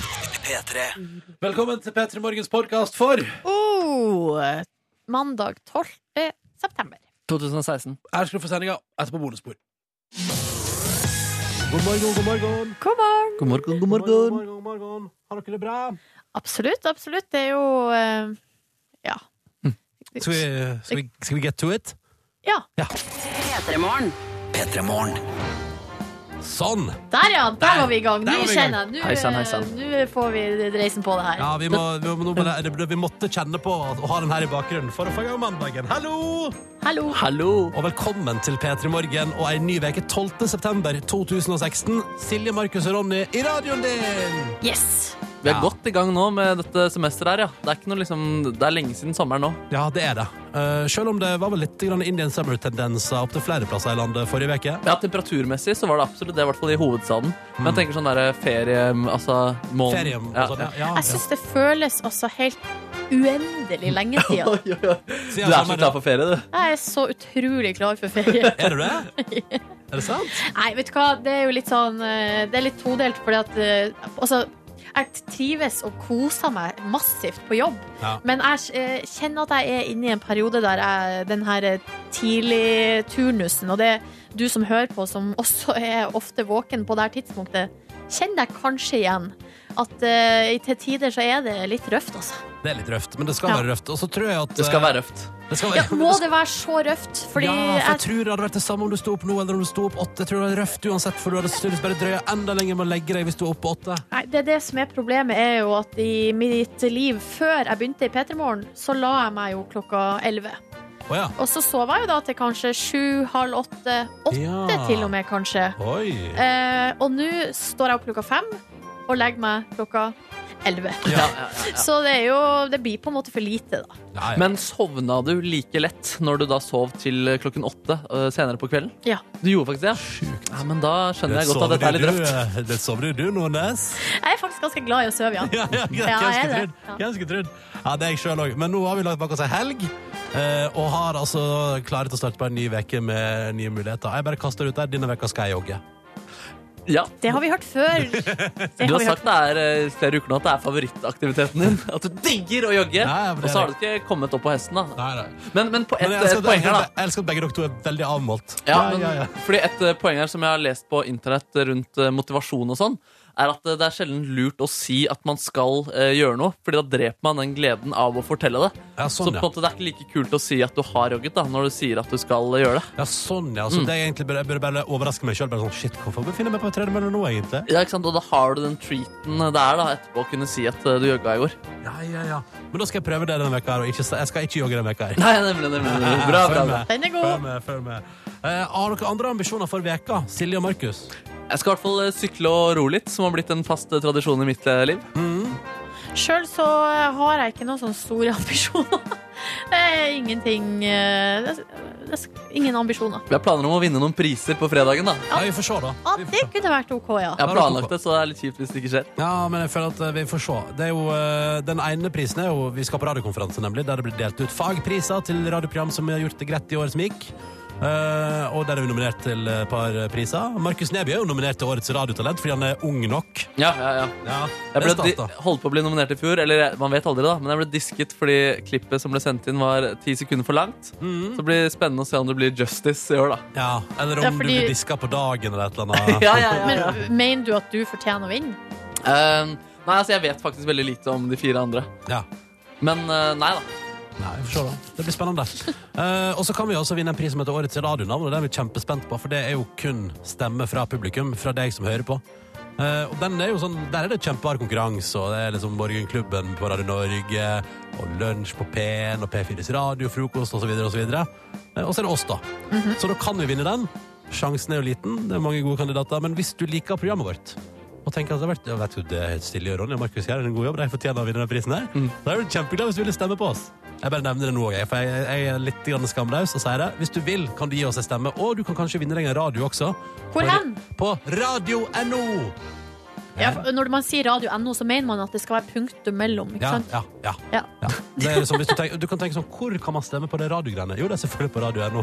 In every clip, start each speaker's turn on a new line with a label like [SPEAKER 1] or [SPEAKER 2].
[SPEAKER 1] P3.
[SPEAKER 2] Velkommen til P3 Morgens podkast for
[SPEAKER 3] Oh, mandag 12. september.
[SPEAKER 4] 2016.
[SPEAKER 2] Her skal du få sendinga etterpå bonusspor.
[SPEAKER 5] God morgen, god morgen.
[SPEAKER 3] Kom on!
[SPEAKER 4] God morgen, god
[SPEAKER 5] God
[SPEAKER 4] morgen.
[SPEAKER 5] morgen, god morgen. Har dere det bra?
[SPEAKER 3] Absolutt, absolutt. Det er jo eh, Ja.
[SPEAKER 5] Mm. Skal vi, eh, skal, vi, skal vi get to it?
[SPEAKER 3] Ja.
[SPEAKER 1] P3 Morgen.
[SPEAKER 5] Sånn!
[SPEAKER 3] Der, ja! Der var vi i gang.
[SPEAKER 5] Der
[SPEAKER 3] Nå
[SPEAKER 5] var vi i gang.
[SPEAKER 3] kjenner jeg. Nå,
[SPEAKER 4] Heisan, heisan.
[SPEAKER 3] eh, nå får vi dreisen på det her.
[SPEAKER 5] Ja, vi, må, vi, må, nå må det- det- vi måtte kjenne på å ha den her i bakgrunnen for å få i gang mandagen. Hallo!
[SPEAKER 3] Hallo.
[SPEAKER 4] Hallo!
[SPEAKER 5] Og velkommen til P3 Morgen og en ny uke 12. september 2016. Silje, Markus og Ronny i radioen din!
[SPEAKER 3] Yes!
[SPEAKER 4] Vi er
[SPEAKER 5] Ja.
[SPEAKER 4] godt i gang nå med dette semesteret her, ja. Det er, ikke noe, liksom, det er lenge siden sommeren nå.
[SPEAKER 5] Ja, det er det. Eh, selv om det var vel litt grann Indian summer-tendenser opp til flere plasser i landet forrige uke.
[SPEAKER 4] Ja, Temperaturmessig så var det absolutt det, i hvert fall i hovedstaden. Men jeg tenker sånn der ferie... Altså måned...
[SPEAKER 5] Ferie og
[SPEAKER 4] Ja,
[SPEAKER 5] sånn.
[SPEAKER 4] ja.
[SPEAKER 5] Ja, ja.
[SPEAKER 3] Jeg syns det føles altså helt uendelig lenge siden.
[SPEAKER 4] Oi, oi, oi. Du
[SPEAKER 5] Siden
[SPEAKER 4] er så
[SPEAKER 5] sommeren-
[SPEAKER 4] klar for ferie, du.
[SPEAKER 3] Jeg er så utrolig klar for ferie.
[SPEAKER 5] Er du det? Er det sant?
[SPEAKER 3] Nei, vet du hva, det er jo litt sånn eh, Det er litt todelt, fordi at eh, Altså, jeg trives og koser meg massivt på jobb,
[SPEAKER 5] Ja.
[SPEAKER 3] men jeg eh, kjenner at jeg er inne i en periode der jeg Den her eh, tidlig turnusen, og det er du som hører på, som også er ofte våken på det her tidspunktet, kjenner deg kanskje igjen. At eh, til tider så er det litt røft, altså.
[SPEAKER 5] Det er litt røft, men det skal
[SPEAKER 3] Ja.
[SPEAKER 5] være røft. Og så tror jeg at eh,
[SPEAKER 4] Det skal være røft.
[SPEAKER 5] det skal
[SPEAKER 3] Ja,
[SPEAKER 5] være-
[SPEAKER 3] må det være så røft? Fordi
[SPEAKER 5] altså ja, for jeg
[SPEAKER 3] jeg
[SPEAKER 5] tror det hadde vært det samme om du sto opp nå eller om du sto opp åtte. Jeg tror det var røft uansett, for du hadde sannsynligvis bare drøya enda lenger med å legge deg hvis du var oppe åtte.
[SPEAKER 3] Nei, det, er det som er problemet, er jo at i mitt liv før jeg begynte i P3 Morgen, så la jeg meg jo klokka 11.
[SPEAKER 5] Å ja.
[SPEAKER 3] Og så sov jeg jo da til kanskje sju, halv åtte, åtte
[SPEAKER 5] Ja.
[SPEAKER 3] til og med, kanskje.
[SPEAKER 5] Oi.
[SPEAKER 3] Eh, og nå står jeg opp klokka fem og legger meg klokka elleve.
[SPEAKER 4] Ja, ja, ja, ja.
[SPEAKER 3] Så det er jo Det blir på en måte for lite, da.
[SPEAKER 5] Ja, ja.
[SPEAKER 4] Men sovna du like lett når du da sov til eh, klokken åtte øh, senere på kvelden?
[SPEAKER 3] Ja.
[SPEAKER 4] Du gjorde faktisk det? Sjukt. Ja, men da skjønner jeg godt at dette er litt
[SPEAKER 5] du,
[SPEAKER 4] røft.
[SPEAKER 5] eh, Det sover du, du, Nordnes.
[SPEAKER 3] Jeg er faktisk ganske glad i å sove, ja.
[SPEAKER 5] Ja, ja,
[SPEAKER 3] Ja,
[SPEAKER 5] hvem
[SPEAKER 3] jeg er
[SPEAKER 5] skulle
[SPEAKER 3] det.
[SPEAKER 5] trodd? Hvem skulle trodd? Ja, det er jeg sjøl òg. Men nå har vi lagt bak oss ei helg. eh, Og har altså klart å starte på en ny uke med nye muligheter. Jeg bare kaster ut der. Denne veka skal jeg jogge.
[SPEAKER 4] Ja.
[SPEAKER 3] Det har vi hørt før. Det
[SPEAKER 4] Du har
[SPEAKER 3] vi
[SPEAKER 4] sagt det er eh, flere uker nå at det er favorittaktiviteten din. At du digger å jogge.
[SPEAKER 5] Ja, ja, men det
[SPEAKER 4] og så
[SPEAKER 5] er
[SPEAKER 4] har du ikke kommet opp på hesten, da.
[SPEAKER 5] Nei, nei.
[SPEAKER 4] Men, men på et,
[SPEAKER 5] Men jeg
[SPEAKER 4] eh,
[SPEAKER 5] elsker, at-
[SPEAKER 4] poeng her, da.
[SPEAKER 5] jeg elsker at begge dere to er veldig avmålt.
[SPEAKER 4] Ja, men, Fordi Et eh, poeng her som jeg har lest på internett rundt eh, motivasjon og sånn, er at eh, det er sjelden lurt å si at man skal eh, gjøre noe, Fordi da dreper man den gleden av å fortelle det.
[SPEAKER 5] Ja,
[SPEAKER 4] så
[SPEAKER 5] sånn,
[SPEAKER 4] på en
[SPEAKER 5] ja.
[SPEAKER 4] måte det er ikke like kult å si at du har jogget, da når du sier at du skal eh, gjøre det.
[SPEAKER 5] ja, sånn, ja. Så det er egentlig bare, jeg burde bare overraske meg sjøl. Sånn, shit, hvorfor befinner jeg meg på tredemølle nå, egentlig?
[SPEAKER 4] Ja, ikke sant? Og da har du den treaten eh, det er da etterpå å kunne si at eh, du jogga i går.
[SPEAKER 5] Ja, ja, ja. Men da skal jeg prøve det denne veka her, og ikke, jeg skal ikke jogge denne veka her.
[SPEAKER 4] Nei, nemlig, nemlig. nemlig. Bra,
[SPEAKER 5] sånn,
[SPEAKER 4] bra, bra.
[SPEAKER 3] Den er
[SPEAKER 5] Følg
[SPEAKER 3] god.
[SPEAKER 5] med, følg med. Eh, har dere andre ambisjoner for veka, Silje og Markus?
[SPEAKER 4] Jeg skal i hvert fall eh, sykle og ro litt, som har blitt en fast eh, tradisjon i mitt eh, liv.
[SPEAKER 3] Sjøl så har jeg ikke noen sånne store ambisjoner. Det er ingenting eh, det er, det er Ingen ambisjoner.
[SPEAKER 4] Jeg har planer om å vinne noen priser på fredagen. da
[SPEAKER 5] Ja, vi får se, da.
[SPEAKER 3] Ah,
[SPEAKER 5] Vi får
[SPEAKER 3] det
[SPEAKER 5] se.
[SPEAKER 3] kunne vært OK, ja.
[SPEAKER 4] Jeg har planlagt det, så det er litt kjipt hvis det ikke skjer.
[SPEAKER 5] Ja, men jeg føler at eh, vi får se. Det er jo, eh, den ene prisen er jo Vi skal på radiokonferanse, nemlig, der det blir delt ut fagpriser til radioprogram som har gjort det greit i året som gikk. Eh, og der er vi nominert til et par eh, priser. Markus Neby er jo nominert til Årets radiotalent fordi han er ung nok.
[SPEAKER 4] Ja, ja, ja
[SPEAKER 5] Ja,
[SPEAKER 4] Jeg ble
[SPEAKER 5] det er stas,
[SPEAKER 4] di- holdt på å bli nominert i fjor, eller jeg- man vet aldri da, men jeg ble disket fordi klippet som ble sendt inn var ti sekunder for langt.
[SPEAKER 5] Mhm.
[SPEAKER 4] Så det blir spennende å se om det blir justice i år, da.
[SPEAKER 5] da. Ja, eller om
[SPEAKER 3] Ja, fordi-
[SPEAKER 5] du blir diska på dagen eller et eller annet.
[SPEAKER 4] Ja, ja, ja,
[SPEAKER 3] Men mener du at du fortjener å vinne?
[SPEAKER 4] Eh, nei, altså jeg vet faktisk veldig lite om de fire andre.
[SPEAKER 5] Ja.
[SPEAKER 4] Men eh, nei da.
[SPEAKER 5] Nei, vi får se da. Det blir spennende. Eh, og så kan vi også vinne en pris som heter Årets radionavn, og den er vi kjempespent på, for det er jo kun stemme fra publikum, fra deg som hører på. Eh, og den er jo sånn, Der er det kjempehard konkurranse, og det er liksom Morgenklubben på Radio Norge, og Lunsj på P1, og P4s radiofrokost, osv., osv. Uh, og så er det oss, da.
[SPEAKER 3] Mhm.
[SPEAKER 5] Så da kan vi vinne den. Sjansen er jo liten, det er mange gode kandidater, men hvis du liker programmet vårt og tenker at det har vært, ja, vet du, det er Silje og Ronny og Markus gjør en god jobb, de fortjener å vinne den prisen her, da er du kjempeglad hvis du vil stemme på oss. Jeg bare nevner det nå, jeg, for jeg, jeg er litt grann skamlaus og sier det. Hvis du vil, kan du gi oss en stemme, og du kan kanskje vinne deg en radio også.
[SPEAKER 3] Hvor hen?
[SPEAKER 5] På radio.no!
[SPEAKER 3] Ja, for når man sier radio NO, så mener man at det skal være punktum mellom. Ikke
[SPEAKER 5] Ja,
[SPEAKER 3] sant?
[SPEAKER 5] ja, ja.
[SPEAKER 3] Ja.
[SPEAKER 5] ja. Det er liksom, hvis du, tenker, du kan tenke sånn, hvor kan man stemme på det radiogreiene? Jo, det er selvfølgelig på radio.no.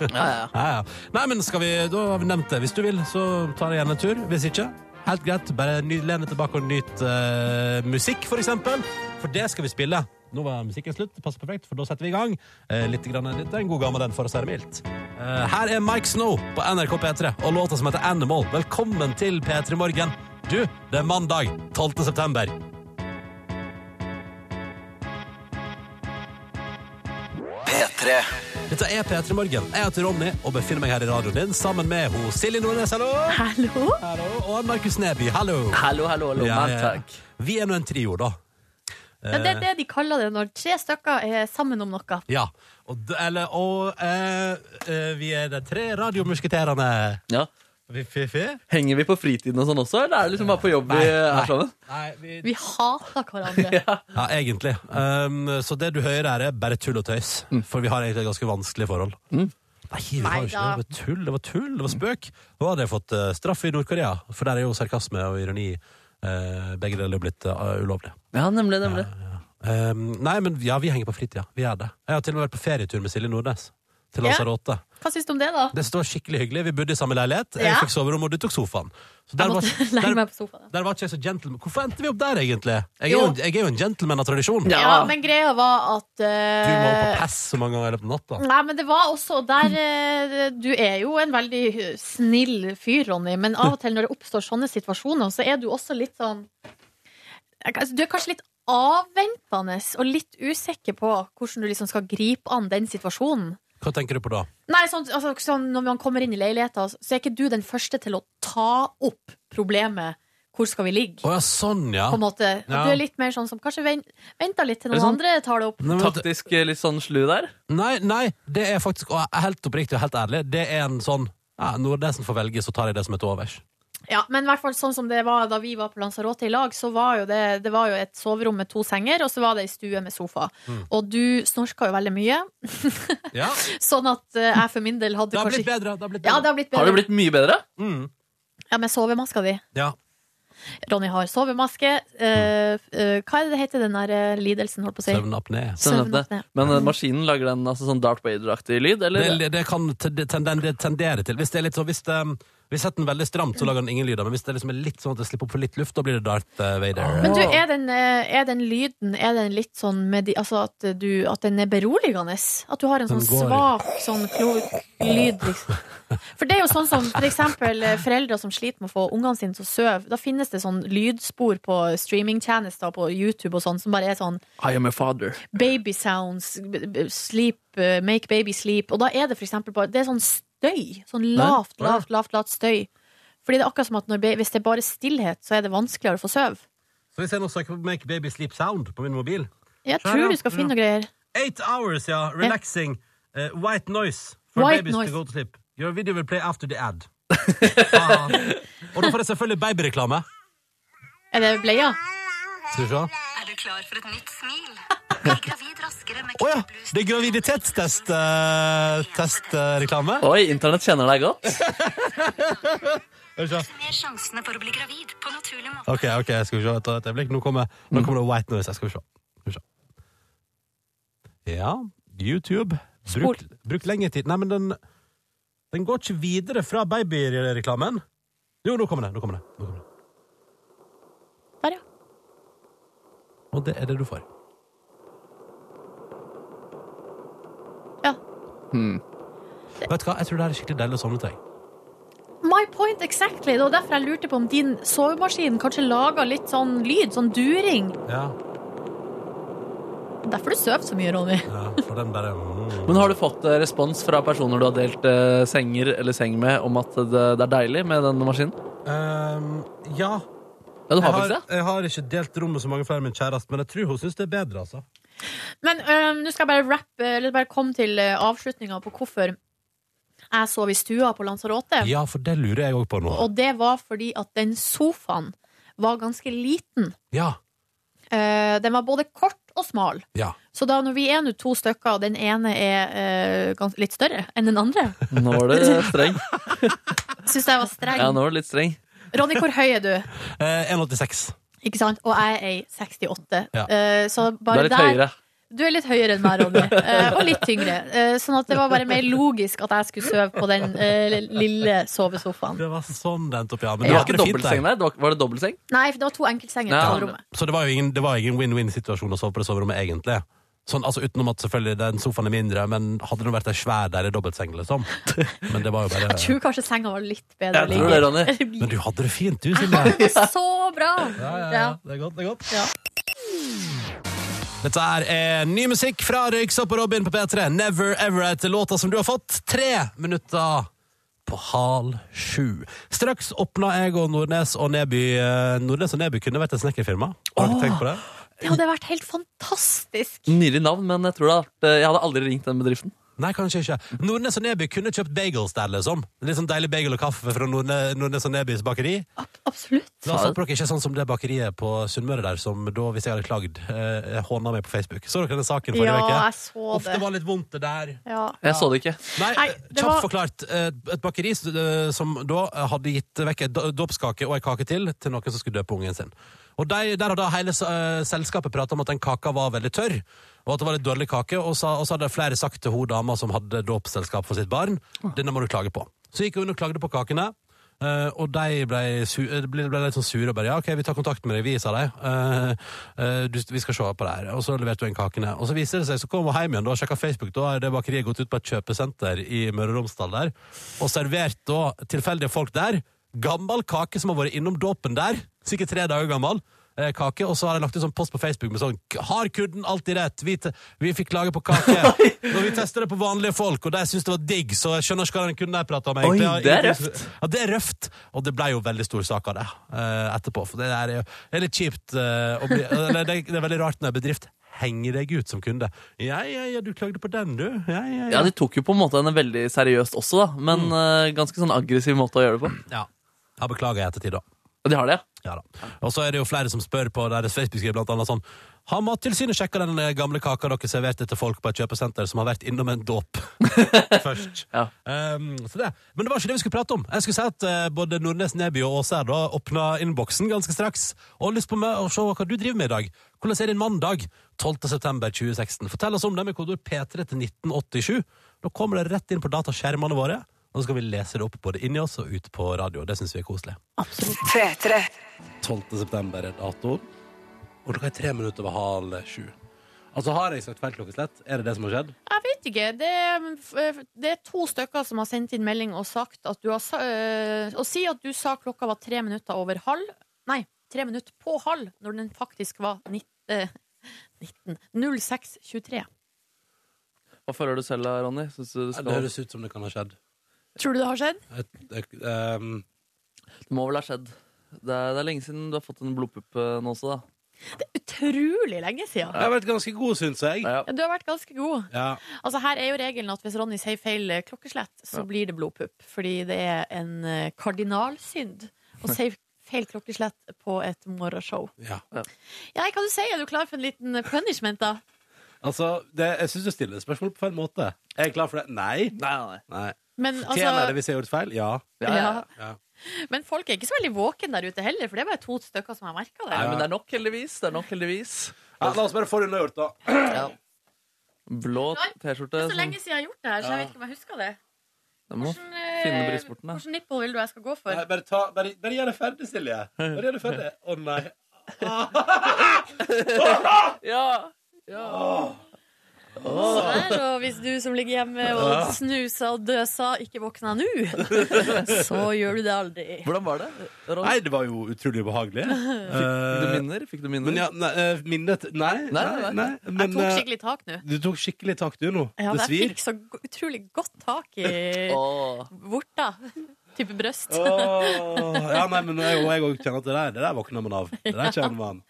[SPEAKER 4] Ja, ja.
[SPEAKER 5] Ja, ja. Nei, men skal vi, da har vi nevnt det. Hvis du vil, så tar jeg gjerne en tur. Hvis ikke, Helt greit. Bare ny, len deg tilbake og nyt eh, musikk, for eksempel. For det skal vi spille. Nå var musikken slutt. Det passer perfekt, for da setter vi i gang. Eh, litt grann, det er en god gammel den, for å si det mildt. Eh, her er Mike Snow på NRK P3 og låta som heter Animal. Velkommen til P3 Morgen. Du, det er mandag 12. september.
[SPEAKER 6] P3
[SPEAKER 5] Dette er P3 Morgen. Jeg heter Ronny og befinner meg her i radioen din sammen med ho Silje Nordnes, hallo!
[SPEAKER 3] Hallo?
[SPEAKER 5] Hallo. Og Markus Neby, hallo!
[SPEAKER 4] Hallo, hallo, hallo,
[SPEAKER 5] Ja, ja,
[SPEAKER 4] man,
[SPEAKER 5] ja.
[SPEAKER 4] takk.
[SPEAKER 5] Vi er nå en trio, da.
[SPEAKER 3] Ja,
[SPEAKER 5] Eh.
[SPEAKER 3] det er det de kaller det når tre stykker er sammen om noe.
[SPEAKER 5] Ja. Og, d- eller, og eh, eh, vi er de tre radiomusketerene.
[SPEAKER 4] Ja.
[SPEAKER 5] Fiffi?
[SPEAKER 4] Henger vi på fritiden og sånn også, eller er det liksom bare på jobb vi
[SPEAKER 5] nei.
[SPEAKER 4] er sammen?
[SPEAKER 5] Nei, vi...
[SPEAKER 3] Vi hater hverandre.
[SPEAKER 5] Ja, egentlig. Um, så det du hører her, er bare tull og tøys.
[SPEAKER 4] Mm.
[SPEAKER 5] For vi har egentlig et ganske vanskelig forhold. Nei, vi var jo ikke
[SPEAKER 3] Neida.
[SPEAKER 5] det. Det var tull, det var tull, det var spøk. Nå hadde jeg fått eh, straff i Nord-Korea, for der er jo sarkasme og ironi eh, begge deler blitt eh, ulovlig.
[SPEAKER 4] Ja, nemlig, nemlig.
[SPEAKER 5] Um, nei, men ja, vi henger på fritida. Vi gjør det. Jeg har til og med vært på ferietur med Silje Nordnes. Til
[SPEAKER 3] Ja.
[SPEAKER 5] Lanzarote.
[SPEAKER 3] Hva syns du om det, da?
[SPEAKER 5] Det var skikkelig hyggelig. Vi bodde i samme leilighet. Jeg
[SPEAKER 3] Ja.
[SPEAKER 5] fikk soverom, og du tok sofaen. Så der
[SPEAKER 3] Jeg
[SPEAKER 5] var-
[SPEAKER 3] måtte
[SPEAKER 5] der-
[SPEAKER 3] legge meg på sofaen.
[SPEAKER 5] der var ikke jeg så gentleman. Hvorfor endte vi opp der, egentlig? Jeg er
[SPEAKER 3] Jo.
[SPEAKER 5] jo, jeg er jo en gentleman av tradisjon.
[SPEAKER 4] Ja.
[SPEAKER 3] Ja, men greia var at eh,
[SPEAKER 5] Du må på pass så mange ganger i løpet av natta.
[SPEAKER 3] Nei, men det var også der eh, Du er jo en veldig snill fyr, Ronny, men av og til når det oppstår sånne situasjoner, så er du også litt sånn Altså, Du er kanskje litt avventende og litt usikker på hvordan du liksom skal gripe an den situasjonen.
[SPEAKER 5] Hva tenker du på da?
[SPEAKER 3] Nei, sånn, altså, sånn, Når man kommer inn i leiligheten, altså, så er ikke du den første til å ta opp problemet. Hvor skal vi ligge?
[SPEAKER 5] Å ja, sånn, ja.
[SPEAKER 3] På en måte. At
[SPEAKER 5] Ja.
[SPEAKER 3] Du er litt mer sånn som kanskje vent, venter litt til
[SPEAKER 4] Er det
[SPEAKER 3] noen
[SPEAKER 4] sånn?
[SPEAKER 3] andre tar det opp.
[SPEAKER 5] Nei, men vet du-
[SPEAKER 4] Taktisk eh, litt sånn slu der.
[SPEAKER 5] nei, nei, det er faktisk og helt oppriktig og helt ærlig. Det er en sånn ja, Når det som får velge, så tar jeg det som er til overs.
[SPEAKER 3] Ja, men i hvert fall sånn som det var da vi var på Lanzarote i lag, så var jo det, det var jo et soverom med to senger, og så var det ei stue med sofa.
[SPEAKER 5] Mm.
[SPEAKER 3] Og du snorka jo veldig mye,
[SPEAKER 5] Ja,
[SPEAKER 3] sånn at eh, jeg for min del hadde
[SPEAKER 5] Det har
[SPEAKER 3] kanskje
[SPEAKER 5] blitt bedre. Det har blitt
[SPEAKER 3] Ja,
[SPEAKER 5] bedre.
[SPEAKER 3] det har blitt bedre.
[SPEAKER 4] Har det blitt mye bedre?
[SPEAKER 5] Mm.
[SPEAKER 3] Ja, Med sovemaska di.
[SPEAKER 5] Ja.
[SPEAKER 3] Ronny har sovemaske.
[SPEAKER 5] Mm.
[SPEAKER 3] Eh, eh, hva er det det heter den der eh, lidelsen, holdt på å si?
[SPEAKER 5] Søvnapné.
[SPEAKER 3] Søvnapné.
[SPEAKER 4] Men eh, maskinen lager den altså, sånn Darth Vader-aktig lyd,
[SPEAKER 5] Det,
[SPEAKER 4] eller?
[SPEAKER 5] det kan te- det tenden- det tendere til. Hvis det er litt sånn Hvis, det, um, hvis setter den veldig stramt, så lager den ingen lyder. Men hvis det liksom er litt sånn at det slipper opp for litt luft, da blir det Darth eh, Vader.
[SPEAKER 3] Men du, er den, eh, er den lyden Er den litt sånn med de, altså at, du, at den er beroligende? At du har en
[SPEAKER 5] Den
[SPEAKER 3] sånn
[SPEAKER 5] går.
[SPEAKER 3] svak sånn klo, lyd? Liksom. For det er jo sånn som for eksempel eh, foreldre som sliter med å få ungene sine til å sove. Da finnes det sånn lydspor på streamingtjenester på YouTube og sånn som bare er sånn
[SPEAKER 4] I am a father.
[SPEAKER 3] baby sounds, b- b- sleep, eh, make baby sleep. Og da er det for eksempel bare Det er sånn støy. Sånn lavt,
[SPEAKER 5] Nei.
[SPEAKER 3] lavt, lavt, lavt støy. Fordi det er akkurat som at når, ba- hvis det er bare stillhet, så er det vanskeligere å få sove.
[SPEAKER 5] Så hvis jeg nå søker på Make Baby Sleep Sound på min mobil
[SPEAKER 3] Jeg
[SPEAKER 5] Ja,
[SPEAKER 3] tror
[SPEAKER 5] ja,
[SPEAKER 3] du skal
[SPEAKER 5] ja.
[SPEAKER 3] finne noe greier.
[SPEAKER 5] Eight hours, ja. Relaxing. Eh, white noise. For
[SPEAKER 3] White
[SPEAKER 5] babies
[SPEAKER 3] noise.
[SPEAKER 5] to go to sleep. Your video will play after the ad. Ah. Og da får jeg selvfølgelig babyreklame.
[SPEAKER 3] Er det bleia?
[SPEAKER 5] Skal vi se.
[SPEAKER 7] Er du klar for et nytt smil? Bli gravid raskere med
[SPEAKER 5] Å ja!
[SPEAKER 7] Kvikklus.
[SPEAKER 5] Det er uh, graviditetstest-reklame.
[SPEAKER 4] Oi, internett kjenner deg godt.
[SPEAKER 7] Mer sjansene for å bli gravid på naturlig måte.
[SPEAKER 5] OK, ok, skal vi se etter et øyeblikk. Nå kommer, nå kommer det white noise. her. Skal vi se. Skal vi se. Ja, YouTube. Bruk, bruk lengre tid. Nei, men den, den går ikke videre fra babyreklamen. Jo, nå kommer det. Nå kommer det. Nå kommer det.
[SPEAKER 3] Der, ja.
[SPEAKER 5] Og det er det du får.
[SPEAKER 3] Ja.
[SPEAKER 5] Vet du hva, jeg tror det her er skikkelig deilig å sovne til.
[SPEAKER 3] My point exactly. Det var derfor jeg lurte på om din sovemaskin kanskje laga litt sånn lyd, sånn during.
[SPEAKER 5] Ja,
[SPEAKER 3] Derfor du sover så mye, Ronny.
[SPEAKER 5] ja, for den bare mm.
[SPEAKER 4] Men har du fått eh, respons fra personer du har delt eh, senger eller seng med, om at det, det er deilig med den maskinen?
[SPEAKER 5] Ehm, Ja.
[SPEAKER 4] Ja, du
[SPEAKER 5] Jeg
[SPEAKER 4] har
[SPEAKER 5] har,
[SPEAKER 4] faktisk det?
[SPEAKER 5] jeg har ikke delt rom med så mange flere enn min kjæreste, men jeg tror hun syns det er bedre, altså.
[SPEAKER 3] Men øhm, nå skal jeg bare rappe, eller bare komme til uh, avslutninga på hvorfor jeg sov i stua på Lanzarote.
[SPEAKER 5] Ja, for det lurer jeg òg på nå.
[SPEAKER 3] Og det var fordi at den sofaen var ganske liten.
[SPEAKER 5] Ja.
[SPEAKER 3] Eh, den var både kort og smal.
[SPEAKER 5] Ja.
[SPEAKER 3] Så da når vi er nå to stykker, og den ene er eh, gans- litt større enn den andre,
[SPEAKER 4] Nå var det streng.
[SPEAKER 3] syns jeg var streng.
[SPEAKER 4] Ja, nå var det litt streng.
[SPEAKER 3] Ronny, hvor høy er du?
[SPEAKER 5] Eh, 1,86.
[SPEAKER 3] Ikke sant? Og jeg er ei 68.
[SPEAKER 5] Ja.
[SPEAKER 3] Eh, så
[SPEAKER 4] Du
[SPEAKER 3] bare
[SPEAKER 4] er litt
[SPEAKER 3] der,
[SPEAKER 4] høyere.
[SPEAKER 3] Du er litt høyere enn meg, Ronny. eh, Og litt tyngre. Eh, Sånn at det var bare mer logisk at jeg skulle sove på den eh, lille sovesofaen.
[SPEAKER 5] Det var sånn det endte opp, ja. Men
[SPEAKER 4] Det
[SPEAKER 5] du
[SPEAKER 4] var
[SPEAKER 5] hadde
[SPEAKER 4] ikke
[SPEAKER 5] det fint
[SPEAKER 4] dobbeltseng
[SPEAKER 5] der.
[SPEAKER 4] der? Det var, var det dobbeltseng?
[SPEAKER 3] Nei, for det var to enkeltsenger
[SPEAKER 4] Ja.
[SPEAKER 3] på alle rommet.
[SPEAKER 5] Så det var jo ingen, det var ingen win-win-situasjon å sove på det soverommet, egentlig. Sånn, altså Utenom at selvfølgelig den sofaen er mindre, men hadde det vært ei svær der i dobbeltseng, liksom. Men det var jo
[SPEAKER 3] Jeg
[SPEAKER 5] bare
[SPEAKER 3] tror kanskje senga var litt bedre.
[SPEAKER 4] Jeg tror det, Ronny.
[SPEAKER 5] Men du hadde det fint, du,
[SPEAKER 3] Ja,
[SPEAKER 5] Silje.
[SPEAKER 3] det var så bra! Ja.
[SPEAKER 5] Det er godt, det er godt.
[SPEAKER 3] Ja.
[SPEAKER 5] Dette her er eh, ny musikk fra Røyksopp og Robin på P3. Never Ever etter låta som du har fått. Tre minutter på halv sju. Straks åpna jeg og Nordnes og Neby eh, Nordnes og Neby kunne vært et snekkerfirma. Har dere tenkt på det?
[SPEAKER 3] Det hadde vært helt fantastisk.
[SPEAKER 4] Nylig navn, men jeg tror det har vært Jeg hadde aldri ringt den bedriften.
[SPEAKER 5] Nei, kanskje ikke. Nordnes og Neby kunne kjøpt bagels der, liksom. Litt sånn deilig bagel og kaffe fra Nordne, Nordnes og Nebys bakeri.
[SPEAKER 3] Ab- Absolutt.
[SPEAKER 5] Da satt dere ikke sånn som det bakeriet på Sunnmøre der, som da, hvis jeg hadde klagd, eh, håna meg på Facebook. Så dere den saken forrige
[SPEAKER 3] Ja,
[SPEAKER 5] uke?
[SPEAKER 3] jeg så
[SPEAKER 5] Uff, det
[SPEAKER 3] det.
[SPEAKER 5] var litt vondt, det der.
[SPEAKER 3] Ja.
[SPEAKER 4] Jeg så det ikke.
[SPEAKER 5] Nei,
[SPEAKER 3] Nei,
[SPEAKER 5] kjapt
[SPEAKER 3] det var-
[SPEAKER 5] forklart. eh, Et bakeri eh, som da hadde gitt vekk en do- dåpskake og ei kake til til noen som skulle døpe ungen sin. Og de, Der hadde hele eh, selskapet prata om at den kaka var veldig tørr, og at det var litt dårlig kake. Og så, og så hadde flere sagt til hun dama som hadde dåpsselskap for sitt barn, denne må du klage på. Så gikk hun og klagde på kakene. eh, og de ble, su eh, ble, ble litt sånn sure og bare ja, ok, vi tar kontakt med deg, vi, sa de. Eh, eh, du, vi skal se på det her. Og så leverte hun inn kakene. Og så viser det seg, så kom hun hjem igjen da, og sjekka Facebook, da har det bakeriet gått ut på et kjøpesenter i Møre og Romsdal der, og servert da tilfeldige folk der. Gammel kake som har vært innom dåpen der, sikkert tre dager gammel. eh, Kake, og så har jeg lagt ut sånn post på Facebook med sånn 'Har kudden alltid rett?' Vi, te- vi fikk klage på kake. Når vi tester det på vanlige folk, og de syns det var digg, så jeg skjønner ikke hva den kunden der prata om. egentlig.
[SPEAKER 4] Oi, det er
[SPEAKER 5] Jeg-
[SPEAKER 4] røft.
[SPEAKER 5] ja, det er røft, og det ble jo veldig stor sak av det eh, etterpå. For det er, jo- det er litt kjipt eh, å bli eller, det, det er veldig rart når en bedrift henger deg ut som kunde. Ja, ja, ja, du klagde på den, du. Ja, ja,
[SPEAKER 4] Ja,
[SPEAKER 5] ja.
[SPEAKER 4] De tok jo på en måte henne veldig seriøst også, da. Men eh, ganske sånn aggressiv måte å gjøre det på.
[SPEAKER 5] ja. Jeg beklager i ettertid, da.
[SPEAKER 4] Og de har det, ja.
[SPEAKER 5] Ja, da. Og så er det jo flere som spør på deres Facebook-skriv, blant annet sånn Har Mattilsynet sjekka den eh, gamle kaka dere serverte til folk på et kjøpesenter som har vært innom en dåp først?
[SPEAKER 4] Ja.
[SPEAKER 5] Um, så det. Men det var ikke det vi skulle prate om. Jeg skulle si at eh, både Nordnes, Neby og Åse her da åpna innboksen ganske straks. Og har lyst på meg å se hva du driver med i dag. Hvordan er din mandag 12.9.2016? Fortell oss om det med kodeord P3 til 1987. Da kommer det rett inn på dataskjermene våre. Og så skal vi lese det opp både inni oss og ut på radio. Det syns vi er koselig. 12. september er datoen, og klokka er tre minutter over halv sju. Altså, har jeg sagt feil klokkeslett? Er det det som har skjedd?
[SPEAKER 3] Jeg vet ikke. Det er, mm, f- det er to stykker som har sendt inn melding og sagt at du har sa, øh, Og si at du sa klokka var tre minutter over halv Nei, tre minutter på halv når den faktisk var 19, eh, 19 06.23.
[SPEAKER 4] Hva føler du selv da, Ronny? Synes du, det
[SPEAKER 5] Det
[SPEAKER 4] skal...
[SPEAKER 5] høres ut som det kan ha skjedd.
[SPEAKER 3] Tror du det har skjedd?
[SPEAKER 5] Et- et- ehm,
[SPEAKER 4] det må vel ha skjedd. Det er, det er lenge siden du har fått en blodpupp eh, nå også, da.
[SPEAKER 3] Utrolig lenge siden.
[SPEAKER 5] jeg har vært ganske god, syns jeg.
[SPEAKER 4] Ja, ja.
[SPEAKER 3] Ja, du har vært ganske god.
[SPEAKER 5] Ja.
[SPEAKER 3] Altså Her er jo regelen at hvis Ronny sier feil eh, klokkeslett, så
[SPEAKER 4] Ja.
[SPEAKER 3] blir det blodpupp. Fordi det er en eh, kardinalsynd å si feil klokkeslett på et morgenshow.
[SPEAKER 5] ja.
[SPEAKER 3] Ja, hva du sier? Er du klar for en liten punishment, da?
[SPEAKER 5] Altså, det, jeg syns du stiller spørsmål på feil måte. Er jeg klar for det? Nei.
[SPEAKER 4] Nei, nei,
[SPEAKER 5] Nei.
[SPEAKER 3] Men,
[SPEAKER 5] Tjener det
[SPEAKER 3] altså,
[SPEAKER 5] hvis jeg har gjort feil? Ja.
[SPEAKER 4] nei. Ja, ja. ja.
[SPEAKER 5] Ja.
[SPEAKER 3] men folk er ikke så veldig våken der ute heller, for det er bare to stykker som har merka det.
[SPEAKER 4] Nei, men det er nok, heldigvis. Det er nok, heldigvis.
[SPEAKER 5] ja la oss bare få det unnagjort, da.
[SPEAKER 4] Blå
[SPEAKER 3] Det
[SPEAKER 4] T-skjorte.
[SPEAKER 3] er så
[SPEAKER 4] sånn-
[SPEAKER 3] lenge siden jeg har gjort det her, så jeg vet ikke om jeg husker det.
[SPEAKER 4] Jeg må
[SPEAKER 3] Hvordan, eh,
[SPEAKER 4] finne brystvorten, da.
[SPEAKER 3] hvordan nipple vil du jeg skal gå for?
[SPEAKER 5] Nei, bare, ta, bare, bare gjør det ferdig, Silje. Bare gjør det ferdig. Å nei.
[SPEAKER 4] Ja,
[SPEAKER 3] Sånn, og hvis du som ligger hjemme og snuser og døser, ikke våkner nå, så gjør du det aldri.
[SPEAKER 4] Hvordan var det? Ronny?
[SPEAKER 5] Nei, det var jo utrolig ubehagelig.
[SPEAKER 4] Fikk du
[SPEAKER 5] Eh,
[SPEAKER 4] minner? Fikk du minner?
[SPEAKER 5] Men ja, nei, eh, minnet Nei. nei,
[SPEAKER 4] nei, nei.
[SPEAKER 5] nei,
[SPEAKER 3] Jeg
[SPEAKER 5] men,
[SPEAKER 3] tok
[SPEAKER 5] eh,
[SPEAKER 3] skikkelig tak nå.
[SPEAKER 5] Du tok skikkelig tak, du, nå.
[SPEAKER 3] Ja,
[SPEAKER 5] det
[SPEAKER 3] jeg
[SPEAKER 5] svir.
[SPEAKER 3] fikk så go- utrolig godt tak i
[SPEAKER 4] Åh.
[SPEAKER 3] vorta. Type brøst.
[SPEAKER 5] Åh, ja, nei, men jeg og jeg også kjenner at det der, det der våkner man av. Det der kjenner man.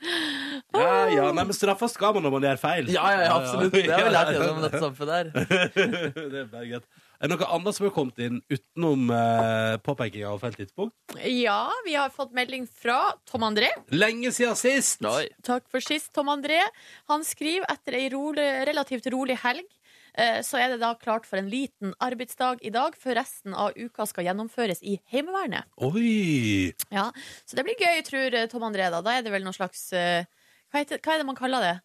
[SPEAKER 5] Ja, ja, nei, men straffa skal man når man gjør feil.
[SPEAKER 4] Ja, ja, ja, absolutt. Det har vi lært gjennom dette samfunnet her.
[SPEAKER 5] det er bare greit. Er det noe annet som har kommet inn utenom eh, påpeking av feil tidspunkt?
[SPEAKER 3] Ja, vi har fått melding fra Tom André.
[SPEAKER 5] Lenge siden sist!
[SPEAKER 4] Oi.
[SPEAKER 3] Takk for sist, Tom André. Han skriver etter ei rolig, relativt rolig helg. eh, Så er det da klart for en liten arbeidsdag i dag, før resten av uka skal gjennomføres i Heimevernet.
[SPEAKER 5] Oi!
[SPEAKER 3] Ja, Så det blir gøy, tror eh, Tom André. Da Da er det vel noe slags eh, Hva heter- hva er det man kaller det?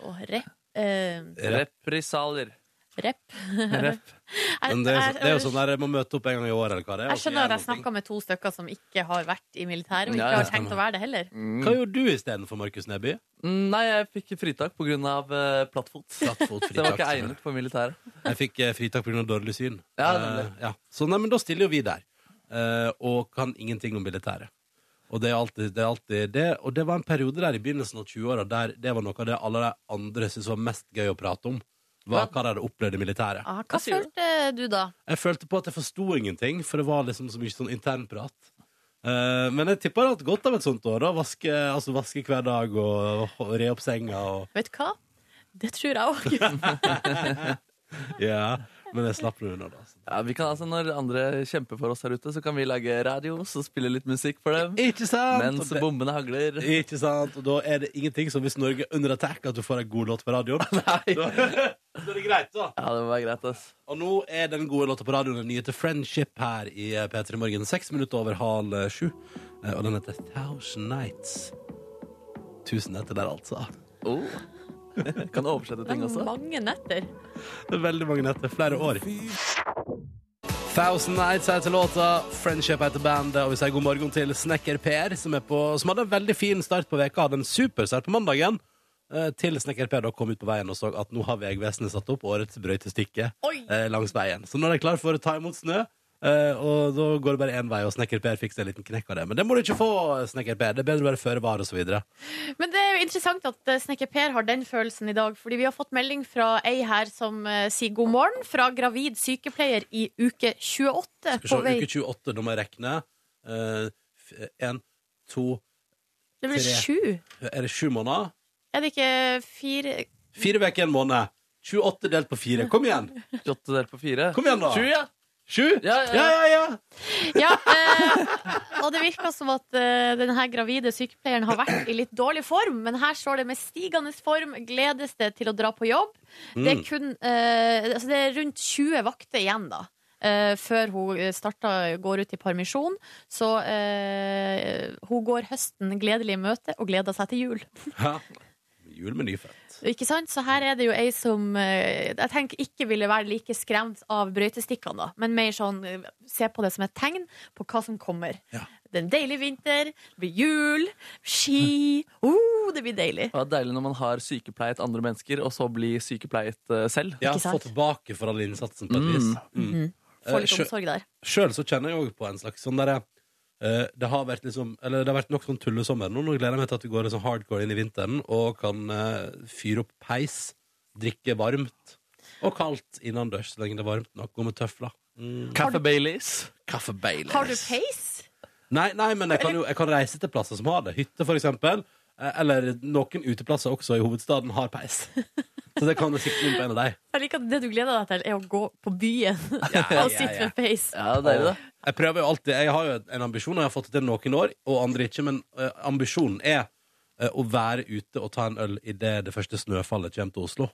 [SPEAKER 3] Å, eh,
[SPEAKER 4] Represalier.
[SPEAKER 3] rep.
[SPEAKER 4] Rep.
[SPEAKER 3] Jeg,
[SPEAKER 5] Men det, er, så- det er jo sånn der, jeg må møte opp en gang i året, eller hva det er. og
[SPEAKER 3] jeg
[SPEAKER 5] så
[SPEAKER 3] skjønner
[SPEAKER 5] gjør
[SPEAKER 3] at jeg
[SPEAKER 5] noe.
[SPEAKER 3] snakka med to stykker som ikke har vært i militæret, og
[SPEAKER 4] Ja,
[SPEAKER 3] ikke
[SPEAKER 4] ja.
[SPEAKER 3] har tenkt å være det heller.
[SPEAKER 4] Mm.
[SPEAKER 5] Hva gjorde du istedenfor, Markus Neby?
[SPEAKER 4] Nei, jeg fikk fritak pga. eh, plattfot.
[SPEAKER 5] Plattfot,
[SPEAKER 4] Så jeg var ikke
[SPEAKER 5] fritak,
[SPEAKER 4] egnet for militæret.
[SPEAKER 5] Jeg fikk eh, fritak pga. dårlig syn.
[SPEAKER 4] Ja,
[SPEAKER 5] Eh,
[SPEAKER 4] nemlig.
[SPEAKER 5] ja. Så nei, men da stiller jo vi der, eh, og kan ingenting om militæret. Og det er alltid det. Er alltid det. Og det var en periode der i begynnelsen av 20-åra der det var noe av det alle de andre syntes var mest gøy å prate om. Var hva de hadde opplevd i militæret.
[SPEAKER 3] Ah, hva
[SPEAKER 4] Hva sier du?
[SPEAKER 3] følte du da?
[SPEAKER 5] Jeg følte på at jeg forsto ingenting, for det var liksom så mye sånn internprat. Uh, men jeg tipper jeg har hatt godt av et sånt år. da Vaske, altså vaske hver dag og, og re opp senga. Og,
[SPEAKER 3] Vet du hva? Det tror jeg òg.
[SPEAKER 5] ja. Men jeg slapp det unna, da. Så.
[SPEAKER 4] Ja, vi kan, altså, når andre kjemper for oss her ute, så kan vi lage radio og spille litt musikk for dem.
[SPEAKER 5] Ikke sant?
[SPEAKER 4] Mens
[SPEAKER 5] Og det-
[SPEAKER 4] bombene hagler.
[SPEAKER 5] Ikke sant? Og da er det ingenting som hvis Norge er under attack, at du får en god låt på radioen.
[SPEAKER 4] Nei.
[SPEAKER 5] Da, da er det greit, da.
[SPEAKER 4] Ja, det var greit, ass.
[SPEAKER 5] Og nå er den gode låta på radioen den nye til Friendship her i eh, P3 Morgen. Seks minutter over halv eh, sju. Eh, Og den heter Thousand Nights. Tusen netter der, altså.
[SPEAKER 4] Oh. Kan du oversette ting også?
[SPEAKER 3] Mange netter.
[SPEAKER 5] Det er veldig mange netter. Flere år. Thousand Nights heter låta, Friendship heter bandet, og vi sier god morgen til Snekker Per, som, er på, som hadde en veldig fin start på veka, hadde en superstart på mandagen. eh, Til Snekker Per da kom ut på veien og så at nå har Vegvesenet satt opp årets brøytestikke
[SPEAKER 3] Oi!
[SPEAKER 5] eh, langs veien. Så nå er de klar for å ta imot snø, eh, og da går det bare én vei, og Snekker Per fikk seg en liten knekk av det. Men det må du ikke få, Snekker Per. Det er bedre å være føre var, og så videre.
[SPEAKER 3] Men det er jo interessant at eh, Snekker Per har den følelsen i dag, fordi vi har fått melding fra ei her som eh, sier god morgen fra gravid sykepleier i uke 28
[SPEAKER 5] Skal vi
[SPEAKER 3] på vei.
[SPEAKER 5] se, uke 28, nå må jeg regne. Én, to
[SPEAKER 3] Det blir
[SPEAKER 5] tre.
[SPEAKER 3] sju.
[SPEAKER 5] Er det sju måneder?
[SPEAKER 3] Er det ikke fire
[SPEAKER 5] Fire uker, en måned. 28 delt på fire. Kom igjen!
[SPEAKER 4] 28 delt på 4.
[SPEAKER 5] Kom igjen da.
[SPEAKER 4] Sju, ja.
[SPEAKER 5] Sju?
[SPEAKER 4] Ja, ja, ja.
[SPEAKER 5] ja, ja.
[SPEAKER 3] Ja. Eh, og det virker som at eh, denne gravide sykepleieren har vært i litt dårlig form, men her står det med stigende form gledes det til å dra på jobb. Det, er kun, eh, altså det er rundt 20 vakter igjen, da. eh, før hun starta, går ut i permisjon. Så eh, hun går høsten gledelig i møte og gleder seg til jul.
[SPEAKER 5] Ja. Jul med nyfødt.
[SPEAKER 3] Ikke sant? Så her er det jo ei som eh, jeg tenker ikke ville være like skremt av brøytestikkene, da. Men mer sånn eh, se på det som et tegn på hva som kommer.
[SPEAKER 5] Ja.
[SPEAKER 3] Det er en deilig vinter, det blir jul, ski oh, Det blir deilig.
[SPEAKER 4] Det var deilig når man har sykepleiet andre mennesker, og så blir sykepleiet eh, selv.
[SPEAKER 5] Ja,
[SPEAKER 3] Ikke
[SPEAKER 5] få
[SPEAKER 3] sant?
[SPEAKER 5] tilbake for all innsatsen, på et vis. Mm.
[SPEAKER 3] Få
[SPEAKER 5] Eh,
[SPEAKER 3] litt
[SPEAKER 5] sjø-
[SPEAKER 3] omsorg der.
[SPEAKER 5] Sjøl så kjenner jeg òg på en slags sånn derre eh, det har vært liksom, eller det har vært nok sånn tullesommer nå. Nå gleder jeg meg til at vi går liksom hardcore inn i vinteren og kan eh, fyre opp peis, drikke varmt og kaldt innendørs så lenge det er varmt nok, gå med tøfler. Mm.
[SPEAKER 4] Kaffe Baileys.
[SPEAKER 5] Kaffe Baileys.
[SPEAKER 3] Har du peis?
[SPEAKER 5] Nei, nei, men jeg kan jo jeg kan reise til plasser som har det. Hytte, for eksempel. eh, Eller noen uteplasser også i hovedstaden har peis. Så det kan du sikte inn på en av deg.
[SPEAKER 3] Jeg liker at det du gleder deg til, er å gå på byen
[SPEAKER 5] ja,
[SPEAKER 3] og sitte
[SPEAKER 5] ja.
[SPEAKER 3] med peis.
[SPEAKER 4] Ja, det er deilig, da.
[SPEAKER 5] Jeg prøver jo alltid, jeg har jo en ambisjon, og jeg har fått det til noen år, og andre ikke, men eh, ambisjonen er eh, å være ute og ta en øl idet det første snøfallet kommer til Oslo.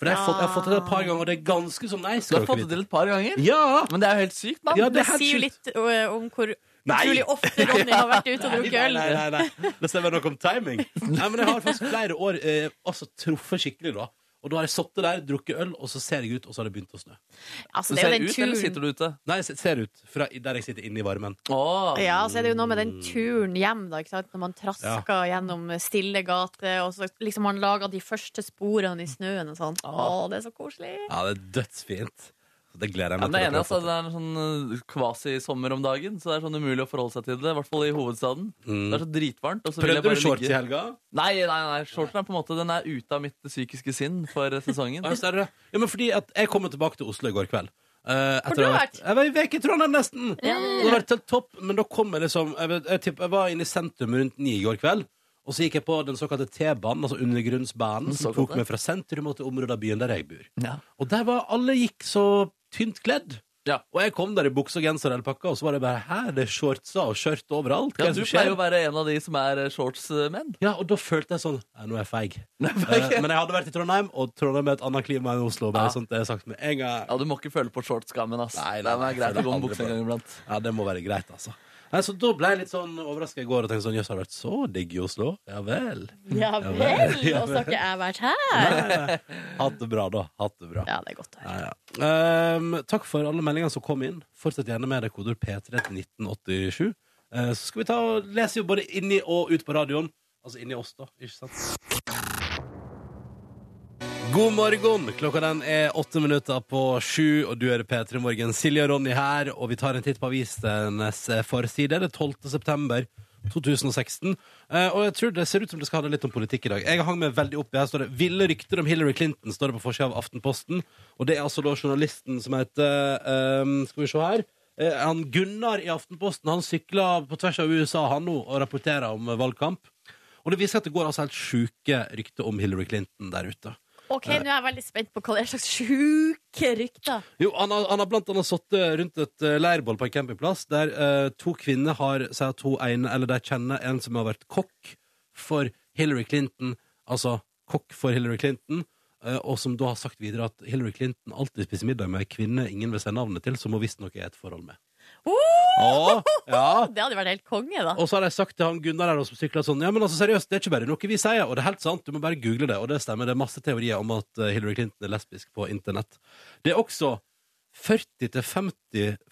[SPEAKER 5] For det har jeg, fått, jeg har fått det til et par ganger, og det er ganske så nice.
[SPEAKER 4] Du har fått det til et par ganger.
[SPEAKER 5] Ja!
[SPEAKER 4] Men det er jo helt sykt, mann.
[SPEAKER 5] Ja,
[SPEAKER 3] Det
[SPEAKER 5] helt
[SPEAKER 3] sier jo
[SPEAKER 5] sjukt.
[SPEAKER 3] litt ø, om hvor
[SPEAKER 5] Nei!
[SPEAKER 3] utrolig ofte Ronny har vært ute og
[SPEAKER 5] Nei,
[SPEAKER 3] drukket øl.
[SPEAKER 5] Nei, nei, nei, nei. Det stemmer nok om timing. Nei, men jeg har faktisk flere år eh, altså, truffet skikkelig, da. Og da har jeg sittet der, drukket øl, og så ser jeg ut, og så har det begynt å snø.
[SPEAKER 3] Altså,
[SPEAKER 4] Du
[SPEAKER 3] det er jo
[SPEAKER 4] ser ut,
[SPEAKER 3] den
[SPEAKER 4] eller
[SPEAKER 3] turen
[SPEAKER 4] sitter du ute?
[SPEAKER 5] Nei, jeg ser ut fra der jeg sitter inne i varmen.
[SPEAKER 4] Åh.
[SPEAKER 3] Ja, så er det jo noe med den turen hjem, da, ikke sant? når man trasker gjennom stille gater, og så liksom man lager de første sporene i snøen og sånn. Å, det er så koselig!
[SPEAKER 5] Ja, det er dødsfint. Så det gleder jeg
[SPEAKER 4] Ja,
[SPEAKER 5] meg
[SPEAKER 4] men det
[SPEAKER 5] til. å
[SPEAKER 4] ene er altså,
[SPEAKER 5] prøve.
[SPEAKER 4] det er en sånn eh, kvasi-sommer om dagen, så det er sånn umulig å forholde seg til det. I hvert fall i hovedstaden. Det er så dritvarmt. Og så vil
[SPEAKER 5] Mm.
[SPEAKER 4] jeg
[SPEAKER 5] Prøvde
[SPEAKER 4] bare
[SPEAKER 5] du shorts i
[SPEAKER 4] ligge...
[SPEAKER 5] helga?
[SPEAKER 4] Nei, nei, nei, shorten er på en måte Den er ute av mitt psykiske sinn for sesongen.
[SPEAKER 5] Ja, ser du det? Ja, men fordi at jeg kom jo tilbake til Oslo i går kveld. Eh, etter
[SPEAKER 3] du
[SPEAKER 5] å ha
[SPEAKER 3] vært?
[SPEAKER 5] Jeg var i vek i Trondheim nesten! Det har vært helt topp, men da kom jeg liksom jeg, vet- jeg, tipper- jeg var inne i sentrum rundt ni i går kveld. Og så gikk jeg på den såkalte T-banen, altså undergrunnsbanen, som tok meg fra sentrum og til området av byen der jeg bor.
[SPEAKER 4] Ja.
[SPEAKER 5] Og der var alle gikk så tynt kledd.
[SPEAKER 4] Ja.
[SPEAKER 5] Og jeg kom der i bukse og genser og hele pakka, og så var det bare hæ, det er shortser og skjørt overalt. Hva
[SPEAKER 4] Ja,
[SPEAKER 5] er
[SPEAKER 4] du
[SPEAKER 5] det som
[SPEAKER 4] pleier
[SPEAKER 5] skjer?
[SPEAKER 4] jo å være en av de som er eh, shortsmenn.
[SPEAKER 5] Ja, og da følte jeg sånn Nei, nå er jeg feig.
[SPEAKER 4] feig,
[SPEAKER 5] Eh, men jeg hadde vært i Trondheim, og Trondheim er et annet klima enn Oslo. Bare sånn
[SPEAKER 4] Ja.
[SPEAKER 5] sånt det er sagt med en gang.
[SPEAKER 4] Ja, du må ikke føle på shortskammen, ass.
[SPEAKER 5] Nei, nei,
[SPEAKER 4] Den
[SPEAKER 5] nei,
[SPEAKER 4] er greit
[SPEAKER 5] føler
[SPEAKER 4] å gå med
[SPEAKER 5] aldri
[SPEAKER 4] bukse
[SPEAKER 5] på
[SPEAKER 4] en
[SPEAKER 5] det.
[SPEAKER 4] gang iblant.
[SPEAKER 5] Ja, det må være greit, altså. Nei, så da ble jeg litt sånn overraska i går og tenkte sånn Jøss, har det vært så digg i Oslo? Ja vel.
[SPEAKER 3] Ja vel, og så har ikke jeg vært her.
[SPEAKER 5] Hatt det bra, da. Hatt det bra.
[SPEAKER 3] Ja, det er godt å høre.
[SPEAKER 5] Ja, ja. Ehm, takk for alle meldingene som kom inn. Fortsett gjerne med det kodeord P3 til 1987. Eh, så skal vi ta og lese jo både inni og ut på radioen. Altså inni oss, da. Ikke sant? God morgen! Klokka den er åtte minutter på sju, og du er P3 Morgen. Silje og Ronny her, og vi tar en titt på avisenes forside. Det er 12. september 2016. Eh, og jeg tror det ser ut som det skal handle litt om politikk i dag. Jeg hang meg veldig opp i her står det 'Ville rykter om Hillary Clinton', står det på forsida av Aftenposten. Og det er altså da journalisten som heter eh, Skal vi se her. Eh, han Gunnar i Aftenposten han sykler på tvers av USA han nå og rapporterer om eh, valgkamp. Og det viser at det går altså helt sjuke rykter om Hillary Clinton der ute.
[SPEAKER 3] Ok, nå er jeg veldig spent på hva det er slags sjuke rykter.
[SPEAKER 5] Jo, han har, han har blant annet sittet rundt et eh, leirbål på en campingplass, der eh, to kvinner har sier at hun ene, eller de kjenner en som har vært kokk for Hillary Clinton, altså kokk for Hillary Clinton, eh, og som da har sagt videre at Hillary Clinton alltid spiser middag med en kvinne ingen vil si navnet til, som hun visstnok er i et forhold med.
[SPEAKER 3] Oh,
[SPEAKER 5] Å, ja.
[SPEAKER 3] det hadde vært helt konge, da.
[SPEAKER 5] Og så har de sagt til han Gunnar der som sykler sånn Ja, men altså seriøst, det er ikke bare noe vi sier, og det er helt sant, du må bare google det. Og det stemmer, det er masse teorier om at eh, Hillary Clinton er lesbisk på internett. Det er også 40-50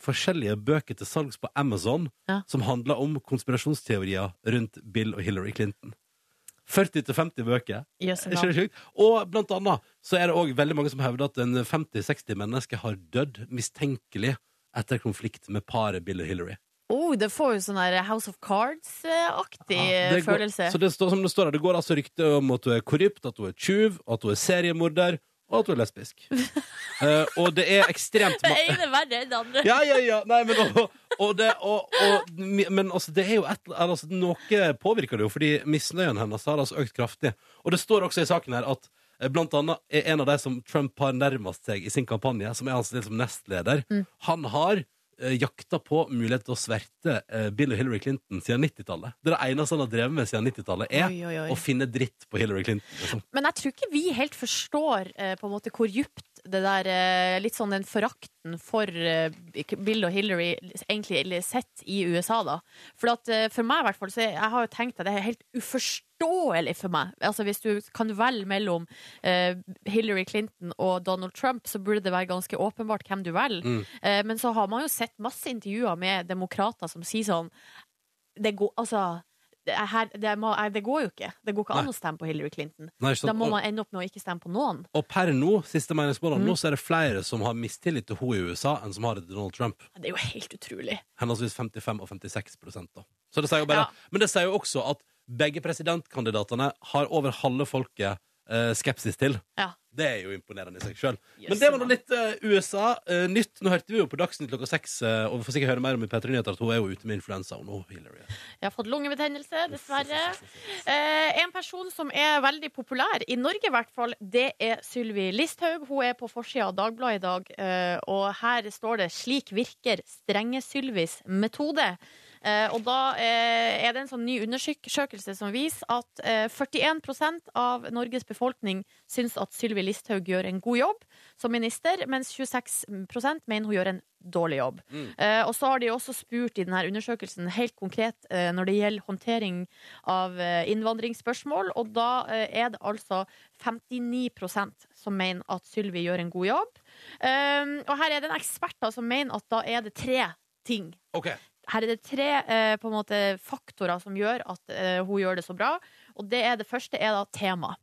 [SPEAKER 5] forskjellige bøker til salgs på Amazon
[SPEAKER 3] Ja.
[SPEAKER 5] som handler om konspirasjonsteorier rundt Bill og Hillary Clinton. 40-50 bøker.
[SPEAKER 3] Jøsse
[SPEAKER 5] Det er
[SPEAKER 3] navn.
[SPEAKER 5] ikke sjukt. Og blant annet så er det òg veldig mange som hevder at en 50-60 mennesker har dødd mistenkelig etter konflikt med paret Bill og Hillary.
[SPEAKER 3] Oh, det får jo sånn der House of Cards-aktig eh,
[SPEAKER 5] Ja, det går-
[SPEAKER 3] følelse.
[SPEAKER 5] Så det står som det står her, det går altså rykter om at hun er korrupt, at hun er tjuv, at hun er seriemorder, og at hun er lesbisk. Eh, og det er ekstremt
[SPEAKER 3] Det
[SPEAKER 5] ma-
[SPEAKER 3] ene er verre enn det andre.
[SPEAKER 5] Ja, ja, ja. Nei, men, og, og det, og, og, men altså, det er jo et eller- altså, Noe påvirker det jo, fordi misnøyen hennes har altså økt kraftig. Og det står også i saken her at eh, Blant annet er en av de som Trump har nærmest seg i sin kampanje, som er hans liksom nestleder. Han har eh, jakta på mulighet til å sverte eh, Bill og Hillary Clinton siden 90-tallet. Det er det eneste han har drevet med siden 90-tallet, er
[SPEAKER 3] Oi, oi, oi.
[SPEAKER 5] å finne dritt på Hillary Clinton. Liksom.
[SPEAKER 3] Men jeg tror ikke vi helt forstår eh, på en måte hvor djupt det der eh, litt sånn den forakten for eh, Bill og Hillary egentlig eller sett i USA, da. For, at, eh, for meg i hvert fall, så er- jeg har jo tenkt at det er helt uforståelig for meg. Altså Hvis du kan velge mellom eh, Hillary Clinton og Donald Trump, så burde det være ganske åpenbart hvem du velger. Eh, men så har man jo sett masse intervjuer med demokrater som sier sånn det går, altså, det, er her, det, må, nei, det går jo ikke. Det går ikke an å stemme på Hillary Clinton.
[SPEAKER 5] Nei, ikke sant?
[SPEAKER 3] Da må
[SPEAKER 5] Og-
[SPEAKER 3] man ende opp med å ikke stemme på noen.
[SPEAKER 5] Og per nå, siste meningsmålene, nå så er det flere som har mistillit til henne i USA, enn som har det til Donald Trump.
[SPEAKER 3] Det er jo helt utrolig.
[SPEAKER 5] henholdsvis 55 og 56 prosent. Da. Så det sier jo bare,
[SPEAKER 3] Ja.
[SPEAKER 5] Men det sier jo også at begge presidentkandidatene har over halve folket eh, skepsis til.
[SPEAKER 3] Ja.
[SPEAKER 5] Det er jo imponerende i seg sjøl.
[SPEAKER 3] Jøsse
[SPEAKER 5] Men det var nå
[SPEAKER 3] navn.
[SPEAKER 5] litt eh, USA eh, nytt. Nå hørte vi jo på Dagsnytt klokka seks, eh, og vi får sikkert høre mer om i P3 Nyheter at hun er jo ute med influensa. Og nå, Hillary.
[SPEAKER 3] Jeg har fått lungebetennelse, dessverre. Eh, en person som er veldig populær, i Norge i hvert fall, det er Sylvi Listhaug. Hun er på forsida av Dagbladet i dag, eh, og her står det 'Slik virker strenge Sylvis metode'. Eh, og da eh, er det en sånn ny undersøkelse som viser at eh, 41 av Norges befolkning syns at Sylvi Listhaug gjør en god jobb som minister, mens 26 mener hun gjør en dårlig jobb. Eh, og så har de også spurt i denne undersøkelsen helt konkret eh, når det gjelder håndtering av eh, innvandringsspørsmål, og da eh, er det altså 59 som mener at Sylvi gjør en god jobb. Eh, og her er det en ekspert da, som mener at da er det tre ting.
[SPEAKER 5] Ok.
[SPEAKER 3] Her er det tre eh, på en måte, faktorer som gjør at eh, hun gjør det så bra. Og det, er det første er da tema.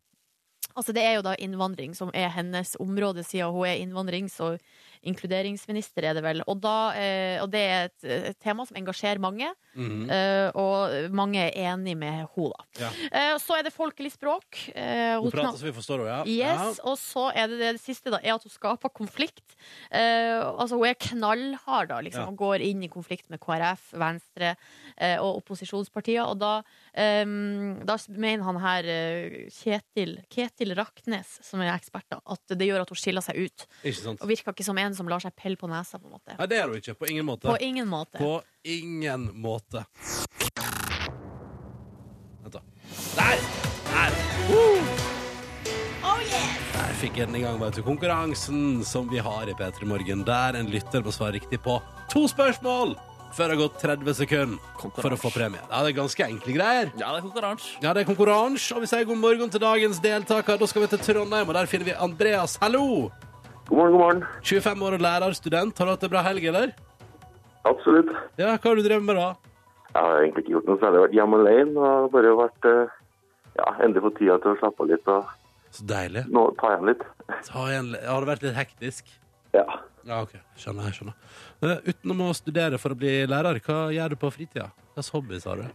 [SPEAKER 3] Altså Det er jo da innvandring som er hennes område, siden hun er innvandrings- og inkluderingsminister. er det vel Og, da, eh, og det er et, et tema som engasjerer mange,
[SPEAKER 5] Mhm.
[SPEAKER 3] eh, og mange er enig med henne. da
[SPEAKER 5] Ja.
[SPEAKER 3] eh, Så er det folkelig språk. Eh,
[SPEAKER 5] Hun
[SPEAKER 3] hun
[SPEAKER 5] prater så vi forstår henne, ja.
[SPEAKER 3] Yes, Og så er det det, det siste, da, er at hun skaper konflikt. Eh, altså Hun er knallhard da, liksom,
[SPEAKER 5] Ja.
[SPEAKER 3] og går inn i konflikt med KrF, Venstre eh, og opposisjonspartier. Og da, ehm, da mener han her eh, Kjetil, Kjetil Raknes, som er ekspert, da, at det gjør at hun skiller seg ut.
[SPEAKER 5] ja. Ikke sant?
[SPEAKER 3] Og virker ikke som en som lar seg pelle på nesa, på en måte.
[SPEAKER 5] Nei, det er hun ikke. På ingen måte.
[SPEAKER 3] På ingen måte.
[SPEAKER 5] På ingen måte. Vent, da. Der! Der! Der fikk jeg den i gang, vet du. Konkurransen som vi har i P3 Morgen, der en lytter må svare riktig på to spørsmål før det har gått 30 sekunder for å få premie. Ja, det er ganske enkle greier.
[SPEAKER 4] Ja, det er konkurranse.
[SPEAKER 5] Ja, det er konkurranse, og vi sier god morgen til dagens deltaker. Da skal vi til Trondheim, og der finner vi Andreas. Hallo!
[SPEAKER 8] God morgen, god morgen.
[SPEAKER 5] 25 år og lærerstudent. Har du hatt en bra helg, eller?
[SPEAKER 8] Absolutt.
[SPEAKER 5] Ja, hva har du drevet med da?
[SPEAKER 8] Jeg har egentlig ikke gjort noe særlig. Jeg har vært hjemme alene og bare vært eh, Ja, endelig fått tida til å slappe av litt og
[SPEAKER 5] Så deilig.
[SPEAKER 8] nå ta igjen litt.
[SPEAKER 5] Ta igjen. Ja, Har det vært litt hektisk?
[SPEAKER 8] Ja.
[SPEAKER 5] Ja, ok. Skjønner, jeg skjønner. Eh, Utenom å studere for å bli lærer, hva gjør du på fritida? Hva slags hobbies har du?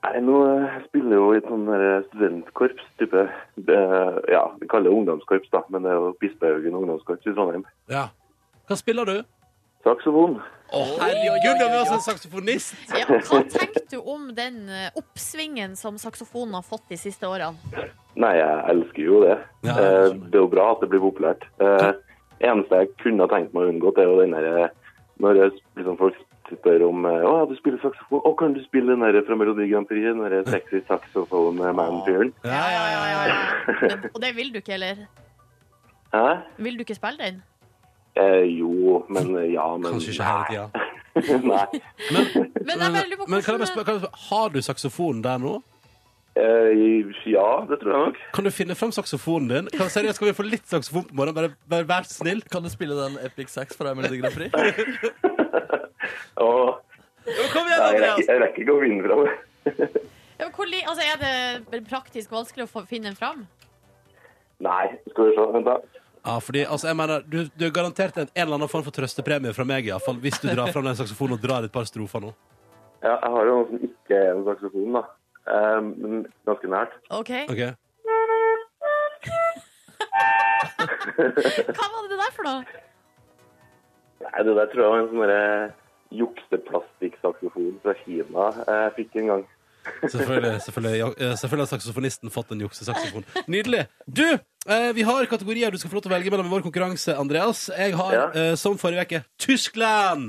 [SPEAKER 8] Nei, nå eh, spiller jeg jo i et sånn der studentkorps type eh, Ja, vi kaller det ungdomskorps, da, men det er jo Bispehaugen ungdomskorps i Trondheim.
[SPEAKER 5] Ja. Hva spiller du?
[SPEAKER 8] Saksofon.
[SPEAKER 5] Å, herregud, altså da har vi også en saksofonist!
[SPEAKER 3] Ja, hva tenker du om den eh, oppsvingen som saksofonen har fått de siste årene?
[SPEAKER 8] Nei, jeg elsker jo det.
[SPEAKER 5] Ja, jeg
[SPEAKER 8] Eh,
[SPEAKER 5] skjønner.
[SPEAKER 8] det er jo bra at det blir populært. Eh, eneste jeg kunne ha tenkt meg å unngå, det er jo den derre Når jeg, liksom, folk spør om eh, Å, ja, du spiller saksofon. Å, kan du spille den derre fra Melodi Grand Prix? Den derre sexy saxophone-man-fyren?
[SPEAKER 5] Ja, ja, ja.
[SPEAKER 3] Men, og det vil du ikke, eller?
[SPEAKER 8] Hæ?
[SPEAKER 3] Vil du ikke spille den?
[SPEAKER 8] Eh, jo, men eh, ja, men
[SPEAKER 5] Kanskje ikke hele tida.
[SPEAKER 8] Nei.
[SPEAKER 3] Men jeg
[SPEAKER 5] Men,
[SPEAKER 3] bare lurer på
[SPEAKER 5] men kan jeg
[SPEAKER 3] hvordan
[SPEAKER 5] bare spørre, kan jeg spørre, har du saksofonen der nå?
[SPEAKER 8] Eh, ja, det tror jeg nok.
[SPEAKER 5] Kan du finne fram saksofonen din? Kan, seriøst, kan vi få litt saksofon på morgenen? Bare, bare vær så snill.
[SPEAKER 4] Kan du spille den Epic Sax fra Melodi Grand Prix?
[SPEAKER 8] Å,
[SPEAKER 4] Kom
[SPEAKER 8] nei,
[SPEAKER 4] igjen,
[SPEAKER 8] jeg, rekker,
[SPEAKER 4] Andreas!
[SPEAKER 8] jeg rekker ikke å vinne fra det.
[SPEAKER 3] Ja, men hvor li- altså, Er det praktisk vanskelig å få finne den fram?
[SPEAKER 8] Nei, skal vi se. Vent, da.
[SPEAKER 5] Ja, fordi, altså, jeg mener, du, du er garantert en, en eller annen form for trøstepremie fra meg, i hvert fall, hvis du drar fram den saksofonen og drar et par strofer nå.
[SPEAKER 8] Ja, jeg har jo noe som ikke er en saksofon, da. Eh, men ganske nært.
[SPEAKER 3] Ok,
[SPEAKER 5] Ok?
[SPEAKER 3] Hva var det der for noe?
[SPEAKER 8] Nei, det der tror jeg var en sånn derre jukseplastikksaksofon fra Kina eh, jeg fikk en gang.
[SPEAKER 5] Selvfølgelig, selvfølgelig, ja, eh, selvfølgelig har saksofonisten fått en juksesaksofon. Nydelig. Du, eh, vi har kategorier du skal få lov til å velge mellom i vår konkurranse, Andreas. Jeg har,
[SPEAKER 8] Ja.
[SPEAKER 5] eh, som forrige uke, Tyskland!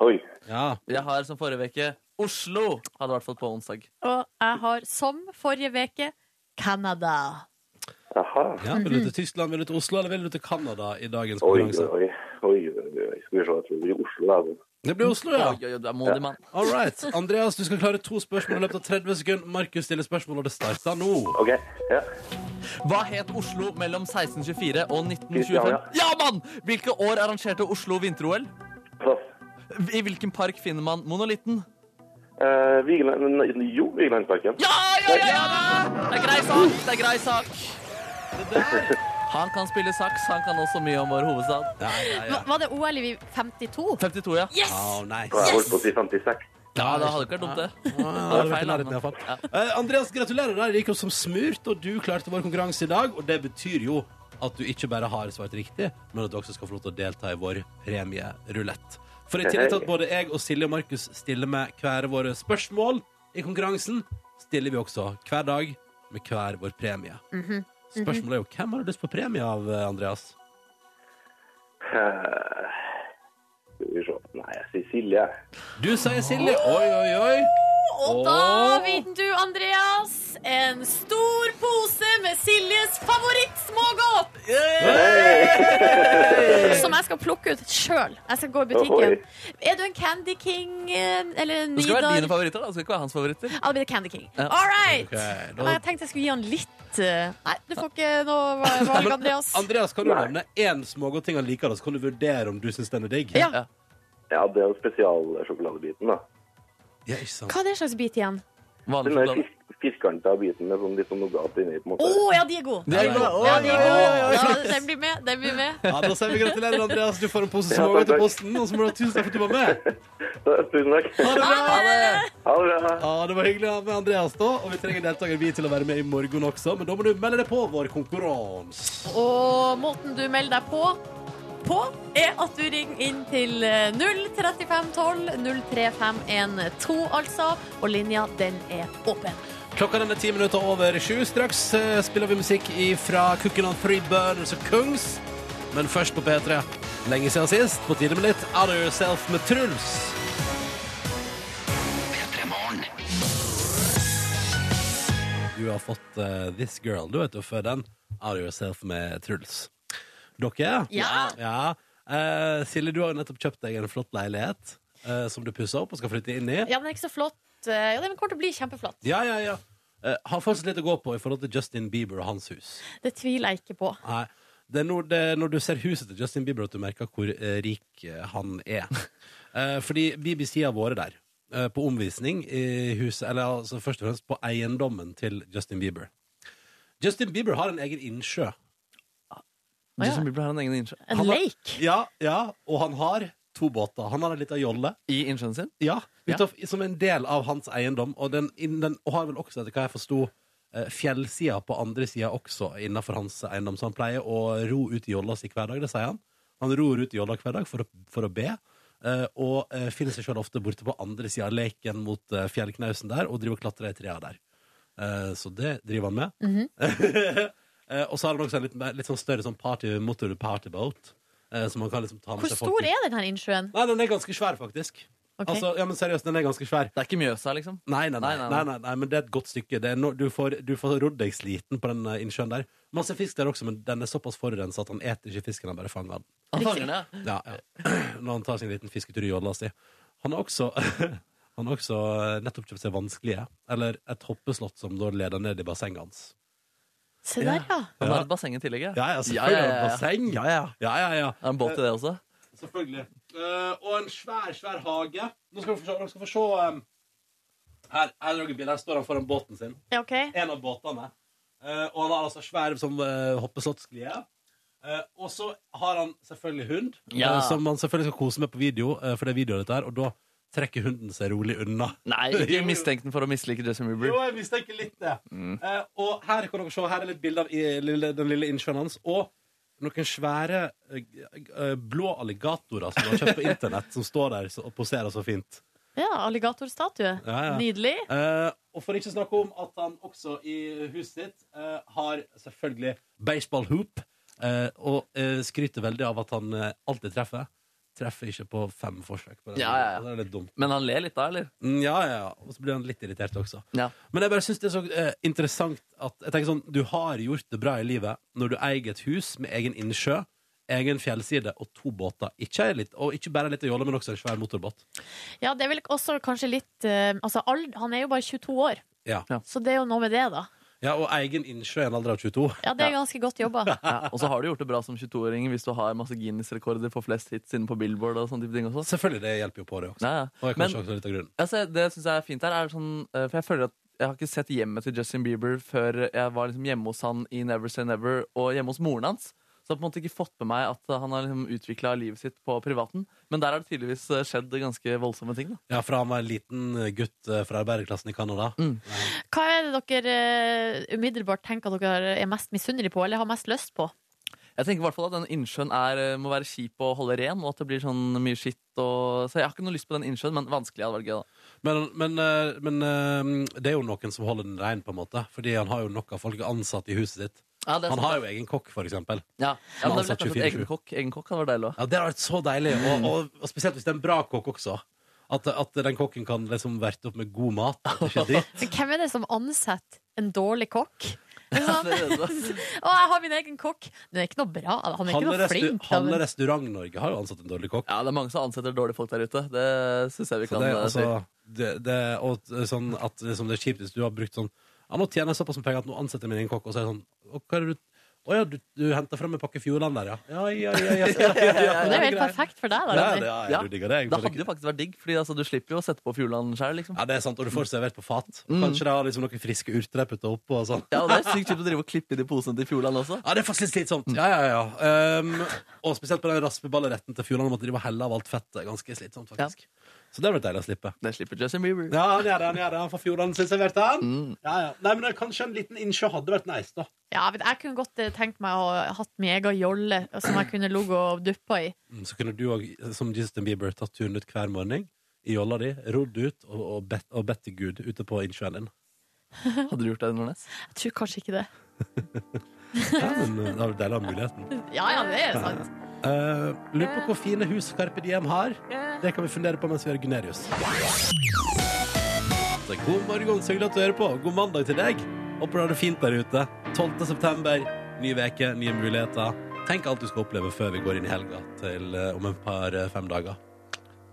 [SPEAKER 8] Oi.
[SPEAKER 5] Ja.
[SPEAKER 4] Jeg har som forrige uke Oslo. Hadde i hvert fall på onsdag.
[SPEAKER 3] Og jeg har, som forrige veke, Canada.
[SPEAKER 8] Jaha.
[SPEAKER 5] ja. Vil du
[SPEAKER 4] Mhm.
[SPEAKER 5] til Tyskland, vil du til Oslo, eller vil du til Canada i dagens
[SPEAKER 8] Oi,
[SPEAKER 5] konkurranse?
[SPEAKER 8] oi, oi. oi, oi, oi. Skal vi se, jeg tror det blir Oslo, da. altså.
[SPEAKER 5] Det blir Oslo, ja.
[SPEAKER 4] Oi, oi, oi, du er modig mann.
[SPEAKER 5] All right. Andreas, du skal klare to spørsmål i løpet av 30 sekunder. Markus stiller spørsmål, og det starter nå.
[SPEAKER 8] OK. Ja.
[SPEAKER 4] Hva het Oslo mellom 1624 og 1925?
[SPEAKER 8] Kristiania.
[SPEAKER 4] Ja, mann! Hvilke år arrangerte Oslo vinter-OL?
[SPEAKER 8] Pass.
[SPEAKER 4] I hvilken park finner man monolitten?
[SPEAKER 8] Eh, Vigeland nei, Jo, Vigelandsparken.
[SPEAKER 4] Ja, ja, ja! ja! Det er grei sak. Det er grei sak. Det der. Han kan spille saks. Han kan også mye om vår hovedstad.
[SPEAKER 5] Ja, ja, ja.
[SPEAKER 3] Hva- Var det OL i 52?
[SPEAKER 4] 52, ja.
[SPEAKER 3] Yes!
[SPEAKER 5] Oh, nice.
[SPEAKER 8] Jeg holdt på å si 56.
[SPEAKER 4] Ja, Det hadde ikke vært dumt,
[SPEAKER 5] Ja,
[SPEAKER 4] det.
[SPEAKER 5] det
[SPEAKER 4] Det
[SPEAKER 5] hadde
[SPEAKER 4] var
[SPEAKER 5] vært i
[SPEAKER 4] feil,
[SPEAKER 5] nærheten, i hvert fall. Eh, Andreas, gratulerer. deg. Det gikk jo som smurt, og du klarte vår konkurranse i dag. Og det betyr jo at du ikke bare har svart riktig, men at du også skal få lov til å delta i vår premierulett. For i tillegg til at både jeg og Silje og Markus stiller med hver våre spørsmål i konkurransen, stiller vi også hver dag med hver vår premie.
[SPEAKER 3] Mhm.
[SPEAKER 5] Spørsmålet er jo hvem har du lyst på premie av, eh, Andreas?
[SPEAKER 8] Eh, Skal vi se. Nei, jeg sier Silje. jeg.
[SPEAKER 5] Du sier Silje. Oi, oi, oi.
[SPEAKER 3] Og da vinner du, Andreas, en stor pose med Siljes favorittsmågodt! Som jeg skal plukke ut sjøl. Jeg skal gå i butikken. Er du en Candy King eh, eller en
[SPEAKER 4] Det skal være dine
[SPEAKER 3] Nidar?
[SPEAKER 4] favoritter, da. Det skal ikke være hans favoritter.
[SPEAKER 3] I'll be the Candy King.
[SPEAKER 4] Ja.
[SPEAKER 3] All right!
[SPEAKER 5] Ok, da-
[SPEAKER 3] Men jeg tenkte jeg skulle gi han litt eh, Nei, du får ikke noe valg, Andreas.
[SPEAKER 5] Andreas, kan du
[SPEAKER 8] Nei.
[SPEAKER 5] nevne én smågodting han liker, og så kan du vurdere om du syns den er digg?
[SPEAKER 3] Ja.
[SPEAKER 8] Ja, det er jo spesialsjokoladebiten, da.
[SPEAKER 5] Ja, ikke sant?
[SPEAKER 3] Hva er det slags bit igjen?
[SPEAKER 4] Vanlig
[SPEAKER 8] Den der
[SPEAKER 4] sjokolade.
[SPEAKER 8] fir firkanta biten med sånn litt sånn nougat inni, på en
[SPEAKER 3] Å
[SPEAKER 8] måte.
[SPEAKER 3] ja, de er gode!
[SPEAKER 4] Det er godt.
[SPEAKER 3] Ja, de er gode. Ja, den blir med. Den blir med.
[SPEAKER 5] Ja, da sier vi gratulerer, Andreas. Du får en pose
[SPEAKER 8] Ja, takk,
[SPEAKER 5] smågodt i
[SPEAKER 8] takk.
[SPEAKER 5] posten. Og så må du ha tusen takk for at du var med.
[SPEAKER 8] Tusen takk.
[SPEAKER 5] Ha det bra!
[SPEAKER 4] Ha det.
[SPEAKER 8] Ha det bra.
[SPEAKER 5] Ja, Det var hyggelig å ha med Andreas, da. Og vi trenger deltaker vi til å være med i morgen også. Men da må du melde deg på vår konkurranse.
[SPEAKER 3] Og måten du melder deg på på, er at du ringer inn til eh, 03512 03512, altså. Og linja, den er åpen.
[SPEAKER 5] Klokka den er ti minutter over sju. Straks eh, spiller vi musikk fra Cooking on Three Burners og Kungs. Men først på P3. Lenge siden sist. På tide med litt Out of Yourself med Truls. Du har fått eh, This Girl, du vet du, før den. Out of Yourself med Truls. Dere?
[SPEAKER 3] Ja.
[SPEAKER 5] ja. Eh, Silje, du har jo nettopp kjøpt deg en flott leilighet. eh, som du pusser opp og skal flytte inn i.
[SPEAKER 3] Ja, den er ikke så flott. Eh, Ja, den kommer til å bli kjempeflott.
[SPEAKER 5] Ja, ja, ja. Eh, har fortsatt litt å gå på i forhold til Justin Bieber og hans hus.
[SPEAKER 3] Det tviler jeg ikke på.
[SPEAKER 5] Nei. Det er når, det, er når du ser huset til Justin Bieber, at du merker hvor eh, rik eh, han er. Eh, fordi BBC har vært der. eh, på omvisning i huset, eller altså først og fremst på eiendommen til Justin Bieber. Justin Bieber har en egen innsjø.
[SPEAKER 3] Å, ja.
[SPEAKER 4] Justin Bieber har en egen innsjø.
[SPEAKER 3] En
[SPEAKER 5] Han har-
[SPEAKER 3] lake.
[SPEAKER 5] Ja, ja, og han har to båter. Han har en liten jolle.
[SPEAKER 4] I innsjøen sin.
[SPEAKER 5] Ja,
[SPEAKER 4] Ja.
[SPEAKER 5] utav, som en del av hans eiendom. Og den, inn- den og har vel også, etter hva jeg forsto, eh, fjellsida på andre sida også innenfor hans eiendom. Så han pleier å ro ut i jolla si hver dag, det sier han. Han ror ut i jolla hver dag for å, for å be. eh, og eh, finner seg sjøl ofte borte på andre sida av leken mot eh, fjellknausen der, og driver og klatrer i trærne der. Eh, så det driver han med.
[SPEAKER 3] Mhm.
[SPEAKER 5] Eh, og så har han også en litt, mer- litt sånn større sånn party, motor partybåt. eh, som han kan liksom ta med
[SPEAKER 3] Hvor
[SPEAKER 5] seg
[SPEAKER 3] stor
[SPEAKER 5] folk i.
[SPEAKER 3] er den her innsjøen?
[SPEAKER 5] Nei, den er ganske svær, faktisk.
[SPEAKER 3] Ok.
[SPEAKER 5] Altså, ja, men seriøst, den er ganske svær.
[SPEAKER 4] Det er ikke Mjøsa, liksom.
[SPEAKER 5] Nei nei nei,
[SPEAKER 4] Nei, nei,
[SPEAKER 5] nei,
[SPEAKER 4] nei.
[SPEAKER 5] nei, nei, men det er et godt stykke. Det er no, du får, du får rodd deg sliten på den eh, innsjøen der. Masse fisk der også, men den er såpass forurensa at han eter ikke fisken, han bare fanger den.
[SPEAKER 4] Han fanger den, ja.
[SPEAKER 5] Ja, ja. Når han tar sin liten fisketur i jolla si. Han har også, han har også eh, nettopp kjøpt seg vanskelige, eller et hoppeslott som da leder ned i bassenget hans.
[SPEAKER 3] Se der, ja.
[SPEAKER 4] Han
[SPEAKER 5] Ja.
[SPEAKER 4] har et basseng i tillegg,
[SPEAKER 5] Ja, ja, selvfølgelig har han basseng.
[SPEAKER 4] Ja, ja.
[SPEAKER 5] Ja, ja, ja.
[SPEAKER 4] Det er en båt i det også.
[SPEAKER 5] Selvfølgelig. Eh, og en svær, svær hage. Nå skal dere få se. Dere skal få se em, her, her, er dere bilder. her står han foran båten sin.
[SPEAKER 3] ja ok.
[SPEAKER 5] En av båtene. Eh, og han har altså svær som uh, hoppeslottsglie. Eh, og så har han selvfølgelig hund,
[SPEAKER 4] Ja.
[SPEAKER 5] eh, som han selvfølgelig skal kose med på video. eh, for det er video av dette her, Og da trekker hunden seg rolig unna.
[SPEAKER 4] Nei, ikke mistenk den for å mislike Justin
[SPEAKER 5] Jo,
[SPEAKER 4] Bieber.
[SPEAKER 5] jeg mistenker litt det. Eh, og her kan dere se, her er litt bilde av i, lille, den lille innsjøen hans. Og noen svære eh, g- eh, blå alligatorer som du har kjøpt på internett, som står der så- og poserer så fint.
[SPEAKER 3] Ja, alligatorstatue.
[SPEAKER 5] Ja, ja.
[SPEAKER 3] Nydelig.
[SPEAKER 5] Eh, og for ikke å snakke om at han også i huset sitt eh, har selvfølgelig baseball hoop, eh, og eh, skryter veldig av at han eh, alltid treffer. Treffer ikke på fem forsøk. På den.
[SPEAKER 4] Ja, ja, ja.
[SPEAKER 5] Det er litt dumt.
[SPEAKER 4] Men han ler litt da, eller?
[SPEAKER 5] Mm, ja, ja, ja. Og så blir han litt irritert også.
[SPEAKER 4] Ja.
[SPEAKER 5] Men jeg bare synes det er så eh, interessant at jeg tenker sånn, du har gjort det bra i livet når du eier et hus med egen innsjø, egen fjellside og to båter. Ikke, ei litt, og ikke bare litt jolle, men også en svær motorbåt.
[SPEAKER 3] Ja, det er vel også kanskje litt eh, Altså, ald- han er jo bare 22 år,
[SPEAKER 5] Ja.
[SPEAKER 4] Ja.
[SPEAKER 3] så det er jo noe med det, da.
[SPEAKER 5] ja, og egen innsjø i en alder av 22.
[SPEAKER 3] Ja, det er ganske godt jobba.
[SPEAKER 4] Ja, og så har du gjort det bra som 22-åring hvis du har masse Guinness-rekorder for flest hits inne på Billboard. og sånne type ting også.
[SPEAKER 5] Selvfølgelig, det hjelper jo på det også.
[SPEAKER 4] Ja,
[SPEAKER 5] Og
[SPEAKER 4] ja.
[SPEAKER 5] jeg kan
[SPEAKER 4] Men
[SPEAKER 5] ikke også litt av grunnen.
[SPEAKER 4] altså, det syns jeg er fint her. Er sånn, eh, for jeg føler at jeg har ikke sett hjemmet til Justin Bieber før jeg var liksom hjemme hos han i Never Say Never og hjemme hos moren hans. Så jeg har på en måte ikke fått med meg at han har liksom utvikla livet sitt på privaten. Men der har det tydeligvis eh, skjedd ganske voldsomme ting. da.
[SPEAKER 5] Ja, fra han var en liten gutt eh, fra arbeiderklassen i Kanada.
[SPEAKER 4] Mm.
[SPEAKER 3] Hva er det dere eh, umiddelbart tenker at dere er mest misunnelige på, eller har mest lyst på?
[SPEAKER 4] Jeg tenker i hvert fall at den innsjøen er, eh, må være kjip å holde ren, og at det blir sånn mye skitt. Og... Så jeg har ikke noe lyst på den innsjøen, men vanskelig hadde vært gøy. da.
[SPEAKER 5] Men, men, eh, men eh, det er jo noen som holder den rein, på en måte. Fordi han har jo nok av folk ansatt i huset sitt.
[SPEAKER 4] Ja, det er
[SPEAKER 5] Han
[SPEAKER 4] sant.
[SPEAKER 5] har jo egen kokk, for eksempel.
[SPEAKER 4] Ja, ja men det
[SPEAKER 5] Som
[SPEAKER 4] ble
[SPEAKER 5] ansatt
[SPEAKER 4] kanskje
[SPEAKER 5] 24/7.
[SPEAKER 4] et egen kokk. Egen kokk hadde vært deilig også.
[SPEAKER 5] Ja, Det har vært så deilig, og, og, og spesielt hvis det er en bra kokk også. At, at den kokken kan liksom verte opp med god mat. at det Ikke er dritt.
[SPEAKER 3] Men hvem er det som ansetter en dårlig kokk?
[SPEAKER 4] Det er det, altså.
[SPEAKER 3] Å, jeg har min egen kokk! Det er ikke noe bra. Han er ikke
[SPEAKER 5] Halve
[SPEAKER 3] noe
[SPEAKER 5] restau-
[SPEAKER 3] flink. da,
[SPEAKER 5] halve
[SPEAKER 3] men-
[SPEAKER 5] Restaurant-Norge har jo ansatt en dårlig kokk.
[SPEAKER 4] Ja, det er mange som ansetter dårlige folk der ute. Det syns jeg vi
[SPEAKER 5] Så
[SPEAKER 4] kan
[SPEAKER 5] det,
[SPEAKER 4] eh,
[SPEAKER 5] altså, det, det, og t- sånn at liksom, det er kjipt hvis du har brukt sånn Ja, nå tjener jeg såpass med penger at nå ansetter jeg min egen kokk, og så er det sånn «Å, hva er det du å ja, du, du henta fram en pakke Fjordland der, ja. Ja, ja, ja, ja, ja, ja, ja,
[SPEAKER 3] Men det er jo helt
[SPEAKER 5] greit.
[SPEAKER 3] perfekt for deg, da.
[SPEAKER 5] Ja,
[SPEAKER 3] Ronny.
[SPEAKER 5] det, ja,
[SPEAKER 4] Ja.
[SPEAKER 5] du digger det.
[SPEAKER 4] si.
[SPEAKER 5] jeg
[SPEAKER 4] Det
[SPEAKER 5] skjønner
[SPEAKER 4] hadde
[SPEAKER 5] ikke.
[SPEAKER 4] jo faktisk vært digg, Fordi altså, du slipper jo å sette på Fjordland sjøl. Liksom.
[SPEAKER 5] Ja, det er sant, og du får servert på fat. Kanskje det har liksom noen friske urter de putter oppå og sånn.
[SPEAKER 4] Ja, og det er sykt kjipt å drive og klippe i de posene til Fjordland også.
[SPEAKER 5] Ja, det er faktisk litt slitsomt. Ja, ja, ja. Um, og spesielt på den raspeballeretten til Fjordland om at de må helle av alt fettet. Ganske slitsomt, faktisk. Så det har vært deilig å slippe.
[SPEAKER 4] Det slipper Justin Bieber.
[SPEAKER 5] Ja, han gjør det, han gjør det. Han får Fjordland sin servert, han. Ja, ja. Nei, men kanskje en liten innsjø hadde vært nice, da.
[SPEAKER 3] Ja, men jeg kunne godt eh, tenkt meg å ha hatt min egen jolle eh, som jeg kunne ligget og duppa i.
[SPEAKER 5] Mm, Så kunne du òg, som Justin Bieber, tatt turen ut hver morgen i jolla di, rodd ut og, og, bedt, og bedt til Gud ute på innsjøen din.
[SPEAKER 4] Hadde du gjort det, Nordnes?
[SPEAKER 3] Jeg tror kanskje ikke det.
[SPEAKER 5] Ja, men eh, det hadde vært deilig å ha muligheten.
[SPEAKER 3] Ja, ja, det er sant.
[SPEAKER 5] Eh, lurer på hvor fine hus Carpe Diem har. Det kan vi fundere på mens vi gjør Gunerius. Så God morgen, så hyggelig at du hører på. God mandag til deg. Håper du har det fint der ute. 12. september, ny veke, nye muligheter. Tenk alt du skal oppleve før vi går inn i helga til eh, om et par eh, fem dager.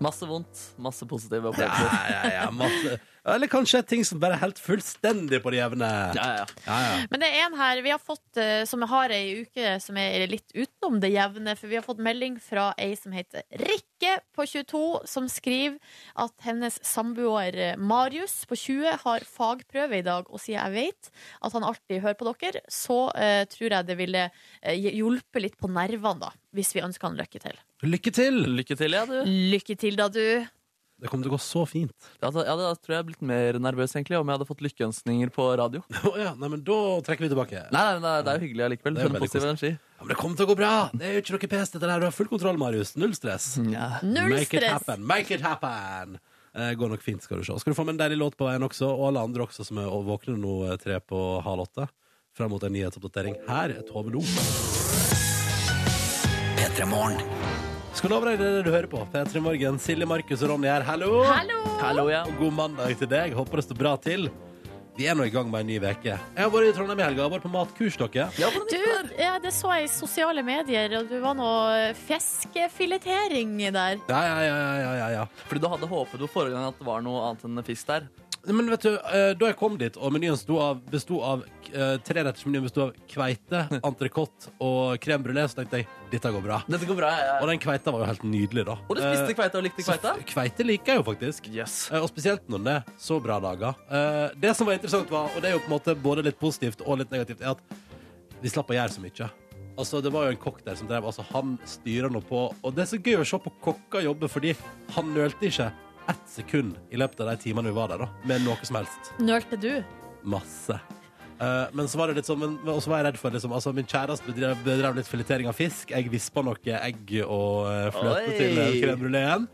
[SPEAKER 4] Masse vondt, masse
[SPEAKER 5] Ja,
[SPEAKER 4] positive opplevelser.
[SPEAKER 5] ja, ja, masse. Eller kanskje ting som bare er helt fullstendig på det jevne.
[SPEAKER 4] Ja, ja, ja.
[SPEAKER 5] Ja, ja.
[SPEAKER 3] Men det er en her vi har fått, eh, som har ei uke som er litt utenom det jevne. For vi har fått melding fra ei som heter Rikke på 22, som skriver at hennes samboer eh, Marius på 20 har fagprøve i dag, og siden jeg vet at han alltid hører på dere, så eh, tror jeg det ville eh, hjulpet litt på nervene, da. Hvis vi ønsker han lykke til.
[SPEAKER 5] Lykke til!
[SPEAKER 4] Lykke til, ja, du.
[SPEAKER 3] Lykke til, da, du.
[SPEAKER 5] Det kommer til å gå så fint.
[SPEAKER 4] Altså, ja, da tror jeg jeg hadde blitt mer nervøs egentlig om jeg hadde fått lykkeønskninger på radio. Nei,
[SPEAKER 5] Å ja, nei, men Da trekker vi tilbake. Ja,
[SPEAKER 4] nei, nei det er jo hyggelig allikevel.
[SPEAKER 5] Det er
[SPEAKER 4] for en
[SPEAKER 5] veldig
[SPEAKER 4] positiv energi.
[SPEAKER 5] men Det kommer til å gå bra! Det er jo ikke noe pes, dette der. Du har full kontroll, Marius. Null stress.
[SPEAKER 4] Ja.
[SPEAKER 3] Null
[SPEAKER 5] Make it
[SPEAKER 3] stress.
[SPEAKER 5] happen! Make it happen! Eh, går nok fint, skal du se. Skal du få med en deilig låt på veien også, og alle andre også som er våkne nå eh, tre på halv åtte. Fram mot en nyhetsoppdatering. Her er Tove Lo.
[SPEAKER 1] P3 Morgen.
[SPEAKER 5] Skal love deg det er det du hører på. P3 Morgen, Silje, Markus og Ronny her. Hallo!
[SPEAKER 3] Hallo!
[SPEAKER 4] Hallo, ja.
[SPEAKER 5] Og god mandag til deg. Håper det står bra til. Vi er nå i gang med en ny uke. Jeg har vært i Trondheim i helga. Jeg har vært på matkurs, dere.
[SPEAKER 4] Ja, hvordan
[SPEAKER 3] Du,
[SPEAKER 4] gikk det?
[SPEAKER 3] ja, det så jeg i sosiale medier, og du var noe fiskefiletering der.
[SPEAKER 5] Ja, ja, ja, ja, ja, ja.
[SPEAKER 4] Fordi du hadde håpet jo forrige gang at det var noe annet enn fisk der.
[SPEAKER 5] Men vet du, eh, da jeg kom dit, og menyen sto av, besto av eh, Trerettersmenyen besto av kveite, entrecôte og crème brulé, så tenkte jeg dette går bra.
[SPEAKER 4] Dette går bra, ja,
[SPEAKER 5] Og
[SPEAKER 4] ja.
[SPEAKER 5] den kveita var jo helt nydelig, da. Eh,
[SPEAKER 4] Og du spiste kveite og likte kveita?
[SPEAKER 5] Kveite liker jeg jo faktisk.
[SPEAKER 4] Yes.
[SPEAKER 5] Eh, Og spesielt når den er så bra laga. Eh, Det som var interessant, var, og det er jo på en måte både litt positivt og litt negativt, er at vi slapp å gjøre så mye. Altså, Det var jo en kokk der som drev, altså han styrer nå på. Og det er så gøy å se på kokker jobbe, fordi han nølte ikke ett sekund i løpet av de timene vi var der, da, med noe som helst.
[SPEAKER 3] Nølte du?
[SPEAKER 5] Masse. Eh, men så var det litt sånn, men, men også var jeg redd for liksom, altså, Min kjæreste bedrev, bedrev litt filetering av fisk. Jeg vispa noe egg og eh, fløte
[SPEAKER 4] Oi.
[SPEAKER 5] til eh, crème bruléen.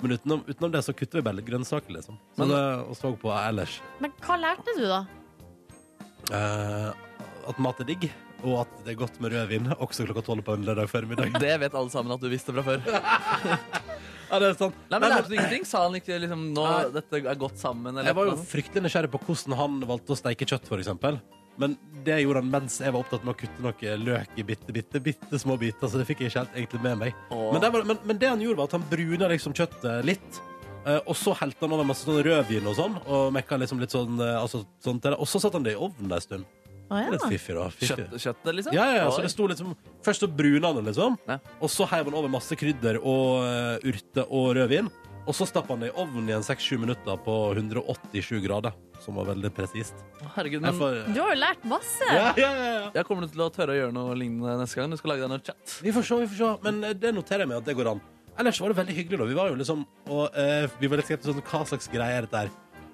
[SPEAKER 5] Men utenom, utenom det så kutter vi bare litt grønnsaker, liksom. Sånn, eh, og så på ellers.
[SPEAKER 3] Men hva lærte du, da?
[SPEAKER 5] Eh, at mat er digg, og at det er godt med rødvin også klokka tolv på en lørdag formiddag.
[SPEAKER 4] Det vet alle sammen at du visste fra før. Nei,
[SPEAKER 5] ja, det er sant.
[SPEAKER 4] men Lærte du ingenting? Sa han ikke liksom, nå,
[SPEAKER 5] Nei.
[SPEAKER 4] dette er godt sammen? Eller
[SPEAKER 5] Jeg var jo
[SPEAKER 4] noe?
[SPEAKER 5] fryktelig nysgjerrig på hvordan han valgte å steike kjøtt, for eksempel. Men det gjorde han mens jeg var opptatt med å kutte noe løk i bitte, bitte, bitte små biter. Så det fikk jeg ikke helt egentlig med meg.
[SPEAKER 4] Åh.
[SPEAKER 5] Men, det var, men, men det han gjorde, var at han bruna liksom kjøttet litt. eh, Og så helte han over masse sånn rødvin og sånn, og mekka liksom litt sånn, eh, altså, sånn til det. Og så satte han det i ovnen en stund.
[SPEAKER 3] Å,
[SPEAKER 5] Det er Litt
[SPEAKER 3] ja.
[SPEAKER 5] fiffig, da. Fiffig.
[SPEAKER 4] Kjøtt, kjøttet, liksom?
[SPEAKER 5] Ja, ja, ja, så
[SPEAKER 4] Oi.
[SPEAKER 5] det sto liksom Først så bruna han det, liksom.
[SPEAKER 4] Ja.
[SPEAKER 5] Og så heiv han over masse krydder og eh, urte og rødvin. Og så stappa han det i ovnen igjen 6-7 minutter på 187 grader. Som var veldig presist.
[SPEAKER 4] Herregud,
[SPEAKER 5] Jeg
[SPEAKER 4] men
[SPEAKER 5] får-
[SPEAKER 3] Du har jo lært masse!
[SPEAKER 5] Ja, ja, ja, ja.
[SPEAKER 4] jeg kommer du til å tørre å gjøre noe lignende neste gang du skal lage deg noe chat.
[SPEAKER 5] Vi får se, vi får se. Men eh, det noterer jeg meg at det går an. Ellers var det veldig hyggelig, da. Vi var jo liksom og, eh, Vi var litt skeptiske sånn hva slags greie er dette her.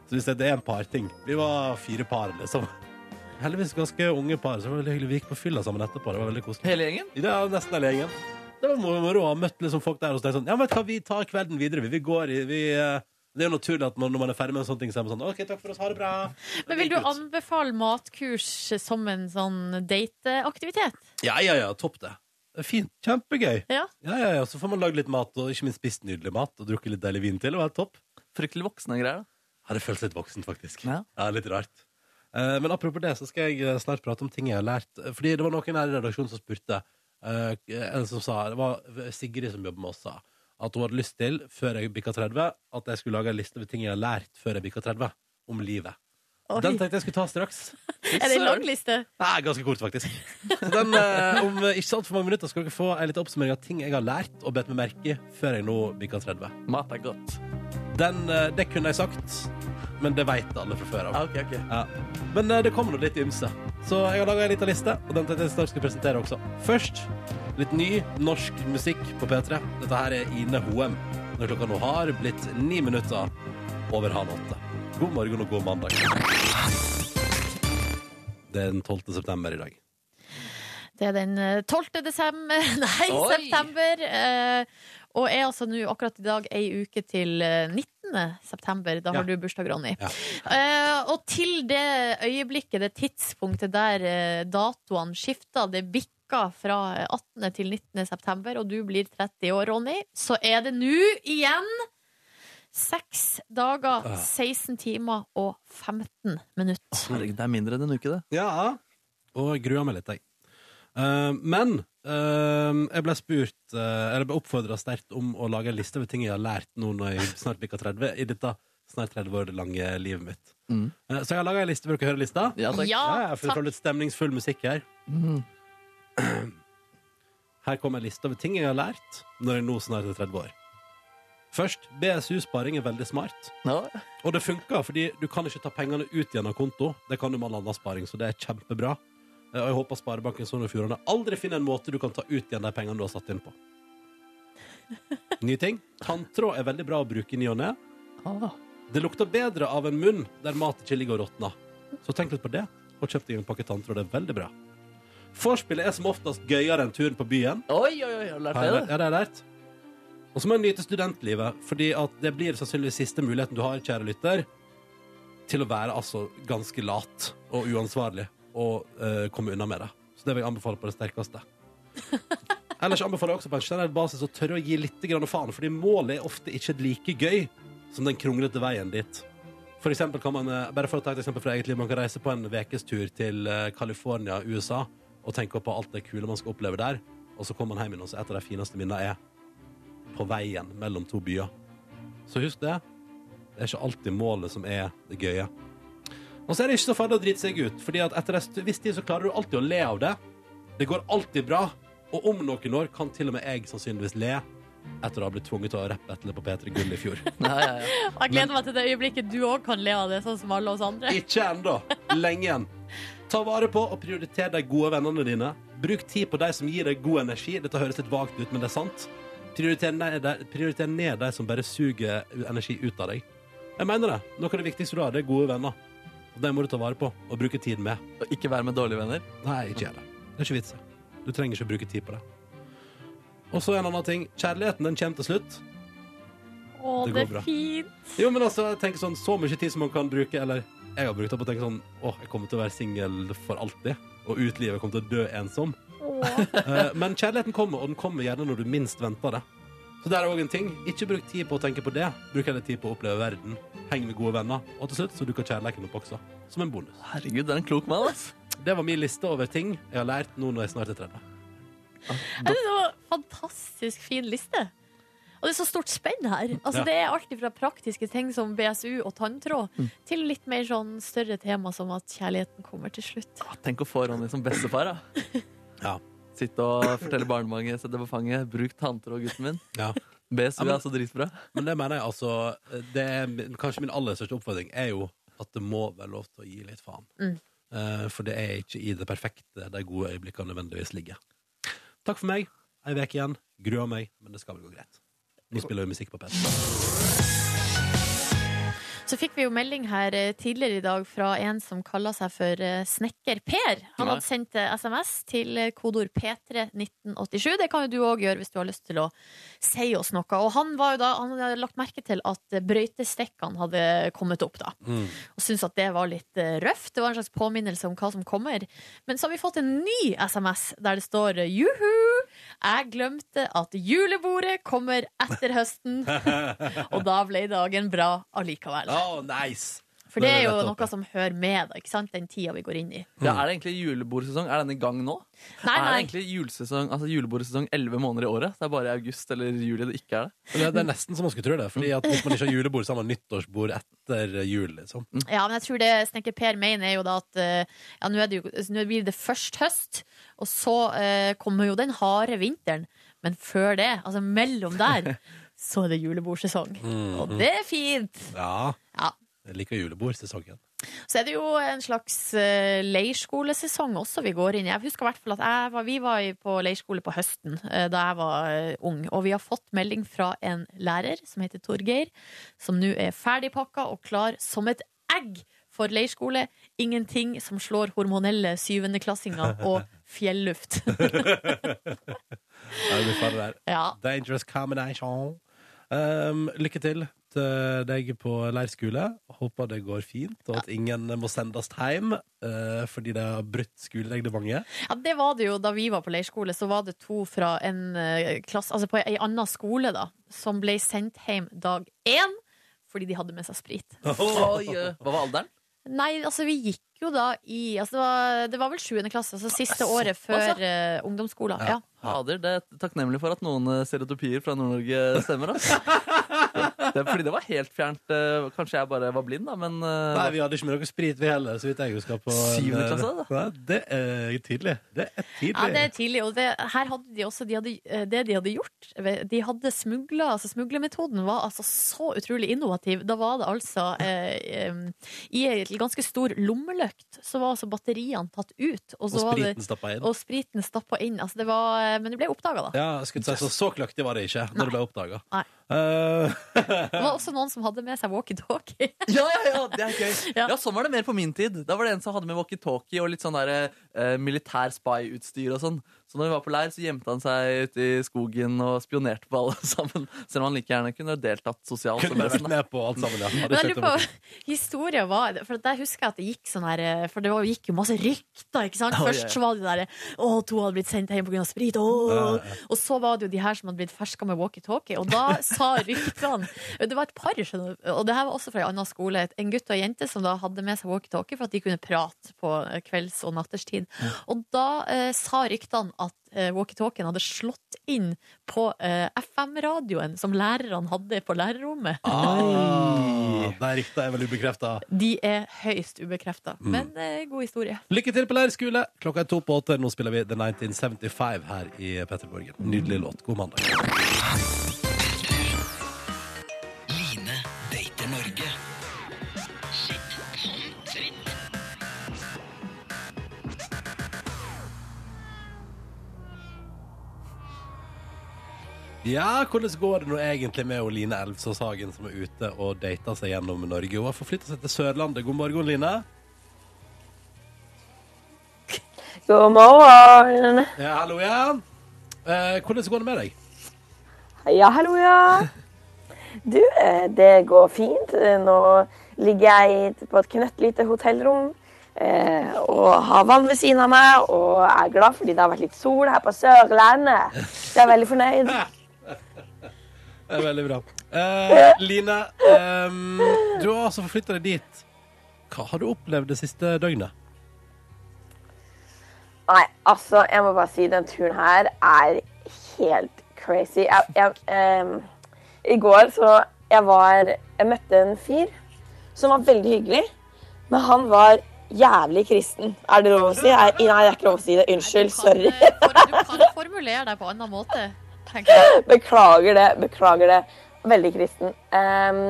[SPEAKER 5] Så vi sa det er en parting. Vi var fire par, liksom. Heldigvis ganske unge par. Så det var veldig hyggelig. Vi gikk på fylla sammen etterpå. Det var veldig koselig.
[SPEAKER 4] Hele gjengen?
[SPEAKER 5] Det er nesten hele gjengen. Det var moro- moro å ha møtt liksom folk der og tenkt sånn Ja, vet du hva, vi tar kvelden videre. Vi, vi går i vi, eh, Det er jo naturlig at man, når man er ferdig med en sånn ting, så er man sånn OK, takk for oss, ha det bra.
[SPEAKER 3] Men vil du
[SPEAKER 5] Gikk ut.
[SPEAKER 3] anbefale matkurs som en sånn dateaktivitet?
[SPEAKER 5] Ja, ja, ja. Topp, det. Det er Fint. Kjempegøy.
[SPEAKER 3] Ja.
[SPEAKER 5] Ja, ja, ja. Så får man lagd litt mat, og ikke minst spist nydelig mat, og drukket litt deilig vin til. Det var helt topp.
[SPEAKER 4] Fryktelig voksne greier, da.
[SPEAKER 5] Hadde føltes litt voksen, faktisk.
[SPEAKER 4] Ja.
[SPEAKER 5] litt rart. Eh, men apropos det, så skal jeg eh, snart prate om ting jeg har lært. Eh, Fordi det var noen her i redaksjonen som spurte, eh, en som sa, det var Sigrid som jobber med oss, sa, at hun hadde lyst til, før jeg bikket 30, at jeg skulle lage en liste med ting jeg har lært før jeg bikket 30, om livet. Den tenkte jeg skulle ta straks.
[SPEAKER 3] Er det en lang liste?
[SPEAKER 5] Nei, ganske kort, faktisk. Så den, eh, om eh, ikke så altfor mange minutter skal dere få en liten oppsummering av ting jeg har lært og bedt meg merke i før jeg nå bikket 30.
[SPEAKER 4] Mat er godt.
[SPEAKER 5] Den, eh, det kunne jeg sagt, men det vet alle fra før av.
[SPEAKER 4] Ah, ok, ok.
[SPEAKER 5] Ja. Men eh, det kommer nå litt ymse. Så jeg har laga ei lita liste, og den tenkte jeg snart skal presentere også. Først litt ny norsk musikk på P3. Dette her er Ine Hoem. Når klokka nå har blitt ni minutter over halv åtte. God morgen og god mandag. Det er den 12. september i dag.
[SPEAKER 3] Det er den eh, 12. desember Nei,
[SPEAKER 4] Oi.
[SPEAKER 3] september. eh, Og er altså nå akkurat i dag ei uke til eh, 19. september. Da har du bursdag, Ronny.
[SPEAKER 5] Ja.
[SPEAKER 3] Eh, og til det øyeblikket, det tidspunktet der eh, datoene skifter, det bikker fra eh, 18. til 19. september, og du blir 30 år, Ronny, så er det nå igjen seks dager,
[SPEAKER 5] Ah.
[SPEAKER 3] 16 timer og 15 minutter.
[SPEAKER 4] Herregud, det er mindre enn en uke, det.
[SPEAKER 5] Ja. Og jeg gruer meg litt, jeg. Eh, men Ehm, jeg ble spurt eh, Eller ble oppfordra sterkt om å lage en liste over ting jeg har lært nå når jeg snart bikker 30. I dette snart 30 år lange livet mitt.
[SPEAKER 4] Mm.
[SPEAKER 5] Eh, så jeg har laga en liste. Vil dere høre lista?
[SPEAKER 4] Ja, takk. Mm.
[SPEAKER 3] Ja,
[SPEAKER 5] Ja, ja, for det
[SPEAKER 3] takk.
[SPEAKER 5] får litt stemningsfull musikk her. Her kommer en liste over ting jeg har lært når jeg nå snart er 30 år. Først, BSU-sparing er veldig smart.
[SPEAKER 4] Ja.
[SPEAKER 5] Og det funker, fordi du kan ikke ta pengene ut igjen av konto. Det kan du med all annen sparing, så det er kjempebra. Eh, Og jeg håper Sparebanken Sogn og Fjordane aldri finner en måte du kan ta ut igjen de pengene du har satt inn på. Ny ting. Tanntråd er veldig bra å bruke i ny og ne.
[SPEAKER 4] Ah.
[SPEAKER 5] Det lukter bedre av en munn der mat ikke ligger og råtner. Så tenk litt på det, og kjøp deg en pakke tanntråd. Det er veldig bra. Vorspielet er som oftest gøyere enn turen på byen.
[SPEAKER 4] Oi, oi, oi, har du lært
[SPEAKER 5] Har jeg
[SPEAKER 4] det?
[SPEAKER 5] lært-
[SPEAKER 4] da?
[SPEAKER 5] Ja, det har jeg lært. Og så må en nyte studentlivet, fordi at det blir sannsynligvis siste muligheten du har, kjære lytter, til å være altså ganske lat og uansvarlig og eh, komme unna med det. Så det vil jeg anbefale på det sterkeste. Ellers anbefaler jeg også på en generell basis å tørre å gi litt grann faen, fordi målet er ofte ikke like gøy som den kronglete veien dit. For eksempel kan man, eh, bare for å ta et eksempel fra eget liv, man kan reise på en vekestur til eh, California, USA, og tenke på alt det kule man skal oppleve der, og så kommer man hjem igjen, og så et av de fineste minnene er på veien mellom to byer. Så husk det. Det er ikke alltid målet som er det gøye. Og så er det ikke så farlig å drite seg ut, fordi at etter en stu- viss tid så klarer du alltid å le av det. Det går alltid bra, og om noen år kan til og med jeg sannsynligvis le etter å ha blitt tvunget til å rappe etter det på P3 Gull i fjor.
[SPEAKER 4] Ja, ja, ja.
[SPEAKER 3] Jeg gleder meg til det øyeblikket du òg kan le av det, sånn som alle oss andre.
[SPEAKER 5] Ikke ennå. Lenge igjen. Ta vare på og prioriter de gode vennene dine. Bruk tid på de som gir deg god energi. Dette høres litt vagt ut, men det er sant. Prioriter ned, de- prioriter ned de som bare suger energi ut av deg. Jeg mener det. Noe av det viktigste du har, det er gode venner. Og dem må du ta vare på og bruke tid med.
[SPEAKER 4] Og Ikke være med dårlige venner.
[SPEAKER 5] Nei, ikke gjør det. Det er ikke vits. i. Du trenger ikke å bruke tid på det. Og så en annen ting. Kjærligheten, den kommer til slutt.
[SPEAKER 3] Å,
[SPEAKER 5] Det
[SPEAKER 3] det
[SPEAKER 5] går bra.
[SPEAKER 3] er fint.
[SPEAKER 5] Jo, men altså, jeg tenker sånn Så mye tid som man kan bruke Eller jeg har brukt opp og tenker sånn Åh, jeg kommer til å være single for alltid Og ut livet jeg kommer til å dø ensom
[SPEAKER 3] Å.
[SPEAKER 5] Eh, Men kjærligheten kommer, og den kommer gjerne når du minst venter det Så der er også en ting Ikke bruk tid på å tenke på det Bruk heller tid på å oppleve verden Heng med gode venner Og til slutt så dukker kjærligheten opp også Som en bonus
[SPEAKER 4] Herregud, det er en klok mann, ass.
[SPEAKER 5] Det var min liste over ting jeg har lært nå når jeg snart er 30
[SPEAKER 3] Ja, Det var en fantastisk fin liste. Og det er så stort spenn her. Altså,
[SPEAKER 5] Ja.
[SPEAKER 3] Det er alt fra praktiske ting som BSU og tanntråd,
[SPEAKER 5] Mm.
[SPEAKER 3] til litt mer sånn større tema som at kjærligheten kommer til slutt.
[SPEAKER 4] Ah, Tenk å få Ronny som bestefar, da.
[SPEAKER 5] Ja.
[SPEAKER 4] Sitte og fortelle barnemange, sette på fanget, bruk tanter og gutten min.
[SPEAKER 5] Ja
[SPEAKER 4] BSU
[SPEAKER 5] Ja,
[SPEAKER 4] er
[SPEAKER 5] men-
[SPEAKER 4] altså dritbra.
[SPEAKER 5] Men det mener jeg altså det er, min- Kanskje min aller største oppfordring er jo at det må være lov til å gi litt faen.
[SPEAKER 3] Mm.
[SPEAKER 5] Eh, for det er ikke i det perfekte de gode øyeblikkene nødvendigvis ligger. Takk for meg. Ei uke igjen. Gruer meg, men det skal vel gå greit. Nå spiller vi musikk på P3.
[SPEAKER 3] Så fikk vi jo melding her eh, tidligere i dag fra en som kaller seg for eh, Snekker Per. Han
[SPEAKER 4] Ja.
[SPEAKER 3] hadde sendt eh, SMS til eh, kodeord P31987. Det kan jo du òg gjøre hvis du har lyst til å si oss noe. Og han, var jo da, han hadde lagt merke til at eh, brøytestekkene hadde kommet opp, da. Og syntes at det var litt eh, røft. Det var en slags påminnelse om hva som kommer. Men så har vi fått en ny SMS der det står eh, juhu! Jeg glemte at julebordet kommer etter høsten. Og da ble dagen bra allikevel.
[SPEAKER 5] Oh, nice!
[SPEAKER 3] For det er jo noe som hører med, da, ikke sant? den tida vi går inn i.
[SPEAKER 5] Mm.
[SPEAKER 4] Ja, er det egentlig julebordsesong? Er den i gang nå?
[SPEAKER 3] Nei,
[SPEAKER 4] Er det
[SPEAKER 3] nei.
[SPEAKER 4] egentlig julesesong, altså julebordsesong 11 måneder i året? Det er bare i august eller juli det ikke er det.
[SPEAKER 5] Det er, det er nesten så man skulle tro det. Fordi at Hvis man ikke har julebord, så har man nyttårsbord etter jul. Liksom.
[SPEAKER 3] Ja, men jeg tror det Snekker Per mener, er jo da at eh, ja, nå, er det jo, altså, nå blir det først høst, og så eh, kommer jo den harde vinteren. Men før det, altså mellom der, så er det julebordsesong. Og det er fint!
[SPEAKER 5] Ja,
[SPEAKER 3] Ja.
[SPEAKER 5] jeg liker julebordsesongen.
[SPEAKER 3] Så er det jo en slags eh, leirskolesesong også vi går inn i. Jeg husker i hvert fall at jeg var, vi var i- på leirskole på høsten eh, da jeg var eh, ung. Og vi har fått melding fra en lærer som heter Torgeir, som nå er ferdigpakka og klar som et egg for leirskole. Ingenting som slår hormonelle syvendeklassinger og fjelluft.
[SPEAKER 5] Ja, det blir farlig der.
[SPEAKER 3] ja.
[SPEAKER 5] Dangerous combination. Um, lykke til til deg på leirskole. Håper det går fint, og at ingen må sendes hjem eh, fordi de har brutt skolereglementet.
[SPEAKER 3] Ja, det var det jo da vi var på leirskole. Så var det to fra en eh, klasse, altså på ei anna skole, da, som ble sendt hjem dag én fordi de hadde med seg sprit.
[SPEAKER 4] Oi, eh, hva var alderen?
[SPEAKER 3] Nei, altså vi gikk jo da i altså, det, var, det var vel 7. klasse, altså siste året før
[SPEAKER 4] såpass,
[SPEAKER 3] eh, ungdomsskolen. Ja.
[SPEAKER 4] Fader, det er takknemlig for at noen eh, stereotypier fra Nord-Norge stemmer. ass. Det er fordi det var helt fjernt. eh, Kanskje jeg bare var blind, da, men eh,
[SPEAKER 5] Nei, vi hadde ikke med noe sprit, vi heller. Så vidt jeg husker på eh,
[SPEAKER 4] Syvende klasse,
[SPEAKER 5] Nei, det er tidlig. Det er tidlig.
[SPEAKER 3] Ja, det er tidlig. Og det, her hadde de også de hadde, eh, Det de hadde gjort eh, De hadde smugla altså Smuglemetoden var altså så utrolig innovativ. Da var det altså eh, em, I en ganske stor lommeløkt så var altså batteriene tatt ut, og,
[SPEAKER 5] Og
[SPEAKER 3] så var det,
[SPEAKER 5] spriten stappa inn.
[SPEAKER 3] og spriten stappa inn. Altså det var, eh, men det ble oppdaga, da.
[SPEAKER 5] Ja, jeg skulle si, så, så kløktig var det ikke når det ble Eh, oppdaga.
[SPEAKER 3] Nei. Det var også noen som hadde med seg walkietalkie.
[SPEAKER 4] Ja, ja, ja, det er gøy.
[SPEAKER 3] Ja.
[SPEAKER 4] Ja. Sånn var det mer på min tid. Da var det en som hadde med walkietalkie og litt sånn der, eh, militær spy-utstyr og sånn. Så når vi var på leir, så gjemte han seg ute i skogen og spionerte på alle sammen. Selv om han like gjerne kunne deltatt sosialt. som
[SPEAKER 5] Kunne bare vært
[SPEAKER 4] resten, da.
[SPEAKER 5] med på alt sammen, ja. Hadde
[SPEAKER 3] Men jeg
[SPEAKER 5] skjønt det.
[SPEAKER 3] lurer på, historien var For der husker jeg at det gikk sånn her eh, For det var, gikk jo masse rykter, ikke sant?
[SPEAKER 4] Å, ja, ja.
[SPEAKER 3] Først så var det der Å, to hadde blitt sendt hjem på grunn av sprit åh. Og så var det jo de her som hadde blitt ferska med walkie-talkie Og da sa ryktene Det var et par, skjønner du Og det her var også fra en annen skole En gutt og en jente som da hadde med seg walkie-talkie For at de kunne prate på eh, kvelds- og natterstid Og da eh, sa ryktene at eh, walkie-talkien hadde slått inn på eh, FM-radioen Som lærerne hadde på lærerrommet
[SPEAKER 5] Ah, de rykta er vel ubekrefta.
[SPEAKER 3] de er høyst ubekrefta, men eh, god historie.
[SPEAKER 5] Lykke til på leirskole! Klokka er to på åtte. Nå spiller vi The 1975 her i Petterborgen. Nydelig låt. God mandag.
[SPEAKER 1] Line dater Norge.
[SPEAKER 5] Ja, hvordan går det nå egentlig med hun Line Elvsås Hagen, som er ute og data seg gjennom Norge? Hun har forflytta seg til Sørlandet. God morgen, Line.
[SPEAKER 9] God morgen!
[SPEAKER 5] Ja, hallo igjen. Eh, hvordan går det med deg?
[SPEAKER 9] Ja, hallo, ja. Du, eh, det går fint. Eh, Nå ligger jeg på et knøttlite hotellrom eh, og har vann ved siden av meg og er glad fordi det har vært litt sol her på Sørlandet. Så jeg er veldig fornøyd.
[SPEAKER 5] Det er veldig bra. Eh, Line, ehm, du har altså forflytta deg dit. Hva har du opplevd det siste døgnet?
[SPEAKER 9] Nei, altså, jeg må bare si den turen her er helt crazy. Jeg, jeg, em, I går så jeg var Jeg møtte en fyr som var veldig hyggelig, men han var jævlig kristen. Er det lov å si? Er, nei, det er ikke lov å si det. Unnskyld. Sorry.
[SPEAKER 3] Du kan, eh, for, du kan formulere deg på annen måte, tenker jeg.
[SPEAKER 9] Beklager det. Beklager det. Veldig kristen. Em,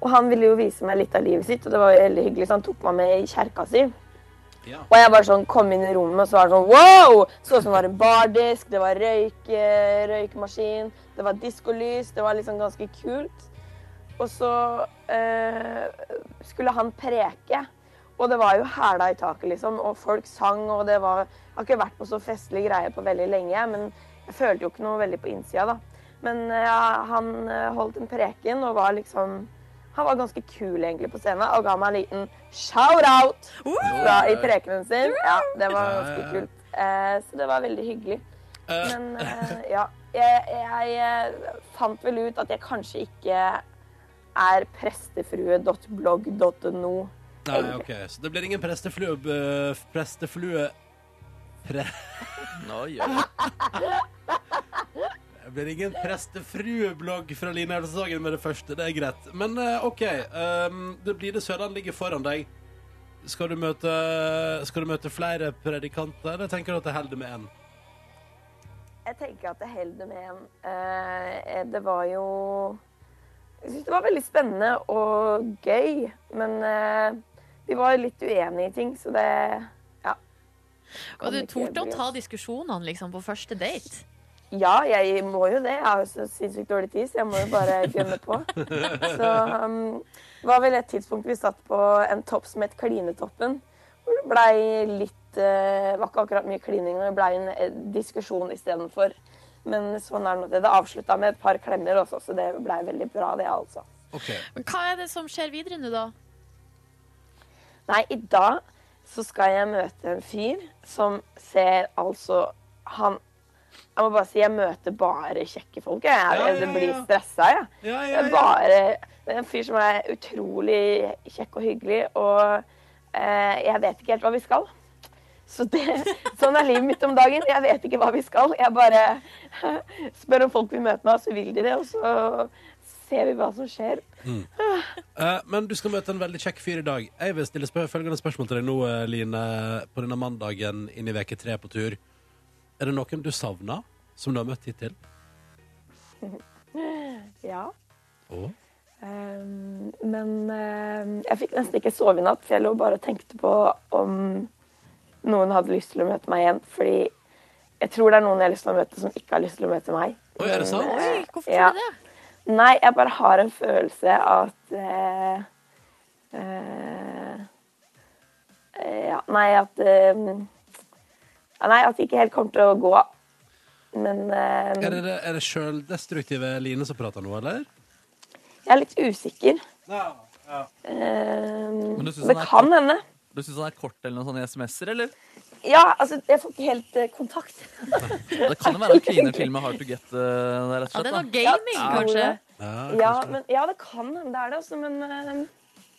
[SPEAKER 9] og han ville jo vise meg litt av livet sitt, og det var jo veldig hyggelig, så han tok meg med i kjerka si. Og jeg bare sånn kom inn i rommet, og så var det sånn wow! Så ut som det var en bardisk, det var røyk, eh, røykmaskin, det var diskolys, det var liksom ganske kult. Og så eh, skulle han preke, og det var jo hæla i taket, liksom, og folk sang, og det var Jeg har ikke vært på så festlig greie på veldig lenge, men jeg følte jo ikke noe veldig på innsida, da. Men eh, han eh, holdt en preken og var liksom han var ganske kul egentlig på scenen og ga meg en liten shout-out fra i prekenen sin. Ja, det var ganske kult. Eh, så det var veldig hyggelig. Men eh, ja, jeg, jeg eh, fant vel ut at jeg kanskje ikke er prestefrue.blogg.no.
[SPEAKER 5] Nei, ok, Så det blir ingen presteflue... bø- Presteflue... Pre...
[SPEAKER 4] Nå gjør jeg.
[SPEAKER 5] Det blir ingen prestefrueblogg fra Line Elvsås Hagen med det første. Det er greit. Men eh, OK. ehm, det blir det Sørland ligger foran deg. Skal du møte, skal du møte flere predikanter, eller tenker du at det holder med én?
[SPEAKER 9] Jeg tenker at det holder med en. Eh, det var jo Jeg syns det var veldig spennende og gøy, men eh, vi var litt uenige i ting, så det Ja.
[SPEAKER 3] Og du
[SPEAKER 9] Kan ikke
[SPEAKER 3] torde å
[SPEAKER 9] bry
[SPEAKER 3] ta
[SPEAKER 9] oss.
[SPEAKER 3] diskusjonene liksom, på første date.
[SPEAKER 9] Ja, jeg må jo det. Jeg har jo så sinnssykt dårlig tid, så jeg må jo bare gønne på. Så um, det var vel et tidspunkt vi satt på en topp som het Klinetoppen. Hvor det blei litt eh, var ikke akkurat mye klining, men det blei en eh, diskusjon istedenfor. Men sånn er det nå. Det avslutta med et par klemmer også, så det blei veldig bra, det, altså.
[SPEAKER 5] OK.
[SPEAKER 3] Men hva er det som skjer videre nå, da?
[SPEAKER 9] Nei, i dag så skal jeg møte en fyr som ser altså Han Jeg må bare si jeg møter bare kjekke folk. Jeg, jeg,
[SPEAKER 10] Ja, ja, ja.
[SPEAKER 9] blir stressa, jeg.
[SPEAKER 10] Ja,
[SPEAKER 9] Det
[SPEAKER 10] ja,
[SPEAKER 9] er
[SPEAKER 10] ja.
[SPEAKER 9] bare det er en fyr som er utrolig kjekk og hyggelig, og eh, jeg vet ikke helt hva vi skal. Så det, sånn er livet mitt om dagen. Jeg vet ikke hva vi skal. Jeg bare spør om folk vil møte meg, og så vil de det, og så ser vi hva som skjer.
[SPEAKER 5] Eh, men du skal møte en veldig kjekk fyr i dag. Jeg vil stille spør følgende spørsmål til deg nå, eh, Line, på denne mandagen inn i veke tre på tur. Er det noen du savner, som du har møtt hittil?
[SPEAKER 9] Ja.
[SPEAKER 5] Å?
[SPEAKER 9] Ehm, men ehm, jeg fikk nesten ikke sove i natt, for jeg lå bare og tenkte på om noen hadde lyst til å møte meg igjen. Fordi jeg tror det er noen jeg har lyst til å møte, som ikke har lyst til å møte meg.
[SPEAKER 5] Oi, er det sant?
[SPEAKER 9] eh,
[SPEAKER 3] Hvorfor
[SPEAKER 9] ja.
[SPEAKER 3] tror du det?
[SPEAKER 9] Nei, jeg bare har en følelse av at eh, eh, eh, ja, Nei, at eh, ja, Nei, at det ikke helt kommer til å gå. Men eh,
[SPEAKER 5] Er det, det- er det sjøldestruktive Line som prater nå, eller?
[SPEAKER 9] jeg er litt usikker. Ehm,
[SPEAKER 4] Men du synes
[SPEAKER 9] det
[SPEAKER 4] han er
[SPEAKER 9] kan hende.
[SPEAKER 4] Du syns han er kort eller sånn noen sånne SMS-er, eller?
[SPEAKER 9] Ja, altså, jeg får ikke helt eh, kontakt.
[SPEAKER 4] Det kan jo være han kliner til med Hard to Get. eh, der, rett
[SPEAKER 3] Ja, det er
[SPEAKER 4] og slett,
[SPEAKER 3] noe gaming,
[SPEAKER 9] Ja.
[SPEAKER 3] kanskje.
[SPEAKER 9] Ja, men, ja det kan hende det er det, altså, men eh,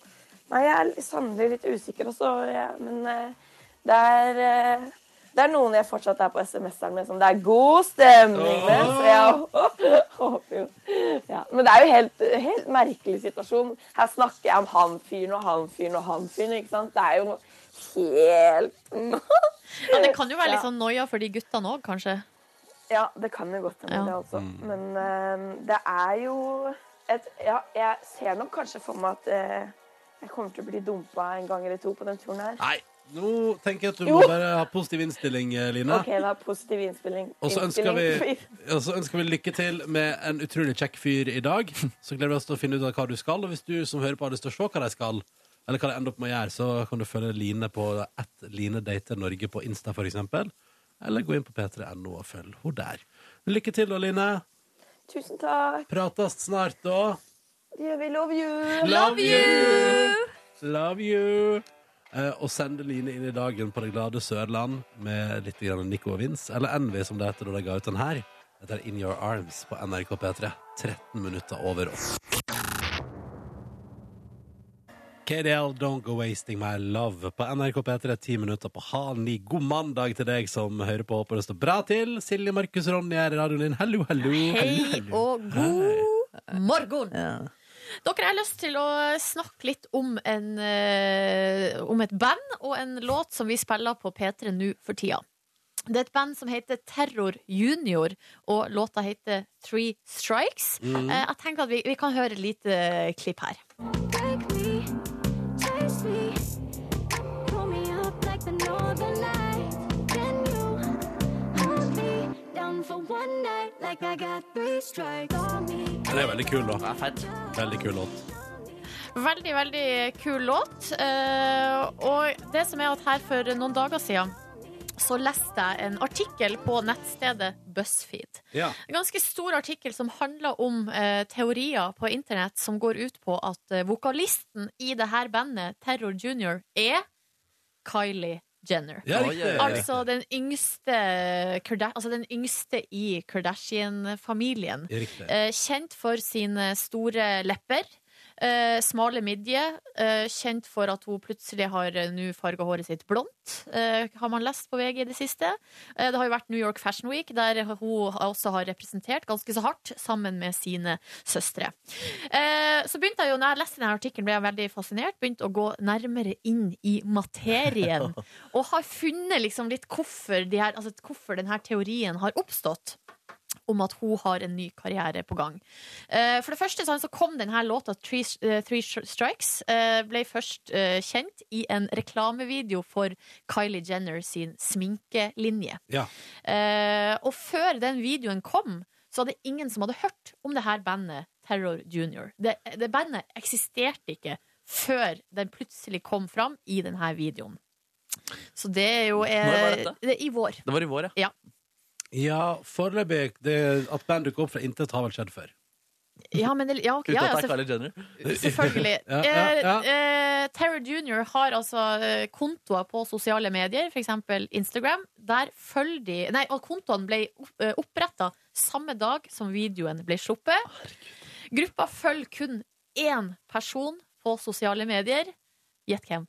[SPEAKER 9] Nei, jeg er sannelig litt usikker også, ja, men eh, det er eh, det er noen jeg fortsatt er på SMS-eren med som det er god stemning med. Så jeg håper jo ja. Men det er jo helt, helt merkelig situasjon. Her snakker jeg om han fyren og han fyren og han fyren. ikke sant? Det er jo noe helt
[SPEAKER 3] Ja, det kan jo være litt
[SPEAKER 9] Ja.
[SPEAKER 3] sånn noia for de guttene òg, kanskje.
[SPEAKER 9] Ja, det kan jo godt
[SPEAKER 3] Ja.
[SPEAKER 9] hende, det også.
[SPEAKER 5] Mm.
[SPEAKER 9] Men eh, det er jo et Ja, jeg ser nok kanskje for meg at eh, jeg kommer til å bli dumpa en gang eller to på den turen her.
[SPEAKER 5] Nei, nå tenker jeg at du
[SPEAKER 9] Jo.
[SPEAKER 5] må bare ha positiv innstilling, eh, Line.
[SPEAKER 9] OK, da. Positiv innspilling.
[SPEAKER 5] Og så ønsker vi,
[SPEAKER 9] Innspilling.
[SPEAKER 5] og så ønsker vi lykke til med en utrolig kjekk fyr i dag. Så gleder vi oss til å finne ut av hva du skal. Og hvis du som hører på har lyst til å se hva de skal, eller hva de ender opp med å gjøre, så kan du følge Line på at Line Dater Norge på Insta, for eksempel. Eller gå inn på p3.no og følg henne der. Lykke til da, Line.
[SPEAKER 9] Tusen takk.
[SPEAKER 5] Prates snart, da.
[SPEAKER 9] Yeah, we love you.
[SPEAKER 5] Love you! Love you! Eh, og sende Line inn i dagen på det glade Sørland med litt grann Nico og Vince, eller Envy som det heter da de ga ut den her. Dette er In Your Arms på NRK P3. 13 minutter over oss. KDL Don't Go Wasting My Love på NRK P3, 10 minutter på halv ni. God mandag til deg som hører på. Håper det står bra til. Silje, Markus, Ronny er i radioen din. Hallo, hallo.
[SPEAKER 3] Hei og god morgen! Dere, jeg har lyst til å snakke litt om, en, eh, om et band og en låt som vi spiller på P3 nå for tida. Det er et band som heter Terror Junior, og låta heter Three Strikes.
[SPEAKER 5] Mm.
[SPEAKER 3] Eh, jeg tenker at vi, vi kan høre et lite eh, klipp her.
[SPEAKER 5] Det er veldig kul, da.
[SPEAKER 4] Det er feit.
[SPEAKER 5] Veldig kul låt.
[SPEAKER 3] Veldig, veldig kul låt. Eh, og det som er at her for noen dager siden så leste jeg en artikkel på nettstedet BuzzFeed.
[SPEAKER 5] Ja.
[SPEAKER 3] En ganske stor artikkel som handler om eh, teorier på internett som går ut på at eh, vokalisten i det her bandet, Terror Junior, er Kylie Jenner.
[SPEAKER 5] Ja,
[SPEAKER 4] Oi,
[SPEAKER 5] riktig.
[SPEAKER 4] oi, oi.
[SPEAKER 3] Altså den yngste, Karda- altså den yngste i Kardashian-familien.
[SPEAKER 5] riktig.
[SPEAKER 3] Eh, Kjent for sine store lepper, eh, smale midje. eh, Kjent for at hun plutselig har eh, nå farga håret sitt blondt, eh, har man lest på VG i det siste. Eh, Det har jo vært New York Fashion Week, der hun også har representert ganske så hardt sammen med sine søstre. Eh, Så begynte jeg jo, når jeg leste denne artikkelen, ble jeg veldig fascinert. Begynte å gå nærmere inn i materien. Og har funnet liksom litt hvorfor, de her, altså hvorfor denne teorien har oppstått. Om at hun har en ny karriere på gang. Eh, For det første sånn, så kom denne låta, Three, eh, Three Strikes, eh, ble først eh, kjent i en reklamevideo for Kylie Jenner sin sminkelinje.
[SPEAKER 5] Ja.
[SPEAKER 3] Eh, og før den videoen kom, så hadde ingen som hadde hørt om det her bandet Terror Junior. Det, det bandet eksisterte ikke før den plutselig kom fram i denne videoen. Så det er jo
[SPEAKER 4] Når
[SPEAKER 3] eh,
[SPEAKER 4] var dette?
[SPEAKER 3] det er i vår.
[SPEAKER 4] Det var i vår, ja.
[SPEAKER 5] Ja, foreløpig det, At band dukker opp fra intet har vel skjedd før.
[SPEAKER 3] Ja, men, det- ja, ok,
[SPEAKER 4] Uten
[SPEAKER 3] ja, ja,
[SPEAKER 4] at det er
[SPEAKER 3] selvfø-
[SPEAKER 4] Kylie Jenner.
[SPEAKER 3] selvfølgelig.
[SPEAKER 5] Ja, ja, ja.
[SPEAKER 3] Eh, eh, Terry Junior har altså eh, kontoer på sosiale medier, f.eks. Instagram. Der følger de Nei, og kontoene ble oppretta samme dag som videoen ble sluppet. Gruppa følger kun én person på sosiale medier. Gjett hvem?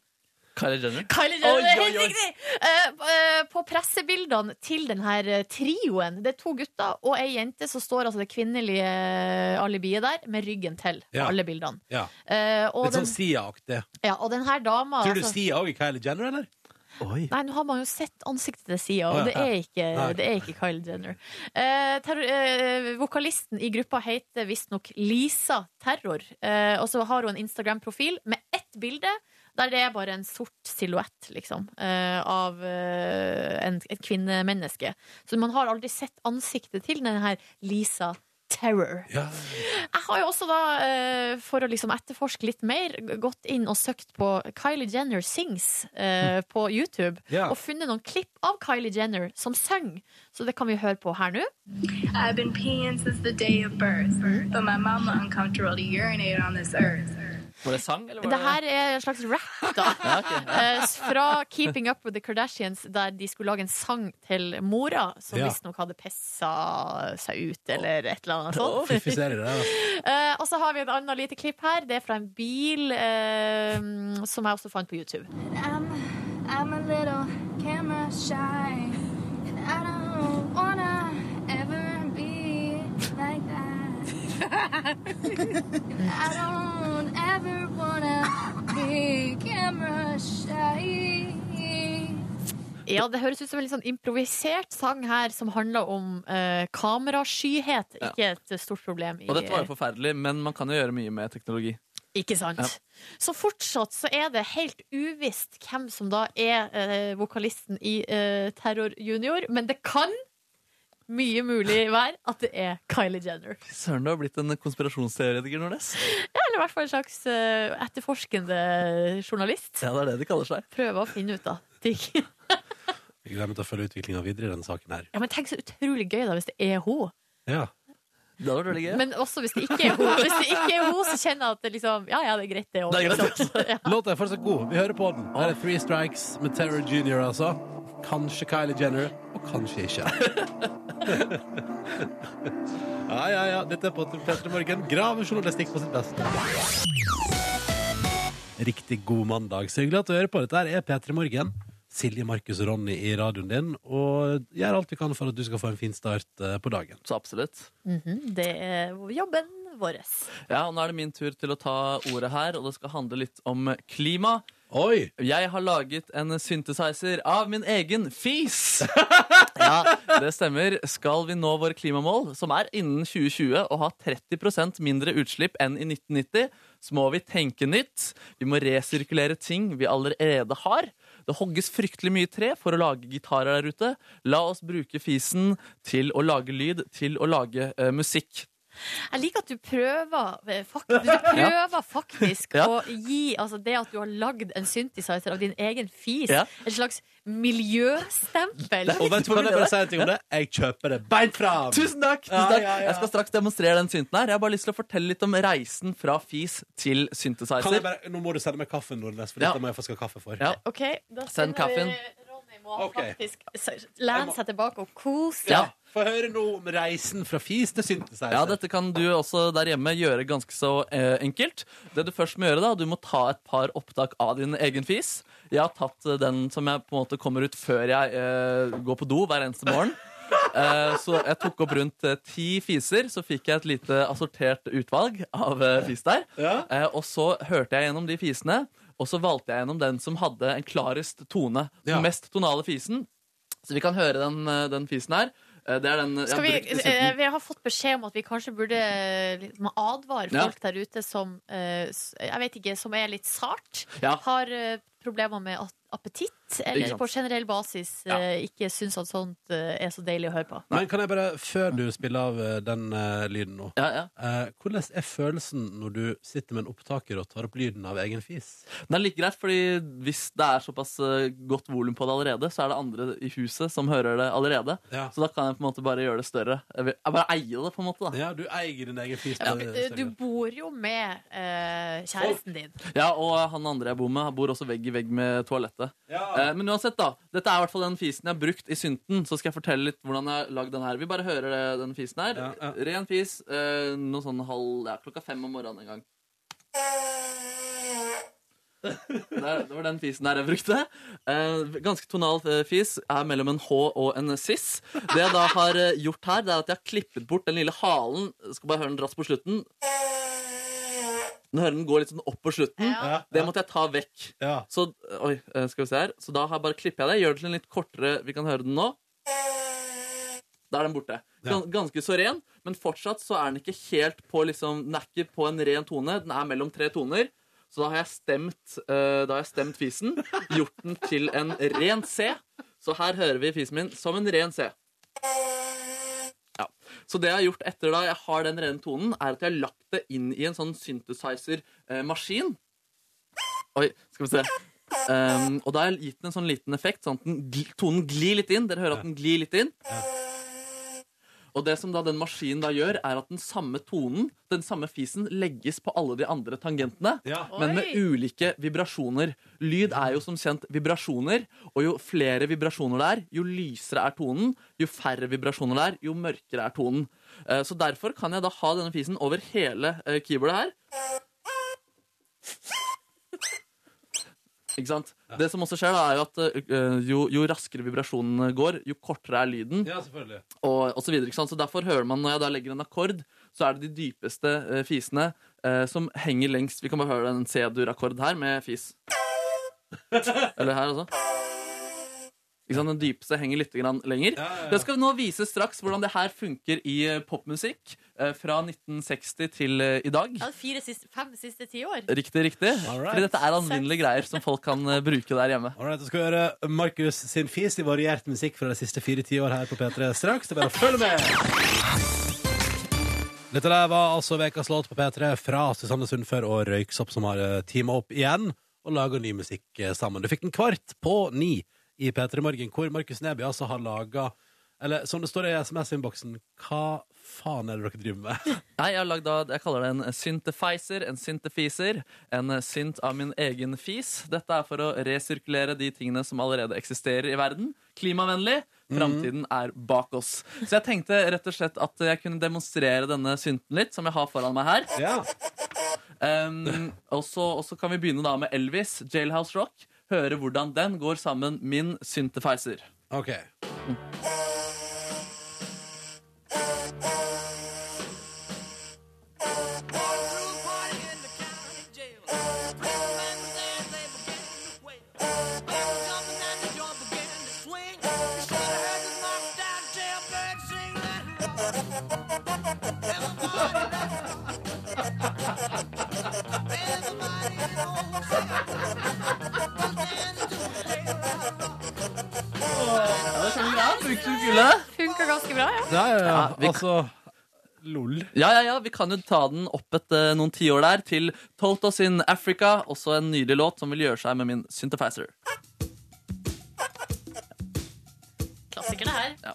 [SPEAKER 4] Kylie Jenner.
[SPEAKER 3] Kylie Jenner,
[SPEAKER 4] Oi,
[SPEAKER 3] det er
[SPEAKER 4] oi,
[SPEAKER 3] helt
[SPEAKER 4] oi.
[SPEAKER 3] riktig! Eh, eh, på pressebildene til denne trioen Det er to gutter og ei jente, så står altså det kvinnelige eh, alibiet der med ryggen til. på
[SPEAKER 5] Ja.
[SPEAKER 3] alle bildene
[SPEAKER 5] Ja.
[SPEAKER 3] Eh, og,
[SPEAKER 5] Litt
[SPEAKER 3] den,
[SPEAKER 5] sånn Sia-aktig.
[SPEAKER 3] ja, og den her dama
[SPEAKER 5] Tror du
[SPEAKER 3] altså-
[SPEAKER 5] Sia òg er Kylie Jenner, eller?
[SPEAKER 3] Nei, nå har man jo sett ansiktet til Sia,
[SPEAKER 5] Å, ja,
[SPEAKER 3] og det er ikke,
[SPEAKER 5] Nei.
[SPEAKER 3] det er ikke Kylie Jenner. Eh, terror, eh, vokalisten i gruppa heter visstnok Lisa Terror, eh, og så har hun en Instagram-profil med ett bilde. Der det er bare en sort silhuett, liksom, eh, av eh, en, et kvinnemenneske. Så man har aldri sett ansiktet til denne her Lisa Terror.
[SPEAKER 5] Ja.
[SPEAKER 3] Jeg har jo også da, eh, for å liksom etterforske litt mer, g- gått inn og søkt på Kylie Jenner sings eh, på YouTube.
[SPEAKER 5] Mm. Ja.
[SPEAKER 3] Og funnet noen klipp av Kylie Jenner som synger. Så det kan vi høre på her nå.
[SPEAKER 11] I've been peeing since the day of birth, but my mama uncomfortable to urinate on this earth.
[SPEAKER 4] Var det sang, eller
[SPEAKER 3] Det
[SPEAKER 4] var det
[SPEAKER 3] her er en slags rap, da. Eh, s- Fra Keeping Up With The Kardashians, der de skulle lage en sang til mora, som
[SPEAKER 5] Ja.
[SPEAKER 3] visstnok hadde pessa seg ut, eller et eller annet sånt.
[SPEAKER 5] Fiffiserer det der, da.
[SPEAKER 3] Eh, og så har vi et annet lite klipp her. Det er fra en bil eh, som jeg også fant på YouTube.
[SPEAKER 11] I'm, I'm a little camera shy, and I don't wanna ever be like that. I don't ever wanna be camera shy.
[SPEAKER 3] Ja, det høres ut som en litt sånn improvisert sang her som handler om eh, kameraskyhet.
[SPEAKER 4] Ja.
[SPEAKER 3] Ikke et stort problem. I,
[SPEAKER 4] Og dette var jo forferdelig, men man kan jo gjøre mye med teknologi.
[SPEAKER 3] Ikke sant?
[SPEAKER 4] Ja.
[SPEAKER 3] Så fortsatt så er det helt uvisst hvem som da er eh, vokalisten i eh, Terror Junior, men det kan mye mulig være at det er Kylie Jenner.
[SPEAKER 4] Søren, du har blitt en konspirasjonsteoretiker, Nordnes.
[SPEAKER 3] Eller i hvert fall en slags eh, etterforskende journalist.
[SPEAKER 4] Ja, det er det de kaller seg.
[SPEAKER 3] Prøver å finne ut av ting.
[SPEAKER 5] Jeg gleder meg til å følge utviklinga videre i denne saken her.
[SPEAKER 3] Ja, men tenk så utrolig gøy da hvis det er hun.
[SPEAKER 5] Ja.
[SPEAKER 4] Det hadde vært veldig gøy.
[SPEAKER 3] Men også hvis det ikke er hun, hvis det ikke er hun så kjenner jeg at det liksom Ja, ja, det er greit, det òg.
[SPEAKER 4] Det er greit.
[SPEAKER 5] Låta er fortsatt god. Vi hører på den. Her er Three Strikes med Terror Junior, altså. Kanskje Kylie Jenner, og kanskje ikke. ja, ja, ja. Dette er på Petter Morgen. Gravejournalistikk på sitt beste. Riktig god mandag. Så hyggelig at du hører på. Dette her er P3 Morgen. Silje, Markus og Ronny i radioen din, og gjør alt vi kan for at du skal få en fin start eh, på dagen.
[SPEAKER 4] Så absolutt.
[SPEAKER 3] Det er jobben vår.
[SPEAKER 4] Ja, og Nå er det min tur til å ta ordet her, og det skal handle litt om klima.
[SPEAKER 5] Oi!
[SPEAKER 4] Jeg har laget en synthesizer av min egen fis! Ja, det stemmer. Skal vi nå våre klimamål, som er innen 2020 å ha 30 mindre utslipp enn i 1990, så må vi tenke nytt. Vi må resirkulere ting vi allerede har. Det hogges fryktelig mye tre for å lage gitarer der ute. La oss bruke fisen til å lage lyd, til å lage eh, musikk.
[SPEAKER 3] Jeg liker at du prøver eh, fak- Du prøver faktisk
[SPEAKER 4] Ja.
[SPEAKER 3] å gi altså det at du har lagd en synthesizer av din egen fis,
[SPEAKER 4] Ja.
[SPEAKER 3] et slags miljøstempel.
[SPEAKER 5] Og vet du hva, kan jeg bare si en ting om det? Jeg kjøper det beint fram!
[SPEAKER 4] Tusen takk! Tusen
[SPEAKER 5] Ja,
[SPEAKER 4] takk.
[SPEAKER 5] ja, ja.
[SPEAKER 4] Jeg skal straks demonstrere den synten her. Jeg har bare lyst til å fortelle litt om reisen fra fis til synthesizer.
[SPEAKER 5] Kan jeg bare, nå må du sende meg kaffen, Nordnes, for
[SPEAKER 4] Altså- Ja.
[SPEAKER 5] dette må jeg få skal ha kaffe for.
[SPEAKER 4] Ja.
[SPEAKER 3] OK, da sender
[SPEAKER 4] Send
[SPEAKER 3] vi-
[SPEAKER 4] kaffen.
[SPEAKER 3] Ronny må
[SPEAKER 5] Ok.
[SPEAKER 3] faktisk s- lene seg tilbake og kose
[SPEAKER 4] Ja.
[SPEAKER 5] Få høre noe om reisen fra fis til synthesizer.
[SPEAKER 4] Ja, dette kan du også der hjemme gjøre ganske så eh, enkelt. Det du først må gjøre, da, du må ta et par opptak av din egen fis. Jeg har tatt eh, den som jeg på en måte kommer ut før jeg eh, går på do hver eneste morgen. Eh, så jeg tok opp rundt eh, ti fiser, så fikk jeg et lite assortert utvalg av eh, fis der.
[SPEAKER 5] Ja.
[SPEAKER 4] Eh, og så hørte jeg gjennom de fisene, og så valgte jeg gjennom den som hadde en klarest tone.
[SPEAKER 5] Ja.
[SPEAKER 4] Den mest tonale fisen. Så vi kan høre den, eh, den fisen her. Eh, Det er den eh, jeg
[SPEAKER 3] Skal vi,
[SPEAKER 4] har brukt i synten.
[SPEAKER 3] eh, vi har fått beskjed om at vi kanskje burde liksom advare
[SPEAKER 4] Ja.
[SPEAKER 3] folk der ute som eh, s- Jeg vet ikke, som er litt sart.
[SPEAKER 4] Ja.
[SPEAKER 3] Har eh, problemer med at appetitt,
[SPEAKER 4] Ikke
[SPEAKER 3] eller
[SPEAKER 4] sant.
[SPEAKER 3] på generell basis eh, ikke syns at sånt eh, er så deilig å høre på.
[SPEAKER 5] Men kan jeg bare, før du spiller av eh, den eh, lyden nå
[SPEAKER 4] Ja, ja.
[SPEAKER 5] eh, Hvordan er følelsen når du sitter med en opptaker og tar opp lyden av egen fis?
[SPEAKER 4] Det er like greit, fordi hvis det er såpass eh, godt volum på det allerede, så er det andre i huset som hører det allerede.
[SPEAKER 5] Ja.
[SPEAKER 4] Så da kan jeg på en måte bare gjøre det større. Jeg, vil, jeg bare eier det, på en måte. da
[SPEAKER 5] Ja, du eier din egen fis.
[SPEAKER 3] Ja,
[SPEAKER 5] på
[SPEAKER 3] men,
[SPEAKER 5] det
[SPEAKER 3] eh, du
[SPEAKER 5] stedet.
[SPEAKER 3] bor jo med eh, kjæresten din.
[SPEAKER 4] Ja, Og han andre jeg bor med, bor også vegg i vegg med toalettet.
[SPEAKER 5] ja.
[SPEAKER 4] Eh, men uansett, da. Dette er i hvert fall den fisen jeg har brukt i synten. Så skal jeg fortelle litt hvordan jeg har lagd den her. Vi bare hører det, den fisen her.
[SPEAKER 5] Ja, ja.
[SPEAKER 4] Ren fis. Eh, noe sånn halv ja, Klokka fem om morgenen en gang. Der, det var den fisen der jeg brukte. Eh, ganske tonal eh, fis. Er mellom en H og en siss. Det jeg da har eh, gjort her, det er at jeg har klippet bort den lille halen. Skal bare høre den raskt på slutten. Nå hører den gå litt sånn opp på slutten.
[SPEAKER 3] Ja.
[SPEAKER 4] Det måtte jeg ta vekk.
[SPEAKER 5] ja.
[SPEAKER 4] Så, oi, eh, skal vi se her. Så da har jeg bare klipper jeg det. Gjør det til en litt kortere Vi kan høre den nå. Da er den borte. Gan- Ganske så ren, men fortsatt så er den ikke helt på liksom, Den er ikke på en ren tone. Den er mellom tre toner. Så da har jeg stemt eh, Da har jeg stemt fisen. Gjort den til en ren C. Så her hører vi fisen min som en ren C. Ja. Så det jeg har gjort etter da jeg har den rene tonen, er at jeg har lagt det inn i en sånn synthesizer-maskin. Oi, skal vi se. Ehm, og da har jeg gitt den en sånn liten effekt, sånn at den, gl- tonen glir litt inn. Dere hører at den glir litt inn. Og det som da den maskinen da gjør, er at den samme tonen, den samme fisen, legges på alle de andre tangentene.
[SPEAKER 5] Ja.
[SPEAKER 4] Men med
[SPEAKER 3] Oi.
[SPEAKER 4] ulike vibrasjoner. Lyd er jo som kjent vibrasjoner, og jo flere vibrasjoner det er, jo lysere er tonen. Jo færre vibrasjoner det er, jo mørkere er tonen. Eh, Så derfor kan jeg da ha denne fisen over hele eh, keyboardet her. Ikke sant? Det som også skjer, da, er jo at eh, jo, jo raskere vibrasjonene går, jo kortere er lyden
[SPEAKER 5] ja, selvfølgelig.
[SPEAKER 4] og, og så videre. Ikke sant? Så derfor hører man når jeg da legger en akkord, så er det de dypeste eh, fisene eh, som henger lengst. Vi kan bare høre en C-dur-akkord her med fis. Eller her også. Ikke sant? Den dypeste henger litt grann lenger.
[SPEAKER 5] ja, ja.
[SPEAKER 4] Det skal vi nå vise straks hvordan det her funker i eh, popmusikk eh, fra 1960 til eh, i dag.
[SPEAKER 3] Ja, fire siste, fem siste tiår.
[SPEAKER 4] Riktig, riktig.
[SPEAKER 5] Alright.
[SPEAKER 4] Fordi dette er anvendelige greier som folk kan eh, bruke der hjemme.
[SPEAKER 5] All right, da skal vi høre Markus sin fis i variert musikk fra de siste fire tiår her på P3 straks. Det er bare å følge med! Dette der var altså ukas låt på P3 fra Susanne Sundfør og Røyksopp, som har eh, teamet opp igjen og laga ny musikk eh, sammen. Du fikk den kvart på ni i P3 Morgen, hvor Markus Neby altså har laga Eller som det står i SMS-innboksen, hva faen er det dere driver med?
[SPEAKER 4] Nei, jeg har lagd da, jeg kaller det en syntefizer, en syntefiser, en synt av min egen fis. Dette er for å resirkulere de tingene som allerede eksisterer i verden. Klimavennlig. Framtiden er bak oss. Så jeg tenkte rett og slett at jeg kunne demonstrere denne synten litt, som jeg har foran meg her.
[SPEAKER 5] Ja.
[SPEAKER 4] Um, og, så, og så kan vi begynne da med Elvis, Jailhouse Rock. Høre hvordan den går sammen, min syntefizer.
[SPEAKER 5] OK.
[SPEAKER 4] Ja, det skjønner jeg. Brukte du gullet?
[SPEAKER 3] Funka ganske bra, ja.
[SPEAKER 5] Ja, ja, ja.
[SPEAKER 4] Ja, vi-
[SPEAKER 5] Altså Lol.
[SPEAKER 4] Ja, ja, ja, vi kan jo ta den opp et, eh, noen tiår der til Toto sin Africa, også en nydelig låt som vil gjøre seg med min synthesizer.
[SPEAKER 3] Klassiker, det her.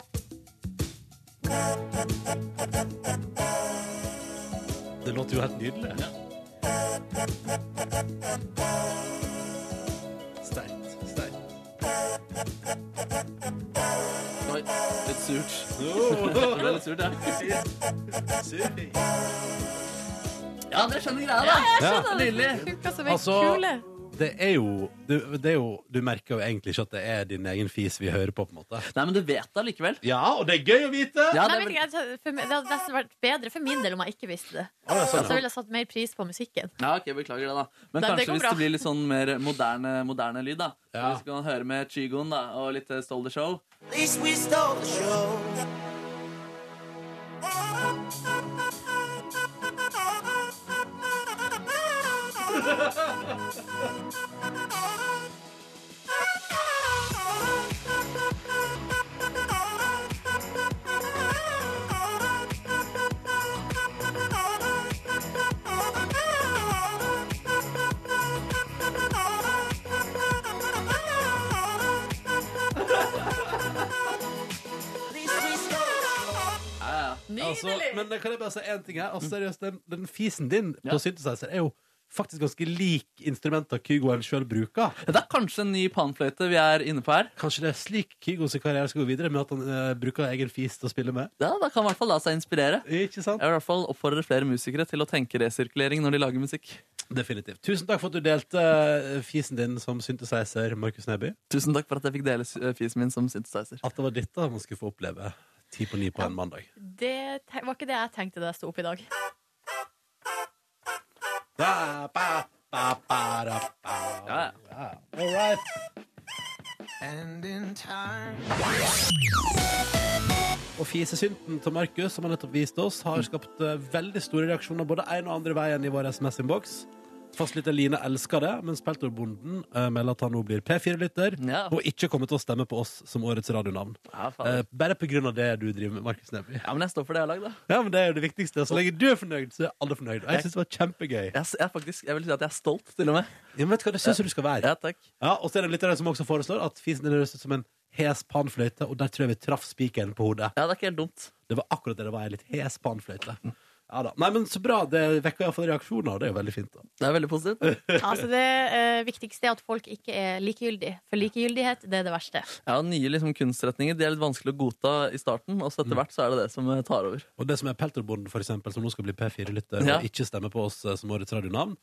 [SPEAKER 5] Det låter jo helt nydelig. Sterkt. Sterkt.
[SPEAKER 4] Oi, litt surt. Det ble litt surt, ja. Ja, dere skjønner greia, da.
[SPEAKER 3] Jeg
[SPEAKER 5] Ja.
[SPEAKER 3] skjønner det.
[SPEAKER 4] Nydelig.
[SPEAKER 3] Funka som en
[SPEAKER 5] Altså-
[SPEAKER 3] kule.
[SPEAKER 5] Det er jo du, det er jo du merker jo egentlig ikke at det er din egen fis vi hører på, på en måte.
[SPEAKER 4] Nei, men du vet det allikevel.
[SPEAKER 5] Ja, og det er gøy å vite!
[SPEAKER 4] Ja,
[SPEAKER 3] Nei, vet
[SPEAKER 4] det er vel-
[SPEAKER 3] ikke, jeg- for meg- det hadde nesten vært bedre for min del om jeg ikke visste det. Så ville jeg satt mer pris på musikken.
[SPEAKER 4] ja, ok, beklager det, da. Men
[SPEAKER 3] Nei, det
[SPEAKER 4] kanskje
[SPEAKER 3] går
[SPEAKER 4] hvis
[SPEAKER 3] bra.
[SPEAKER 4] det blir litt sånn mer moderne, moderne lyd, da.
[SPEAKER 5] Ja.
[SPEAKER 4] Så vi skal høre med Chigoen, da, og litt eh, Stole the Show.
[SPEAKER 5] altså, men kan jeg bare si én ting her? Altså, seriøst, den, den fisen din på synthesizer er jo faktisk ganske lik instrumenter Kygoen sjøl bruker.
[SPEAKER 4] Det er kanskje en ny panfløyte vi er inne på her.
[SPEAKER 5] Kanskje det er slik Kygo sin karriere skal gå videre, med at han eh, bruker egen fis til å spille med?
[SPEAKER 4] Ja, Da kan man i hvert fall la seg inspirere.
[SPEAKER 5] Ikke sant?
[SPEAKER 4] Jeg vil i hvert fall oppfordre flere musikere til å tenke resirkulering når de lager musikk.
[SPEAKER 5] Definitivt. Tusen takk for at du delte eh, fisen din som synthesizer, Markus Neby.
[SPEAKER 4] Tusen takk for at jeg fikk dele s- eh, fisen min som synthesizer.
[SPEAKER 5] At det var dette man skulle få oppleve ti på ni på en mandag.
[SPEAKER 3] Det te- var ikke det jeg tenkte da jeg sto opp i dag.
[SPEAKER 5] Da, ba, ba, ba, da, ba.
[SPEAKER 4] Ja, ja.
[SPEAKER 5] Ja. All right. Og fisesynten til Markus, som han nettopp viste oss, har skapt eh, veldig store reaksjoner både en og andre veien i vår SMS-innboks. Fastlytter Line elsker det, mens Peltorbonden eh, melder at han nå blir P4-lytter
[SPEAKER 4] Ja.
[SPEAKER 5] og ikke kommer til å stemme på oss som årets radionavn.
[SPEAKER 4] Ja, faen.
[SPEAKER 5] Eh, bare på grunn av det du driver med, Markus Neby.
[SPEAKER 4] ja, men jeg står for det jeg har lagd, da.
[SPEAKER 5] Ja, men det er jo det viktigste. Så lenge du er fornøyd, så er alle fornøyd. Og jeg syns det var kjempegøy.
[SPEAKER 4] Jeg, s- jeg, er faktisk, jeg vil si at jeg er stolt, til og med.
[SPEAKER 5] Ja, men vet du hva, det syns jeg du skal være.
[SPEAKER 4] Ja, takk.
[SPEAKER 5] Ja, og så er det litt av det som også foreslår At fisen din høres ut som en hes panfløyte Og der tror jeg vi traff spikeren på hodet
[SPEAKER 4] Ja, det er ikke helt dumt.
[SPEAKER 5] Det var akkurat det det var, en litt hes panfløyte ja, da. Nei, men så bra, det vekker i hvert fall reaksjoner Og det er jo veldig fint da
[SPEAKER 4] Det er veldig positivt.
[SPEAKER 3] Altså Det eh, viktigste er at folk ikke er likegyldige. For likegyldighet det er det verste.
[SPEAKER 4] Ja, Nye liksom, kunstretninger de er litt vanskelig å godta i starten, og så etter hvert så er det det som eh, tar over.
[SPEAKER 5] Og det som er Peltorbonden for eksempel Som nå skal bli P4-lytter
[SPEAKER 4] Ja. Mm.
[SPEAKER 5] Og ikke stemme på oss eh, som årets radionavn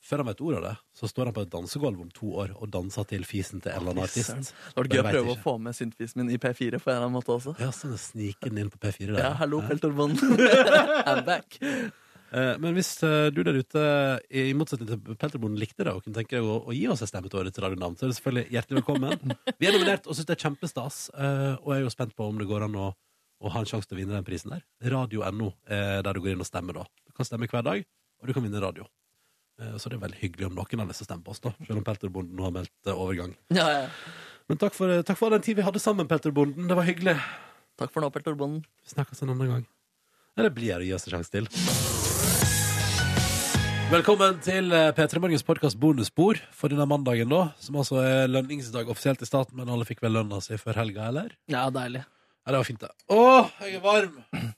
[SPEAKER 5] Før han vet ordet av det Så står han på et dansegolv om to år Og danser til fisen til en eller annen
[SPEAKER 4] Søren.
[SPEAKER 5] artist
[SPEAKER 4] Det var
[SPEAKER 5] Men
[SPEAKER 4] gøy å
[SPEAKER 5] jeg vet
[SPEAKER 4] prøve å
[SPEAKER 5] ikke.
[SPEAKER 4] få med syntfisen min i P4 på en eller annen måte også.
[SPEAKER 5] Ja, sånn sniker den inn på P4 der
[SPEAKER 4] Ja, hallo, Peltorbonden. I'm back.
[SPEAKER 5] Eh, Men hvis eh, du der ute, i i motsetning til Pelterboden, likte det og kunne tenke deg å, å gi oss en stemme til årets radionavn, så er det selvfølgelig hjertelig velkommen. Vi er nominert og syns det er kjempestas, eh, og jeg er jo spent på om det går an å, å ha en sjanse til å vinne den prisen der. Radio.no, eh, der du går inn og stemmer da. Du kan stemme hver dag, og du kan vinne radio. Eh, Så det er veldig hyggelig om noen av disse stemmer på oss, da, selv om Pelterbonden nå har meldt eh, overgang.
[SPEAKER 4] Ja, ja.
[SPEAKER 5] Men takk for, eh, takk for all den tid vi hadde sammen, Pelterbonden. Det var hyggelig.
[SPEAKER 4] Takk for nå, Peltorbonden.
[SPEAKER 5] Vi snakkes en annen gang. Eller blir det å gi oss en sjanse til. Velkommen til eh, P3 Morgens podkast bonusspor for denne mandagen, da. Som altså er lønningsdag offisielt i staten, men alle fikk vel lønna si før helga, eller?
[SPEAKER 4] Ja, deilig.
[SPEAKER 5] Ja, det var fint, det. Å, jeg er varm!
[SPEAKER 3] Jeg,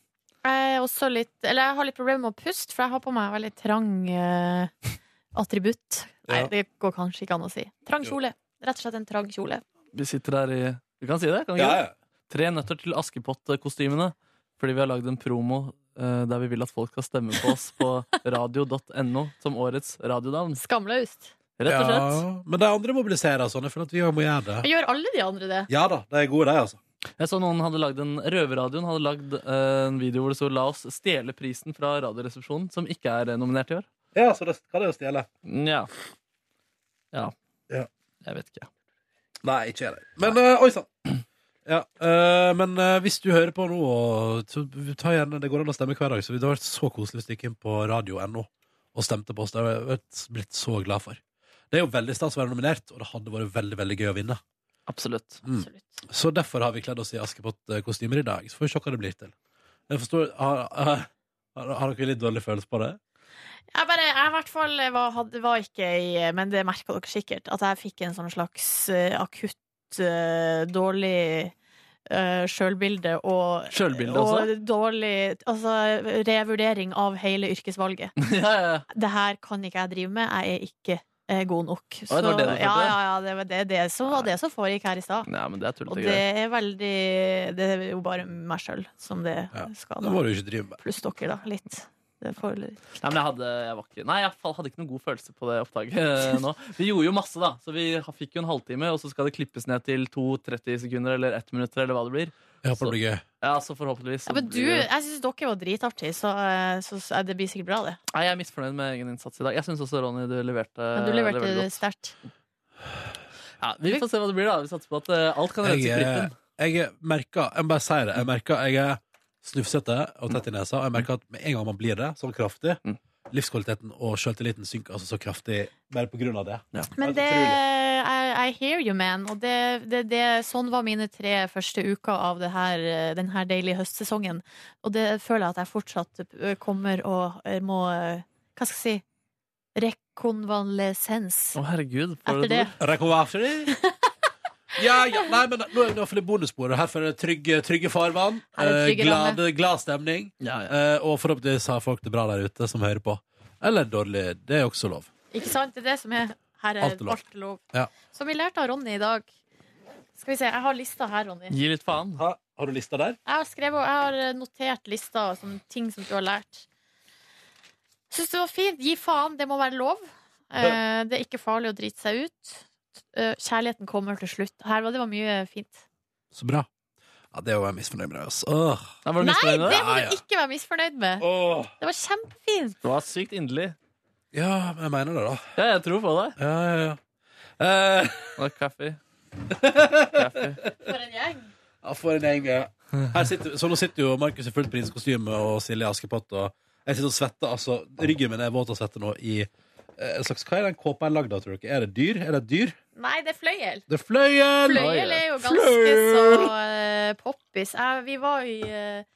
[SPEAKER 3] er også litt, eller jeg har litt problemer med å puste, for jeg har på meg veldig trang eh, attributt. Nei,
[SPEAKER 5] Ja.
[SPEAKER 3] det går kanskje ikke an å si. Trang kjole. Rett og slett en trang kjole.
[SPEAKER 4] Vi sitter her i Vi kan si det? kan vi ikke det? Tre nøtter til Askepott-kostymene. Fordi vi har lagd en promo eh, der vi vil at folk skal stemme på oss på radio.no som årets radionavn.
[SPEAKER 3] Skamløst.
[SPEAKER 4] Rett og slett.
[SPEAKER 5] Ja, men de andre mobiliserer og sånn. Jeg føler at vi òg må gjøre det.
[SPEAKER 3] Gjør alle de andre det?
[SPEAKER 5] Ja da, de er gode, de, altså.
[SPEAKER 4] Jeg så noen hadde lagd en Røverradioen hadde lagd eh, en video hvor det stod 'La oss stjele prisen fra Radioresepsjonen', som ikke er eh, nominert i år.
[SPEAKER 5] Ja, så det kan de jo stjele.
[SPEAKER 4] Nja. Ja.
[SPEAKER 5] Ja.
[SPEAKER 4] Jeg vet ikke.
[SPEAKER 5] Nei, ikke jeg. Men eh, oi sann. Ja, eh, men eh, hvis du hører på nå, og- så ta gjerne, det går an å stemme hver dag. Så det hadde vært så koselig hvis du gikk inn på radio.no og stemte på oss. Det hadde jeg vært- blitt så glad for. Det er jo veldig stas å være nominert, og det hadde vært veldig veldig gøy å vinne. Mm.
[SPEAKER 4] Absolutt.
[SPEAKER 3] Absolutt.
[SPEAKER 5] Så derfor har vi kledd oss i Askepott-kostymer i dag. Så får vi se hva det blir til. Jeg forstår, har, har, har har dere litt dårlig følelse på det?
[SPEAKER 3] Jeg bare, jeg i hvert fall var, hadde, var ikke i Men det merka dere sikkert, at jeg fikk en sånn slags eh, akutt eh, dårlig uh, sjølbilde og
[SPEAKER 4] Sjølbilde
[SPEAKER 3] og
[SPEAKER 4] også?
[SPEAKER 3] dårlig altså, revurdering av hele yrkesvalget.
[SPEAKER 4] ja, ja, ja.
[SPEAKER 3] Det her kan ikke jeg drive med, jeg er ikke eh, god nok. Så,
[SPEAKER 4] det var det du
[SPEAKER 3] ja,
[SPEAKER 4] følte?
[SPEAKER 3] ja, ja, det var det, det som var det som foregikk her i stad.
[SPEAKER 4] Nei, men det er
[SPEAKER 3] Og
[SPEAKER 4] tullete
[SPEAKER 3] det
[SPEAKER 4] greier.
[SPEAKER 3] er veldig Det er jo bare meg sjøl som det
[SPEAKER 5] Ja.
[SPEAKER 3] skal
[SPEAKER 5] Det
[SPEAKER 3] da.
[SPEAKER 5] må du ikke drive med.
[SPEAKER 3] Pluss dere, da. Litt. Det får,
[SPEAKER 4] Nei, men jeg hadde, jeg var ikke, nei, jeg fa- hadde ikke noen god følelse på det opptaket eh, nå. Vi gjorde jo masse, da. Så vi ha- fikk jo en halvtime, og så skal det klippes ned til 2-30 sekunder eller 1 minutt eller hva det blir.
[SPEAKER 5] Jeg håper det blir gøy.
[SPEAKER 4] Ja, så forhåpentligvis. så
[SPEAKER 3] Ja, men du,
[SPEAKER 4] blir det-
[SPEAKER 3] jeg syns dere var dritartige, så, eh, så s- eh, det blir sikkert bra, det.
[SPEAKER 4] Nei, jeg er misfornøyd med egen innsats i dag. Jeg syns også, Ronny, du leverte,
[SPEAKER 3] Men du
[SPEAKER 4] Eh, veldig
[SPEAKER 3] leverte
[SPEAKER 4] godt.
[SPEAKER 3] sterkt.
[SPEAKER 4] Ja, vi får se hva det blir, da. Vi satser på at eh, alt kan reddes i
[SPEAKER 5] Jeg, er-
[SPEAKER 4] klippen.
[SPEAKER 5] jeg merker Jeg må bare sier det. Jeg merker jeg er snufsete og tett i nesa. Og jeg merker at med en gang man blir det, sånn kraftig,
[SPEAKER 4] Mm.
[SPEAKER 5] livskvaliteten og sjøltilliten synker altså så kraftig bare på grunn av det.
[SPEAKER 3] Men det I, I hear you, man. Og det, det, det, sånn var mine tre første uker av det her, eh, den her deilige høstsesongen. Og det føler jeg at jeg fortsatt eh, kommer og eh, må eh, Hva skal jeg si? Rekonvalesens.
[SPEAKER 4] Å, herregud. for
[SPEAKER 3] Etter
[SPEAKER 4] et
[SPEAKER 3] det.
[SPEAKER 4] ord.
[SPEAKER 5] Rekonvalesering? Ja, ja, nei, men nå er vi iallfall i bonussporet. Her er det trygge, trygge farvann.
[SPEAKER 3] Her er det
[SPEAKER 5] eh,
[SPEAKER 3] trygge
[SPEAKER 5] glad, glad stemning. Eh, og forhåpentligvis har folk det bra der ute som hører på. Eller dårlig. Det er også lov.
[SPEAKER 3] Ikke sant? Det er det som er Her er
[SPEAKER 5] Alt er
[SPEAKER 3] alt
[SPEAKER 5] lov.
[SPEAKER 3] lov.
[SPEAKER 5] Ja.
[SPEAKER 3] Som vi lærte av Ronny i dag. Skal vi se, Jeg har lista her, Ronny.
[SPEAKER 4] Gi litt faen.
[SPEAKER 5] Ha, har du lista der?
[SPEAKER 3] Jeg har, skrevet, og jeg har eh, notert lista som ting som du har lært. Syns det var fint. Gi faen, det må være lov. Eh, det er ikke farlig å drite seg ut. Eh, kjærligheten kommer til slutt. Her var det var mye fint.
[SPEAKER 5] Så bra. Ja, det var jeg misfornøyd med. Altså. Åh.
[SPEAKER 4] Nei, var du
[SPEAKER 3] Nei,
[SPEAKER 4] misfornøyd med
[SPEAKER 3] det
[SPEAKER 4] det?
[SPEAKER 3] må
[SPEAKER 5] Ja, ja.
[SPEAKER 3] du ikke være misfornøyd med!
[SPEAKER 5] Åh.
[SPEAKER 3] Det var kjempefint.
[SPEAKER 4] Det var sykt inderlig.
[SPEAKER 5] Ja, men jeg mener det, da.
[SPEAKER 4] Ja, jeg tror på deg.
[SPEAKER 5] Ja, ja, ja. Eh,
[SPEAKER 4] Og kaffe.
[SPEAKER 3] For en gjeng.
[SPEAKER 5] Ja, for en gjeng. ja. Her sitter, så nå sitter jo Markus i fullt prinsekostyme og Silje i Askepott. Og jeg sitter og svetter, altså Ryggen min er våt av svette nå i eh, en slags, Hva er den kåpa jeg lagd av, tror dere? Er det dyr? Er det et dyr?
[SPEAKER 3] Nei, det er fløyel.
[SPEAKER 5] Det er fløyel!
[SPEAKER 3] Fløyel er jo ganske
[SPEAKER 5] Fløyel!
[SPEAKER 3] så eh, poppis. Jeg- Vi var i eh,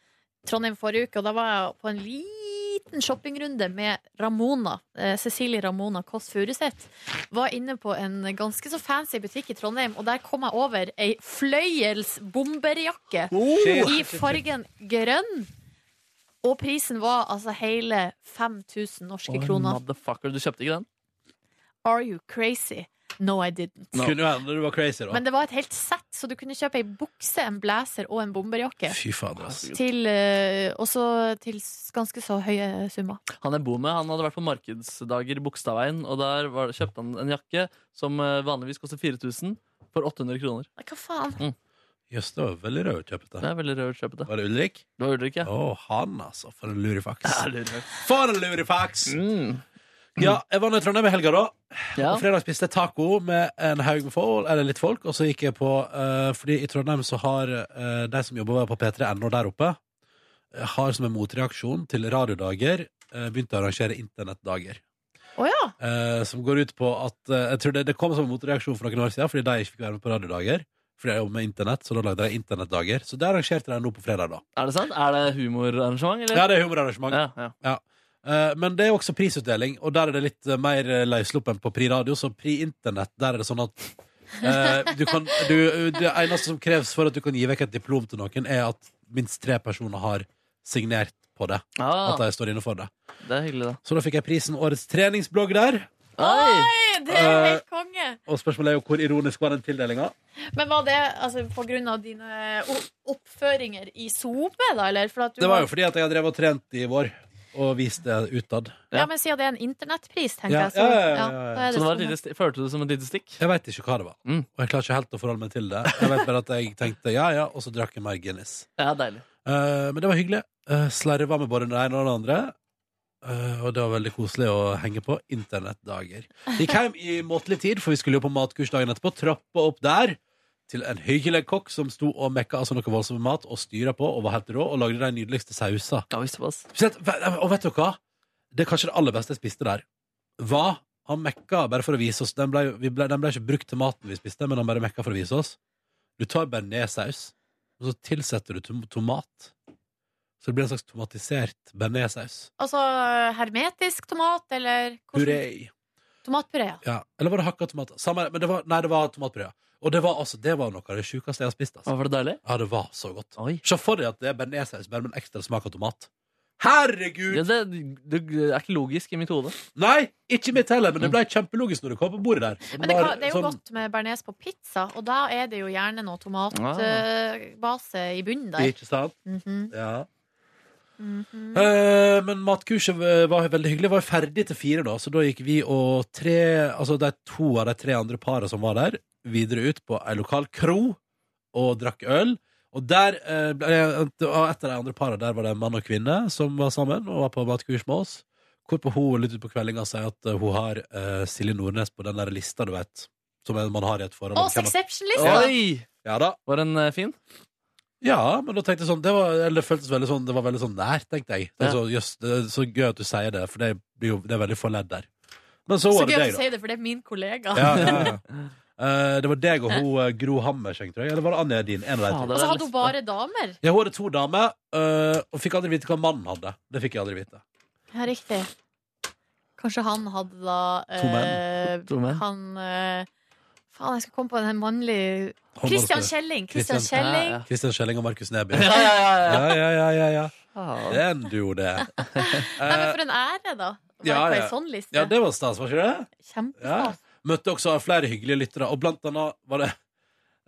[SPEAKER 3] Trondheim forrige uke, og da var jeg på en liten shoppingrunde med Ramona. eh, Cecilie Ramona Kåss Furuseth. Var inne på en ganske så fancy butikk i Trondheim, og der kom jeg over ei fløyels bomberjakke
[SPEAKER 5] Oh,
[SPEAKER 3] i fargen grønn. Og prisen var altså hele 5000 norske kroner.
[SPEAKER 4] Motherfucker, du kjøpte ikke den?
[SPEAKER 3] Are you crazy? No, I didn't.
[SPEAKER 5] Kunne jo hende du var crazy, da.
[SPEAKER 3] Men det var et helt sett, så du kunne kjøpe ei bukse, en blazer og en bomberjakke.
[SPEAKER 5] Fy fader, altså.
[SPEAKER 3] Til, eh, også til s- ganske så høye summer.
[SPEAKER 4] Han jeg bor med, han hadde vært på markedsdager i Bogstadveien, og der var, kjøpte han en jakke som eh, vanligvis koster 4000, for 800 kroner.
[SPEAKER 3] Nei, Hva faen?
[SPEAKER 5] Mm. Jøss, det var veldig rødkjøpete.
[SPEAKER 4] Det er veldig rørt kjøpete.
[SPEAKER 5] Var det Ulrik?
[SPEAKER 4] Det var Ulrik,
[SPEAKER 5] Å,
[SPEAKER 4] ja.
[SPEAKER 5] han, altså. For en lurifaks.
[SPEAKER 4] Ja, lurer.
[SPEAKER 5] For en lurifaks!
[SPEAKER 4] Mm.
[SPEAKER 5] Ja, jeg var nå i Trondheim i helga, da.
[SPEAKER 4] Ja.
[SPEAKER 5] På fredag spiste jeg taco med en haug med folk, eller litt folk, og så gikk jeg på eh, Fordi i Trondheim så har eh, de som jobber på P3NO der oppe, eh, har som en motreaksjon til radiodager eh, begynt å arrangere internettdager.
[SPEAKER 3] Å ja!
[SPEAKER 5] Eh, som går ut på at eh, Jeg tror det, det kom som en motreaksjon for noen år siden, fordi de ikke fikk være med på radiodager. Fordi jeg jobber med internett, så da lagde de internettdager. Så det arrangerte de nå på fredag, da.
[SPEAKER 4] Er det sant? Er det humorarrangement, eller?
[SPEAKER 5] Ja, det er humorarrangement.
[SPEAKER 4] ja, ja.
[SPEAKER 5] Eh, Men det er jo også prisutdeling, og der er det litt eh, mer eh, løsslupp enn på Pri Radio. Så Pri Internett, der er det sånn at eh, du kan, du, Det eneste som kreves for at du kan gi vekk et diplom til noen, er at minst tre personer har signert på det. At
[SPEAKER 4] Ah,
[SPEAKER 5] de står inne for det.
[SPEAKER 4] det er hyggelig, da.
[SPEAKER 5] Så da fikk jeg prisen Årets treningsblogg der.
[SPEAKER 4] Oi!
[SPEAKER 3] Oi, det
[SPEAKER 5] Eh.
[SPEAKER 3] er helt konge!
[SPEAKER 5] Og spørsmålet er jo hvor ironisk var den tildelinga?
[SPEAKER 3] Men var det altså, på grunn av dine eh, o- oppføringer i SoMe, da, eller? For at du
[SPEAKER 5] Det var jo fordi at jeg har drevet og trent i vår, og vist det utad.
[SPEAKER 3] Ja, men siden det er en internettpris, tenker
[SPEAKER 5] Ja,
[SPEAKER 3] jeg.
[SPEAKER 5] ja,
[SPEAKER 3] Så,
[SPEAKER 5] ja, ja, ja.
[SPEAKER 3] da er sånn.
[SPEAKER 4] Så det var et
[SPEAKER 3] SoMe.
[SPEAKER 4] lite, sti- følte du det som et lite stikk?
[SPEAKER 5] Jeg veit ikke hva det var,
[SPEAKER 4] Mm.
[SPEAKER 5] og jeg klarer ikke helt å forholde meg til det. Jeg vet bare at jeg tenkte ja ja, og så drakk jeg mer Guinness.
[SPEAKER 4] Ja, deilig.
[SPEAKER 5] Eh, men det var hyggelig. Uh, Slarva med både den ene og den andre. Eh, og det var veldig koselig å henge på internettdager. Gikk hjem i måtelig tid, for vi skulle jo på matkurs dagen etterpå. Trappa opp der til en hyggelig kokk som sto og mekka altså noe voldsomt med mat og styra på og var helt rå og lagde de nydeligste sauser.
[SPEAKER 4] Ja, visst såpass.
[SPEAKER 5] Spesielt, og vet dere hva? Det er kanskje det aller beste jeg spiste der. Hva? Han mekka bare for å vise oss. Den ble, vi ble, den ble ikke brukt til maten vi spiste, men han bare mekka for å vise oss. Du tar bearnéssaus, og så tilsetter du tom- tomat. Så det blir en slags tomatisert bearnéssaus.
[SPEAKER 3] Altså hermetisk tomat, eller hvordan-
[SPEAKER 5] Puré.
[SPEAKER 3] Tomatpuré, ja.
[SPEAKER 5] Ja. Eller var det hakka tomater? Samme, men det var, nei, det var tomatpuré. ja. Og det var, altså, det var noe av det sjukeste jeg har spist. Altså.
[SPEAKER 4] Var det deilig?
[SPEAKER 5] Ja, det var så godt.
[SPEAKER 4] Oi.
[SPEAKER 5] Se for deg at det er bearnéssaus, bare med en ekstra smak av tomat. Herregud!
[SPEAKER 4] Ja, det, det er ikke logisk i mitt hode.
[SPEAKER 5] Nei, ikke mitt heller, men det ble kjempelogisk når det kom på bordet der. Og
[SPEAKER 3] Men det,
[SPEAKER 5] var
[SPEAKER 3] kan, det er jo
[SPEAKER 5] sånn-
[SPEAKER 3] godt med bearnés på pizza, og da er det jo gjerne noe
[SPEAKER 4] Ah.
[SPEAKER 3] tomatbase i bunnen der.
[SPEAKER 5] Ikke sant?
[SPEAKER 3] Mhm.
[SPEAKER 5] Ja. Eh, men matkurset v- var veldig hyggelig. Var ferdig til fire, da, så da gikk vi og tre Altså de to av de tre andre parene som var der, videre ut på ei lokal kro og drakk øl. Og der eh, ble og et av de andre parene der var det en mann og kvinne som var sammen og var på matkurs med oss. Hvorpå hun litt utpå kveldinga sier at eh, hun har eh, Silje Nordnes på den der lista, du vet. Som man har i et forhold.
[SPEAKER 3] Åh, Sexception-lista!
[SPEAKER 4] Oi!
[SPEAKER 5] Ja da.
[SPEAKER 4] Var den eh, fin?
[SPEAKER 5] Ja, men da tenkte jeg sånn Det, var, eller det føltes veldig sånn Det var veldig sånn nært, tenkte jeg Det er
[SPEAKER 4] Ja.
[SPEAKER 5] så, jøss, det er så gøy at du sier det For det, blir jo, det er veldig få ledd der Men så
[SPEAKER 3] Så
[SPEAKER 5] var det
[SPEAKER 3] gøy at
[SPEAKER 5] deg
[SPEAKER 3] du
[SPEAKER 5] da
[SPEAKER 3] sier det, for det er min kollega.
[SPEAKER 5] ja, ja, ja. Eh, Det var deg og hun eh, Gro Hammerseng, tror jeg Eller var det Anja din? En av de to.
[SPEAKER 3] Og
[SPEAKER 4] Fader,
[SPEAKER 3] så hadde
[SPEAKER 4] lesbe.
[SPEAKER 3] hun bare damer.
[SPEAKER 5] Ja, hun hadde to damer eh, Og fikk aldri vite hva mannen hadde Det fikk jeg aldri vite
[SPEAKER 3] Ja, riktig. Kanskje han hadde da
[SPEAKER 5] To menn.
[SPEAKER 3] eh,
[SPEAKER 4] To menn.
[SPEAKER 3] Han eh, Faen, jeg skal komme på den her mannlige Christian Kjelling! Christian
[SPEAKER 5] Christian-
[SPEAKER 3] Kjelling.
[SPEAKER 4] Ja,
[SPEAKER 5] Kristian Skjelling og Markus Neby.
[SPEAKER 4] ja, ja, ja, ja. Ah,
[SPEAKER 5] Ja, ja, ja, ja, ja.
[SPEAKER 4] Faen.
[SPEAKER 5] Det er en duo, det.
[SPEAKER 3] Nei,
[SPEAKER 5] Eh,
[SPEAKER 3] men for en ære, da. Å være
[SPEAKER 5] Ja,
[SPEAKER 3] på
[SPEAKER 5] ja.
[SPEAKER 3] ei sånn liste.
[SPEAKER 5] ja, det var stas, var ikke det? Ja.
[SPEAKER 3] Kjempestas.
[SPEAKER 5] Møtte også flere hyggelige lyttere, og blant annet var det,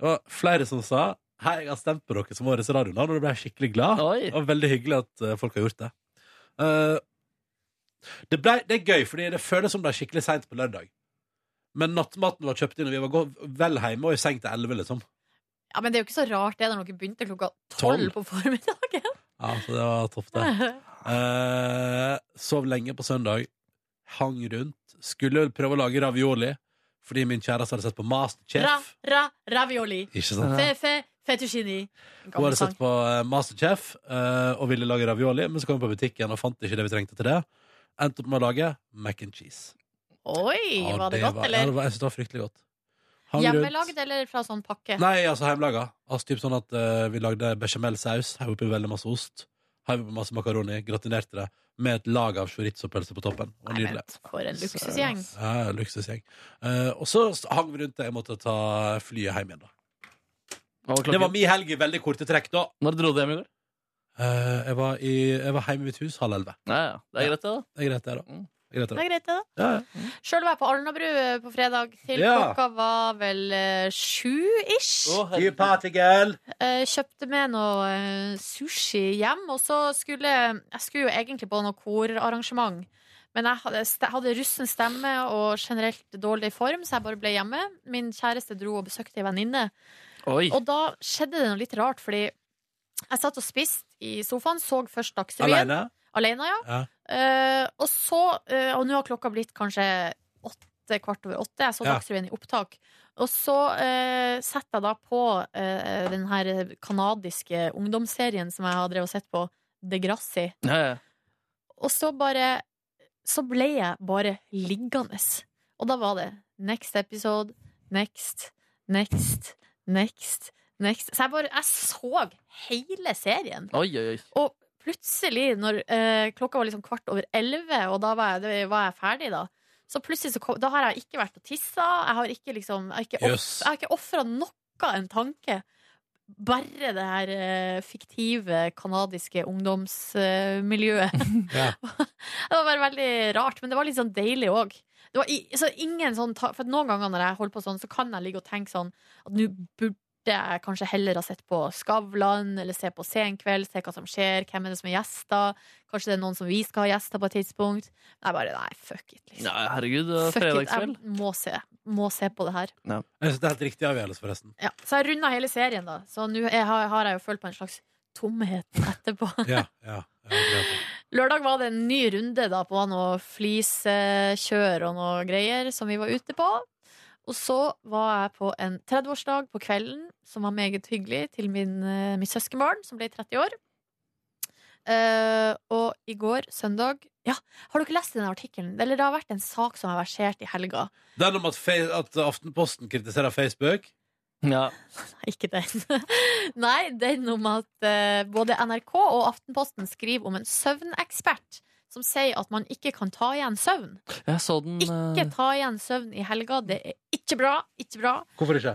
[SPEAKER 5] det var flere som sa Hei, jeg har stemt på dere som årets radionavn, og da ble jeg skikkelig glad.
[SPEAKER 4] Oi.
[SPEAKER 5] Det var veldig hyggelig at eh, folk har gjort det. Eh, det, ble, det er gøy, fordi det føles som det er skikkelig seint på lørdag. Men nattmaten var kjøpt inn, og vi var gå- vel hjemme og i seng til elleve, liksom.
[SPEAKER 3] Ja, men det er jo ikke så rart det når dere begynte klokka tolv
[SPEAKER 5] Tolv.
[SPEAKER 3] på formiddagen.
[SPEAKER 5] Ja, så det var topp, det. Eh, sov lenge på søndag. Hang rundt. Skulle vel prøve å lage ravioli, fordi min kjæreste hadde sett på
[SPEAKER 3] Ra,
[SPEAKER 5] Masterchef.
[SPEAKER 3] ra, ravioli.
[SPEAKER 5] Ikke sant?
[SPEAKER 3] Fe, fe, fettuccini. En
[SPEAKER 5] Hun
[SPEAKER 3] gammel
[SPEAKER 5] hadde
[SPEAKER 3] sang.
[SPEAKER 5] sett på eh, Masterchef eh, og ville lage ravioli, men så kom vi på butikken og fant ikke det vi trengte til det. Endte opp med å lage mac and cheese.
[SPEAKER 3] Oi,
[SPEAKER 5] Ja,
[SPEAKER 3] var det, godt,
[SPEAKER 5] var, Ja,
[SPEAKER 3] eller?
[SPEAKER 5] det var, jeg synes det var fryktelig godt. Hang rundt.
[SPEAKER 3] Hjemmelagd eller fra sånn pakke?
[SPEAKER 5] Nei, altså hjemmelaga. Altså, typ sånn at eh, vi lagde bechamelsaus, heiv oppi veldig masse ost, heiv oppi masse makaroni, gratinerte det med et lag av chorizo-pølse på toppen. Det var
[SPEAKER 3] Nei,
[SPEAKER 5] Nydelig.
[SPEAKER 3] men for en luksusgjeng.
[SPEAKER 5] Ja, luksusgjeng. Eh, og så hang vi rundt det. Jeg måtte ta flyet hjem igjen, da.
[SPEAKER 4] Hva var
[SPEAKER 5] Det var
[SPEAKER 4] klokken?
[SPEAKER 5] mi helg i veldig korte trekk, da.
[SPEAKER 4] Når dro du hjem i går?
[SPEAKER 5] Eh, jeg, var i, jeg var hjemme i mitt hus halv elleve.
[SPEAKER 4] Ja, ja. Det er greit, det, da.
[SPEAKER 5] Det er greit, det, da.
[SPEAKER 4] Mm.
[SPEAKER 5] Det er greit,
[SPEAKER 3] Det er greit, det, da.
[SPEAKER 5] da. Ja, ja.
[SPEAKER 3] Sjøl var jeg på Alnabru eh, på fredag til
[SPEAKER 5] Ja.
[SPEAKER 3] klokka var vel eh, sju-ish.
[SPEAKER 4] Å,
[SPEAKER 5] You
[SPEAKER 4] herregud.
[SPEAKER 5] party girl!
[SPEAKER 3] Eh, kjøpte med noe eh, sushi hjem, og så skulle jeg skulle jo egentlig på noe korarrangement. Men jeg hadde, st- hadde russen stemme og generelt dårlig form, så jeg bare ble hjemme. Min kjæreste dro og besøkte ei venninne.
[SPEAKER 4] Oi.
[SPEAKER 3] Og da skjedde det noe litt rart, fordi jeg satt og spiste i sofaen, så først Dagsrevyen.
[SPEAKER 5] Aleine?
[SPEAKER 3] Alene, ja.
[SPEAKER 5] Ja.
[SPEAKER 3] Eh, og så, eh, og nå har klokka blitt kanskje åtte, kvart over åtte. Jeg så
[SPEAKER 5] Ja.
[SPEAKER 3] Dagsrevyen i opptak. Og så eh, setter jeg da på eh, den her kanadiske ungdomsserien som jeg har drevet og sett på, Degrassi.
[SPEAKER 4] Ja, ja.
[SPEAKER 3] Og så bare Så ble jeg bare liggende. Og da var det next episode, next, next, next, next. Så jeg bare Jeg så hele serien.
[SPEAKER 4] Oi, oi, oi.
[SPEAKER 3] Og plutselig, når eh, klokka var liksom kvart over elleve, og da var jeg, det, var jeg ferdig, da så plutselig så kom, Da har jeg ikke vært og tissa. Jeg har ikke liksom Jeg har ikke, off,
[SPEAKER 5] Jøss.
[SPEAKER 3] jeg har ikke ofra noe en tanke. Bare det her eh, fiktive canadiske ungdomsmiljøet.
[SPEAKER 5] Ja.
[SPEAKER 3] det var bare veldig rart, men det var litt sånn deilig òg. Det var i, så ingen sånn ta, For noen ganger når jeg holder på sånn, så kan jeg ligge og tenke sånn at nå burde jeg kanskje heller ha sett på Skavlan, eller se på Senkveld, se hva som skjer, hvem er det som er gjester, kanskje det er noen som vi skal ha gjester på et tidspunkt. Nei, bare nei, fuck it, liksom.
[SPEAKER 4] Ja, herregud, det er
[SPEAKER 3] Fuck it,
[SPEAKER 4] fredagskveld.
[SPEAKER 3] jeg må se, må se på det her.
[SPEAKER 5] Jeg synes det er helt riktig avgjørelse, forresten.
[SPEAKER 3] Ja. Så jeg runda hele serien, da. Så nå er- har har jeg jo følt på en slags tomhet etterpå.
[SPEAKER 5] Ja, ja, ja, greit.
[SPEAKER 3] Lørdag var det en ny runde da på noe flisekjør og noe greier som vi var ute på. Og så var jeg på en 30-årsdag på kvelden, som var meget hyggelig, til min, eh, mitt søskenbarn, som ble 30 år. Eh, og i går, søndag Ja, har dere lest den artikkelen? Eller det har vært en sak som har versert i helga.
[SPEAKER 5] Den om at, Fe- at Aftenposten kritiserer Facebook.
[SPEAKER 4] Ja.
[SPEAKER 3] Nei, ikke den. Nei, den om at eh, både NRK og Aftenposten skriver om en søvnekspert som sier at man ikke kan ta igjen søvn.
[SPEAKER 4] Jeg så den
[SPEAKER 3] Ikke
[SPEAKER 4] eh,
[SPEAKER 3] ta igjen søvn i helga. Det er ikke bra. Ikke bra.
[SPEAKER 5] Hvorfor ikke?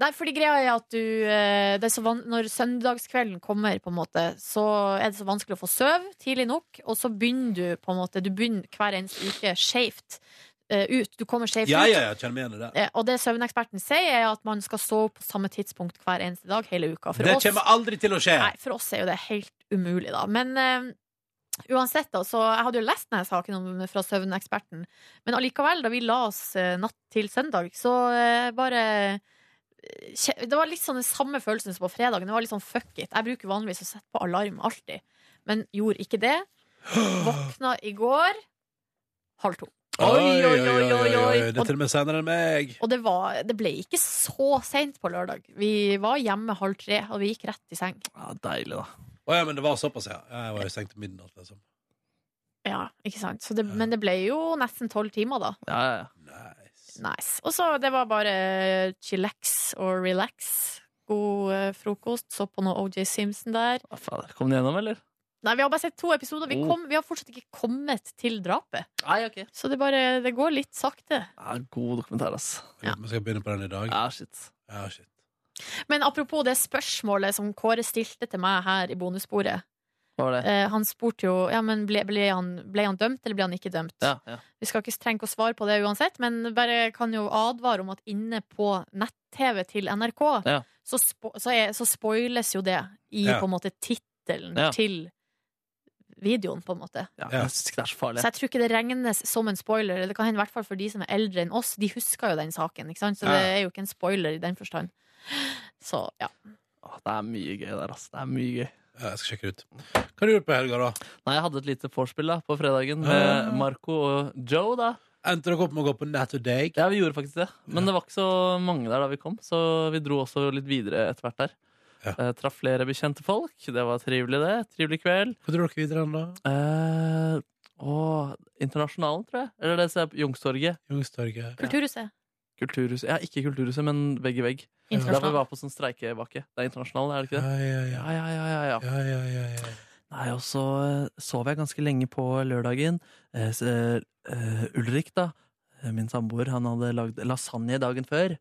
[SPEAKER 3] Nei, fordi greia er at du eh, det er så van Når søndagskvelden kommer, på en måte, så er det så vanskelig å få søv tidlig nok, og så begynner du på en måte Du begynner hver eneste uke skeivt eh, ut. Du kommer skeivt
[SPEAKER 5] Ja,
[SPEAKER 3] ut.
[SPEAKER 5] ja, ja, kjenner meg igjen i det.
[SPEAKER 3] Eh, Og det søvneksperten sier, er at man skal sove på samme tidspunkt hver eneste dag hele uka. For
[SPEAKER 5] Det
[SPEAKER 3] oss,
[SPEAKER 5] kommer aldri til å skje.
[SPEAKER 3] nei, for oss er jo det helt umulig, da. Men eh, uansett, da, så jeg hadde jo lest denne saken om, fra søvneksperten, men allikevel, da vi la oss eh, natt til søndag, så eh, bare eh, kje- det var litt sånn den samme følelsen som på fredagen. Det var litt sånn fuck it. Jeg bruker vanligvis å sette på alarm alltid, men gjorde ikke det. Våkna i går halv to.
[SPEAKER 5] Oi, oi, oi, oi, oi. Det er til og med senere enn meg.
[SPEAKER 3] Og det, var, det ble ikke så seint på lørdag. Vi var hjemme halv tre, og vi gikk rett i seng.
[SPEAKER 4] eh, ja, Deilig, da.
[SPEAKER 5] Å ja, men det var såpass, ja. Ja, Jeg var jo stengt til midnatt, liksom.
[SPEAKER 3] Ja, ikke sant? Så det, men det ble jo nesten tolv timer, da.
[SPEAKER 4] Ja, ja, ja.
[SPEAKER 5] Nice.
[SPEAKER 3] Nice. Og så det var bare chillax og relax. God eh, frokost. Så på noe OJ Simpson der.
[SPEAKER 4] Hva faen, Kom den gjennom, eller?
[SPEAKER 3] Nei, vi har bare sett to episoder. Vi, kom, vi har fortsatt ikke kommet til drapet.
[SPEAKER 4] Nei, ok. Det
[SPEAKER 3] Så det bare Det går litt sakte.
[SPEAKER 4] er en god dokumentar, ass.
[SPEAKER 2] Vi skal begynne på den i dag.
[SPEAKER 4] Ja, shit.
[SPEAKER 2] Ja, shit.
[SPEAKER 3] Men apropos det spørsmålet som Kåre stilte til meg her i bonussporet.
[SPEAKER 4] Hva var det?
[SPEAKER 3] Eh, han spurte jo ja, men ble, ble, han, ble han dømt, eller ble han ikke dømt.
[SPEAKER 4] Ja, ja.
[SPEAKER 3] Vi skal ikke trenge å svare på det uansett, men bare kan jo advare om at inne på nett-TV til NRK,
[SPEAKER 4] Ja.
[SPEAKER 3] så, spo så, er, så spoiles jo det i
[SPEAKER 2] Ja.
[SPEAKER 3] på en måte tittelen
[SPEAKER 4] Ja.
[SPEAKER 3] til videoen, på en måte.
[SPEAKER 4] ja. Jeg synes ikke det er så farlig.
[SPEAKER 3] Så jeg tror ikke det regnes som en spoiler. Det kan hende i hvert fall for de som er eldre enn oss. De husker jo den saken, ikke sant? så det er jo ikke en spoiler i den forstand. Så ja.
[SPEAKER 4] Åh, det er mye gøy der, ass. Det er mye gøy.
[SPEAKER 2] Ja, jeg skal sjekke det ut. Hva har du gjort på helga, da?
[SPEAKER 4] Nei, jeg hadde et lite vorspiel da, på fredagen med Marco og Joe, da.
[SPEAKER 2] Endte dere opp med å gå på Nat og Dake?
[SPEAKER 4] Ja, vi gjorde faktisk det. Men det var ikke så mange der da vi kom, så vi dro også litt videre etter hvert der.
[SPEAKER 2] Ja.
[SPEAKER 4] Eh, traff flere bekjente folk. Det var trivelig, det. Trivelig kveld.
[SPEAKER 2] Hva dro dere videre enn da?
[SPEAKER 4] Eh, åh, Internasjonalen, tror jeg. Eller det som er på Youngstorget.
[SPEAKER 2] Youngstorget?
[SPEAKER 3] Kulturhuset.
[SPEAKER 4] Kulturhuset. Ja, ikke Kulturhuset, men vegg i vegg. Der vi
[SPEAKER 3] Internasjonalt.
[SPEAKER 4] var på sånn streikebakke. Det er internasjonal, er det ikke
[SPEAKER 2] Ja,
[SPEAKER 4] det?
[SPEAKER 2] ja, ja.
[SPEAKER 4] Ja, ja, ja, ja, ja.
[SPEAKER 2] ja, ja, ja, ja.
[SPEAKER 4] Nei, og så eh, sov jeg ganske lenge på lørdagen. Eh, s- eh, eh, Ulrik, da, eh, min samboer, han hadde lagd lasagne dagen før.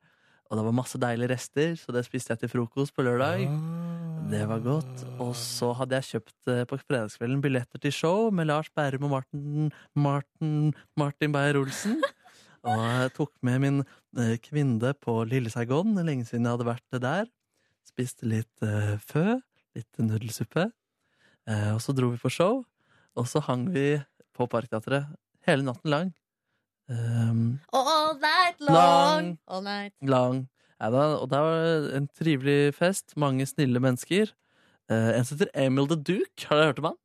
[SPEAKER 4] Og det var masse deilige rester, så det spiste jeg til frokost på lørdag.
[SPEAKER 2] Ah.
[SPEAKER 4] Det var godt. Og så hadde jeg kjøpt eh, på fredagskvelden billetter til show med Lars Bærum og Martin, Martin, Martin Beyer-Olsen. Og jeg tok med min eh, kvinne på Lille Saigon, lenge siden jeg hadde vært der. Spiste litt eh, fø, litt nudelsuppe. Eh, og så dro vi på show, og så hang vi på Parkteatret hele natten lang. Ehm,
[SPEAKER 3] All night long.
[SPEAKER 4] Lang.
[SPEAKER 3] All night.
[SPEAKER 4] lang. Ja, da, og det var en trivelig fest, mange snille mennesker. Eh, en som heter Emil the Duke, har dere hørt om han?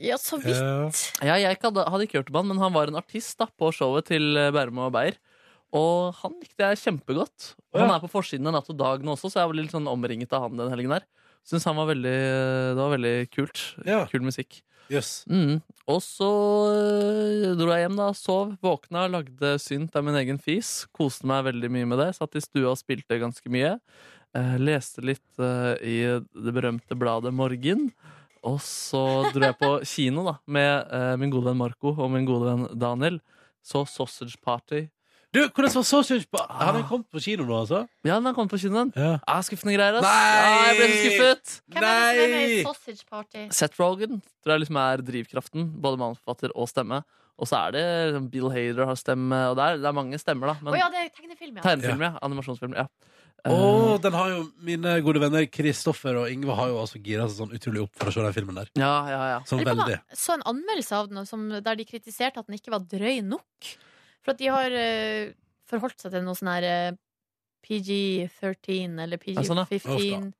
[SPEAKER 3] Ja, så
[SPEAKER 4] Eh,
[SPEAKER 3] vidt.
[SPEAKER 4] Ja, jeg ikke hadde, hadde ikke hørt om han, men han var en artist da, på showet til eh, Bærum og Beyer. Og han likte jeg kjempegodt. Og Han er på forsiden av Natt og Dag nå også, så jeg var litt sånn omringet av han den helgen der. Syns han var veldig eh, Det var veldig kult.
[SPEAKER 2] Ja.
[SPEAKER 4] Kul musikk.
[SPEAKER 2] Jøss.
[SPEAKER 4] Mm. Og så øh, dro jeg hjem, da. Sov, våkna, lagde synt av min egen fis. Koste meg veldig mye med det. Satt i stua og spilte ganske mye. Eh, leste litt eh, i det berømte bladet Morgen. Og så dro jeg på kino da med eh, min gode venn Marco og min gode venn Daniel. Så Sausage Party.
[SPEAKER 2] Du, hvordan var Sausage på
[SPEAKER 4] Ah.
[SPEAKER 2] Har den kommet på kino nå, altså?
[SPEAKER 4] Ja, den har kommet på kinoen.
[SPEAKER 2] Ja.
[SPEAKER 4] Ah, skuffende greier, ass.
[SPEAKER 2] Nei!
[SPEAKER 4] Ah, jeg ble så skuffet.
[SPEAKER 3] Hvem er det som er med i Sausage Party?
[SPEAKER 4] Seth Rogan tror jeg liksom er drivkraften, både manusforfatter og stemme. Og så er det liksom Bill Hader har stemme, og det er, det er mange stemmer, da.
[SPEAKER 3] Å
[SPEAKER 4] Men
[SPEAKER 3] ja, det er tegnefilm, ja.
[SPEAKER 4] tegnefilm, ja. Animasjonsfilm, ja. Eh.
[SPEAKER 2] Å, den har jo mine gode venner Kristoffer og Ingve har jo altså gira seg sånn utrolig opp for å se den filmen der.
[SPEAKER 4] ja, ja, ja.
[SPEAKER 2] Sånn
[SPEAKER 3] Eller på
[SPEAKER 2] veldig.
[SPEAKER 3] en- så en anmeldelse av den som, der de kritiserte at den ikke var drøy nok. For at de har eh, forholdt seg til noe sånn her eh, PG-13 eller
[SPEAKER 4] Ja, sånn, ja.
[SPEAKER 3] PG-15.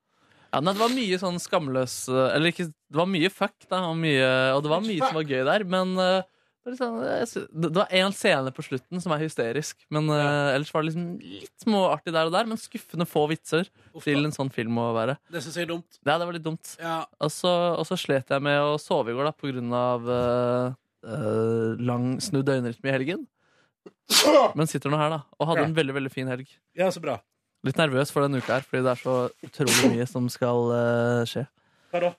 [SPEAKER 4] ja nei, det var mye sånn skamløs Eller ikke Det var mye fuck, da, og, mye, og det var mye som var gøy der, men eh, det var litt sånn, jeg sy- det det var én scene på slutten som er hysterisk, men eh, ellers var det liksom litt småartig der og der, men skuffende få vitser
[SPEAKER 2] Uff da.
[SPEAKER 4] til en sånn film å være.
[SPEAKER 2] Det syns jeg er dumt.
[SPEAKER 4] Ja, det var litt dumt.
[SPEAKER 2] Ja.
[SPEAKER 4] Og så, og så slet jeg med å sove i går da, på grunn av eh, eh, lang snudd døgnrytme i helgen. Men sitter nå her, da. Og hadde en veldig veldig fin helg.
[SPEAKER 2] ja, så bra.
[SPEAKER 4] Litt nervøs for denne uka her, fordi det er så utrolig mye som skal eh, skje.
[SPEAKER 2] Hva da?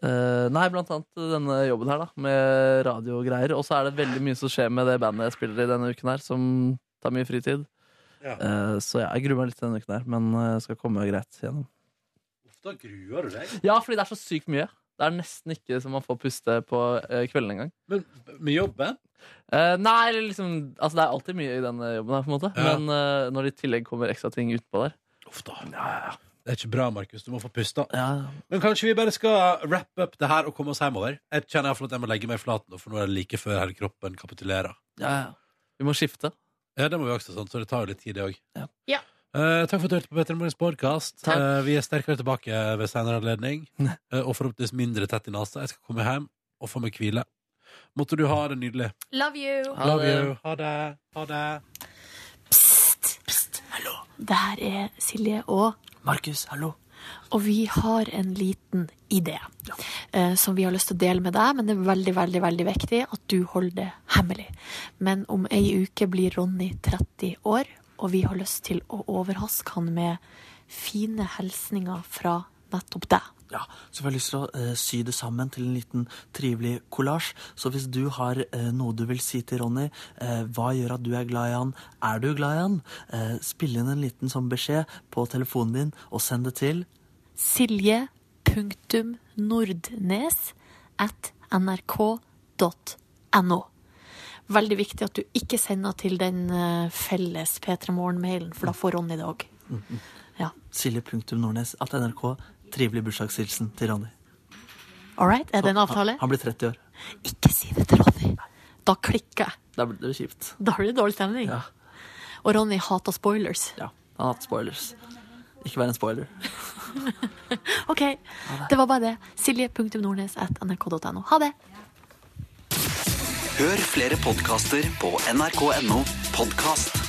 [SPEAKER 4] Eh, nei, blant annet denne jobben her, da, med radiogreier. Og så er det veldig mye som skjer med det bandet jeg spiller i denne uken her, som tar mye fritid.
[SPEAKER 2] Ja.
[SPEAKER 4] Eh, så jeg gruer meg litt denne uken her, men eh, skal komme greit gjennom.
[SPEAKER 2] Da gruer du deg.
[SPEAKER 4] Ja, fordi det er så sykt mye. Det er nesten ikke som man får puste på eh, kvelden engang.
[SPEAKER 2] Men med jobben?
[SPEAKER 4] Eh, nei, eller liksom Altså, det er alltid mye i denne jobben her, på en måte.
[SPEAKER 2] Ja.
[SPEAKER 4] Men eh, når det i tillegg kommer ekstra ting utpå der
[SPEAKER 2] Uff da. Det er ikke bra, Markus. Du må få pusta.
[SPEAKER 4] Ja,
[SPEAKER 2] Men kanskje vi bare skal wrap up det her og komme oss hjemover? Jeg kjenner i hvert fall at jeg må legge meg flat nå, for nå er det like før hele kroppen kapitulerer.
[SPEAKER 4] ja, ja. Vi må skifte.
[SPEAKER 2] Ja, det må vi også, sant? så det tar jo litt tid, det òg.
[SPEAKER 4] Ja.
[SPEAKER 3] Ja.
[SPEAKER 2] takk for at du hørte på Petter Morgens podkast.
[SPEAKER 4] Takk.
[SPEAKER 2] vi er sterkere tilbake ved senere anledning. eh, og forhåpentligvis mindre tett i nesa. Jeg skal komme hjem og få meg hvile. Måtte du ha det nydelig.
[SPEAKER 3] Love you!
[SPEAKER 4] Ha
[SPEAKER 2] Love
[SPEAKER 4] det.
[SPEAKER 2] you. Ha det. Ha det.
[SPEAKER 3] Det her er Silje og
[SPEAKER 4] Markus, hallo.
[SPEAKER 3] Og vi har en liten idé eh, som vi har lyst til å dele med deg, men det er veldig, veldig veldig viktig at du holder det hemmelig. Men om ei uke blir Ronny 30 år, og vi har lyst til å overraske han med fine hilsninger fra nettopp deg.
[SPEAKER 12] Ja, så får jeg lyst til å eh, sy det sammen til en liten trivelig kollasj. Så hvis du har eh, noe du vil si til Ronny, eh, hva gjør at du er glad i han, er du glad i han, eh, spill inn en liten sånn beskjed på telefonen din og send det til
[SPEAKER 3] silje.nordnes at nrk.no. Veldig viktig at du ikke sender til den eh, felles P3 Morgen-mailen, for da får Ronny det òg. Ja.
[SPEAKER 12] silje.nordnes at nrk. Trivelig bursdagshilsen til Ronny.
[SPEAKER 3] All right, er det en
[SPEAKER 12] Så,
[SPEAKER 3] avtale?
[SPEAKER 12] Han, han blir 30 år.
[SPEAKER 3] Ikke si det til Ronny! Da klikker jeg.
[SPEAKER 12] Da blir det kjipt.
[SPEAKER 3] Da blir det dårlig stemning.
[SPEAKER 12] Ja.
[SPEAKER 3] Og Ronny hater spoilers.
[SPEAKER 12] Ja, han har hatt spoilers. Ikke vær en spoiler.
[SPEAKER 3] OK, det var bare det. Silje.nordnes at nrk.no. Ha det!
[SPEAKER 1] Hør flere podkaster på nrk.no podkast.